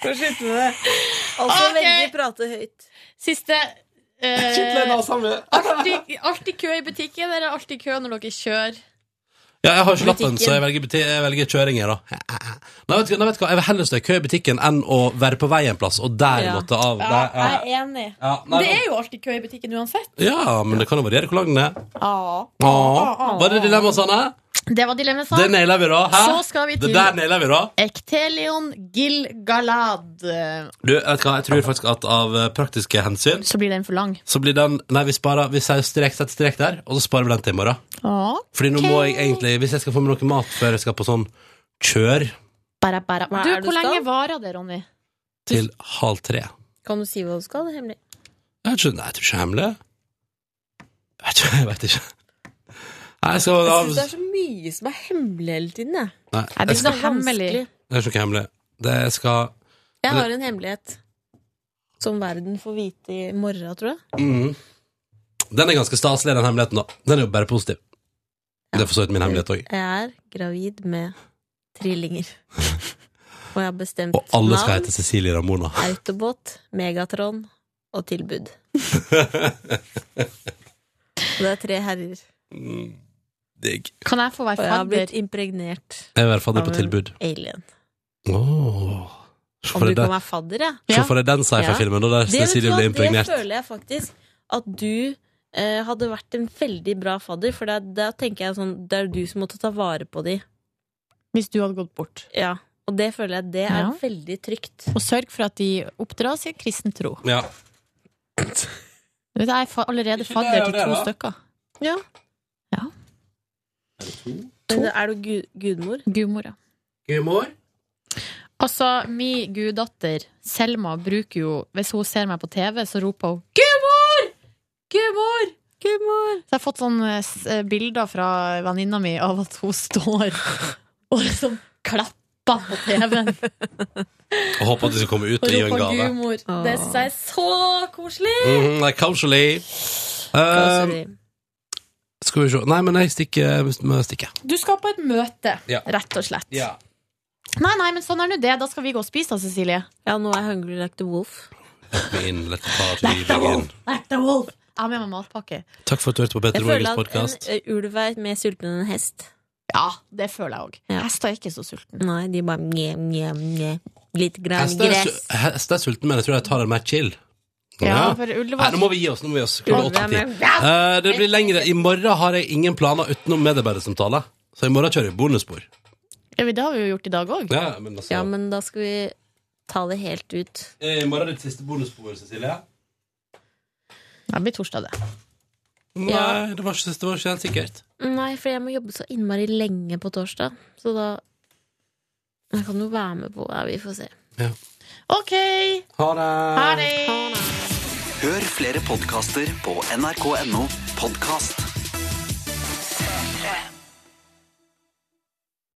Kan slutte med det. Altså Ok. veldig prate høyt. Siste. eh, Shit, Lena, altså, samme. alltid, alltid kø i butikken, eller alltid kø når dere kjører? Ja, jeg har ikke lappen, Butikken. så jeg velger, buti- jeg velger kjøringer, da. Nei, vet du, nei, vet du hva, Jeg vil heller stå i kø i butikken enn å være på vei en plass, og der måtte av. Ja, Der, jeg er enig. Ja, nei, det er jo alltid kø i butikken uansett. ja, men det kan jo variere hvor lang den er. Ah. Åh. Var det dilemmaet, Sanne? Det var dilemmaet Det naila vi, da. Hæ? Så skal vi til Det der naila vi, da. Ektelion Gilgalad. Du, vet du hva, jeg tror faktisk at av eh, praktiske hensyn Så blir den for lang. så blir den Nei, vi sparer Vi sier strek, setter strek der, og så sparer vi den til i morgen. Fordi nå må jeg egentlig Hvis jeg skal få meg noe mat før jeg skal på sånn kjør Bare, bare. Hva Du, er det hvor du skal? lenge varer det, Ronny? til halv tre Kan du si hva du skal? Det er hemmelig. Jeg vet ikke, nei, jeg tror ikke det er hemmelig. Jeg tror jeg vet ikke. Nei, jeg skal Jeg synes det er så mye som er hemmelig hele tiden. Jeg. Nei, Jeg jeg blir skal, så det hemmelig. er ikke noe hemmelig. Det skal Jeg har en hemmelighet som verden får vite i morgen, tror jeg. mm, Den er ganske staselig, den hemmeligheten. da Den er jo bare positiv. Det er for så vidt min hemmelighet òg. Jeg er gravid med trillinger. Og jeg har bestemt Og alle skal navn, hete Cecilie Ramona. Autobot, Megatron og Tilbud. Og det er tre herrer. Digg. Kan jeg få være Og jeg har fadder? blitt impregnert Jeg vil være fadder på av en tilbud. alien. Åh. Se for Om du deg kan den- være fadder, ja. se for deg den sci-fi-filmen, da, der Det sånn- vet Cecilie du hva, blir impregnert. Det føler jeg faktisk at du eh, hadde vært en veldig bra fadder, for da, da tenker jeg sånn Det er du som måtte ta vare på de. Hvis du hadde gått bort. Ja. Og det føler jeg det er Ja. veldig trygt. Og sørg for at de oppdras i kristen tro. Ja. Du vet, Jeg er fa- allerede Ikke fadder det, til det, to da. stykker. Ja. Men er du gu- gudmor? Gudmor, ja. Altså, mi guddatter Selma bruker jo Hvis hun ser meg på TV, så roper hun 'Gudmor! Gudmor! Gudmor!' Så jeg har fått sånne eh, s- eh, bilder fra venninna mi av at hun står og liksom klapper på TV-en. Og håper at de skal komme ut Og og gi en roper gave. 'Gudmor'. Det syns jeg er så koselig! Mhm, nei, casually. Casually. Ehm, skal vi se Nei, men jeg stikker. Jeg stikker. Du skal på et møte, Ja. rett og slett. Nei, nei, men sånn er nå det. Da skal vi gå og spise, da, Cecilie. Ja, nå er jeg hungry like the wolf. Gå inn, let the party begin. Jeg har med meg matpakke. Takk for at du hørte på Petter Jeg Morgens føler at en podkast. eh, ulv er mer sulten enn en hest. Ja, det føler jeg òg. Hester er ikke så sulten. Nei, de bare nje, nje, nje. Litt grann Hester er, gress. su- hester er sulten, men jeg tror de tar en mer chill. Ja, for ulv Nei, var- nå må vi gi oss. Nå må vi gi oss. Klokka Ulv er åtte til med. ti. Eh, det blir lengre. I morgen har jeg ingen planer utenom medarbeidersamtale, så i morgen kjører vi bonusspor. Ja, men Det har vi jo gjort i dag òg. Ja, men altså, Ja, men da skal vi ta det helt ut. Eh, I morgen er ditt siste bonusspor, Cecilie. Det blir torsdag, det. Ja. Nei, det var ikke, det var ikke helt sikkert. Nei, for jeg må jobbe så innmari lenge på torsdag. Så da Jeg kan jo være med på ja, Vi får se. OK! Ha det. Ha det! Hør flere podkaster på nrk.no podkast.